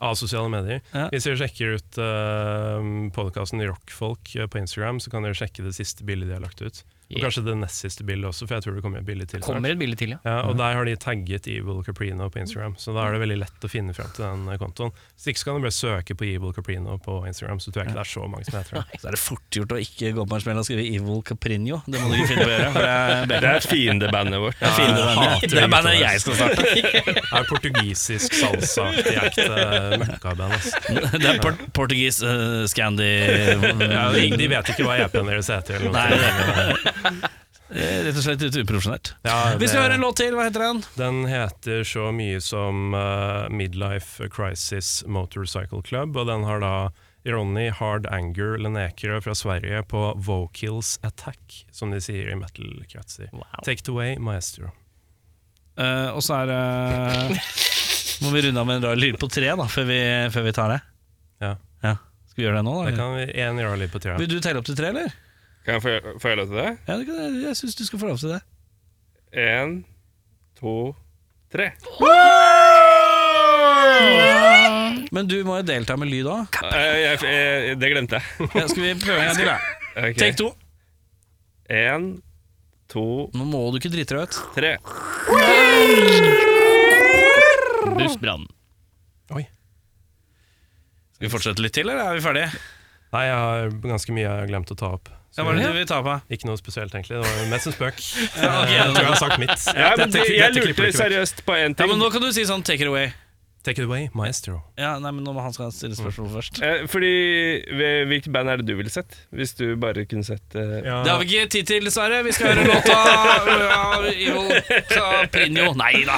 Speaker 7: av sosiale medier.
Speaker 2: Ja.
Speaker 7: Hvis dere sjekker ut uh, podkasten Rockfolk eh, på Instagram, så kan dere sjekke det siste bildet de har lagt ut. Og
Speaker 3: Yeah.
Speaker 7: kanskje det nest siste bildet også, for jeg tror det kommer et bilde til. snart.
Speaker 3: Kommer et bilde til, ja.
Speaker 2: Mm.
Speaker 7: Ja, og der har de tagget Evil Caprino på Instagram, så da er det veldig lett å finne fram til den eh, kontoen. Hvis ikke så kan du bare søke på Evil Caprino på Instagram, så tror jeg ikke det er så mange som
Speaker 2: [LAUGHS]
Speaker 7: heter det.
Speaker 2: Så er det fort gjort å ikke gå på en smell og skrive Evil Caprinio. Det må du ikke finne på å gjøre. For det er
Speaker 8: Det er fiendebandet vårt.
Speaker 2: jeg finner den. Det er bandet jeg skal starte.
Speaker 7: Det er portugisisk salsa-aktig ekte møkkaband. altså. ass.
Speaker 2: Det er port portugis eh, Scandi
Speaker 7: Ja, de, de vet ikke hva EP-en deres heter. Eller
Speaker 2: Nei,
Speaker 7: noe.
Speaker 2: det er rett og slett litt uprofesjonelt.
Speaker 7: Ja,
Speaker 2: Vi skal
Speaker 7: det-
Speaker 2: høre en låt til. Hva heter den?
Speaker 7: Den heter så mye som eh, Midlife Crisis Motorcycle Club, og den har da Ronny Hard Anger Lenekerø fra Sverige på Vocals Attack, som de sier i metal-kretser. Take it away, maestro.
Speaker 2: Eh, og så er det Må vi runde av med en rar lyd på tre, da, før vi, før vi tar det?
Speaker 7: Ja.
Speaker 2: Skal vi gjøre det nå,
Speaker 7: Det
Speaker 2: da?
Speaker 7: kan vi en gjøre litt på trea.
Speaker 2: Vil du telle opp til tre, eller?
Speaker 8: Kan jeg få- få lov til det?
Speaker 2: Ja, det kan, jeg syns du skal få lov til det.
Speaker 8: Én, to, tre.
Speaker 2: Men du må jo delta med lyd òg.
Speaker 8: Eh, jeg, jeg, det glemte jeg.
Speaker 2: Ja, skal vi prøve en gang til, da?
Speaker 8: Ok.
Speaker 2: Take to.
Speaker 8: Én, to,
Speaker 2: Nå må du ikke drite deg ut.
Speaker 8: tre.
Speaker 3: Bussbrann.
Speaker 2: Skal vi fortsette litt til, eller er vi ferdige?
Speaker 7: Nei, jeg har ganske mye jeg har glemt å ta opp.
Speaker 2: Ja, hva er det du vil ta på?
Speaker 7: Ikke noe spesielt, egentlig. Det var mest en spøk. Jeg tror jeg har sagt mitt.
Speaker 8: Ja, men
Speaker 7: Dette-
Speaker 8: det,
Speaker 7: dette
Speaker 8: jeg
Speaker 7: klipper du
Speaker 8: lurte
Speaker 7: ikke vekk.
Speaker 8: seriøst på én
Speaker 2: Ja,
Speaker 8: ting.
Speaker 2: men Nå kan du si sånn 'take it away'.
Speaker 7: Take it away, maestro.
Speaker 2: Ja, nei, men Nå må han skal stille spørsmål først.
Speaker 8: Eh, Fordi hvil- Hvilket band er det du ville sett? Hvis du bare kunne sett eh,
Speaker 7: Ja,
Speaker 2: Det har vi ikke tid [LAUGHS] øh, til, dessverre. Vi skal høre låta av Evil Capinio. Nei da.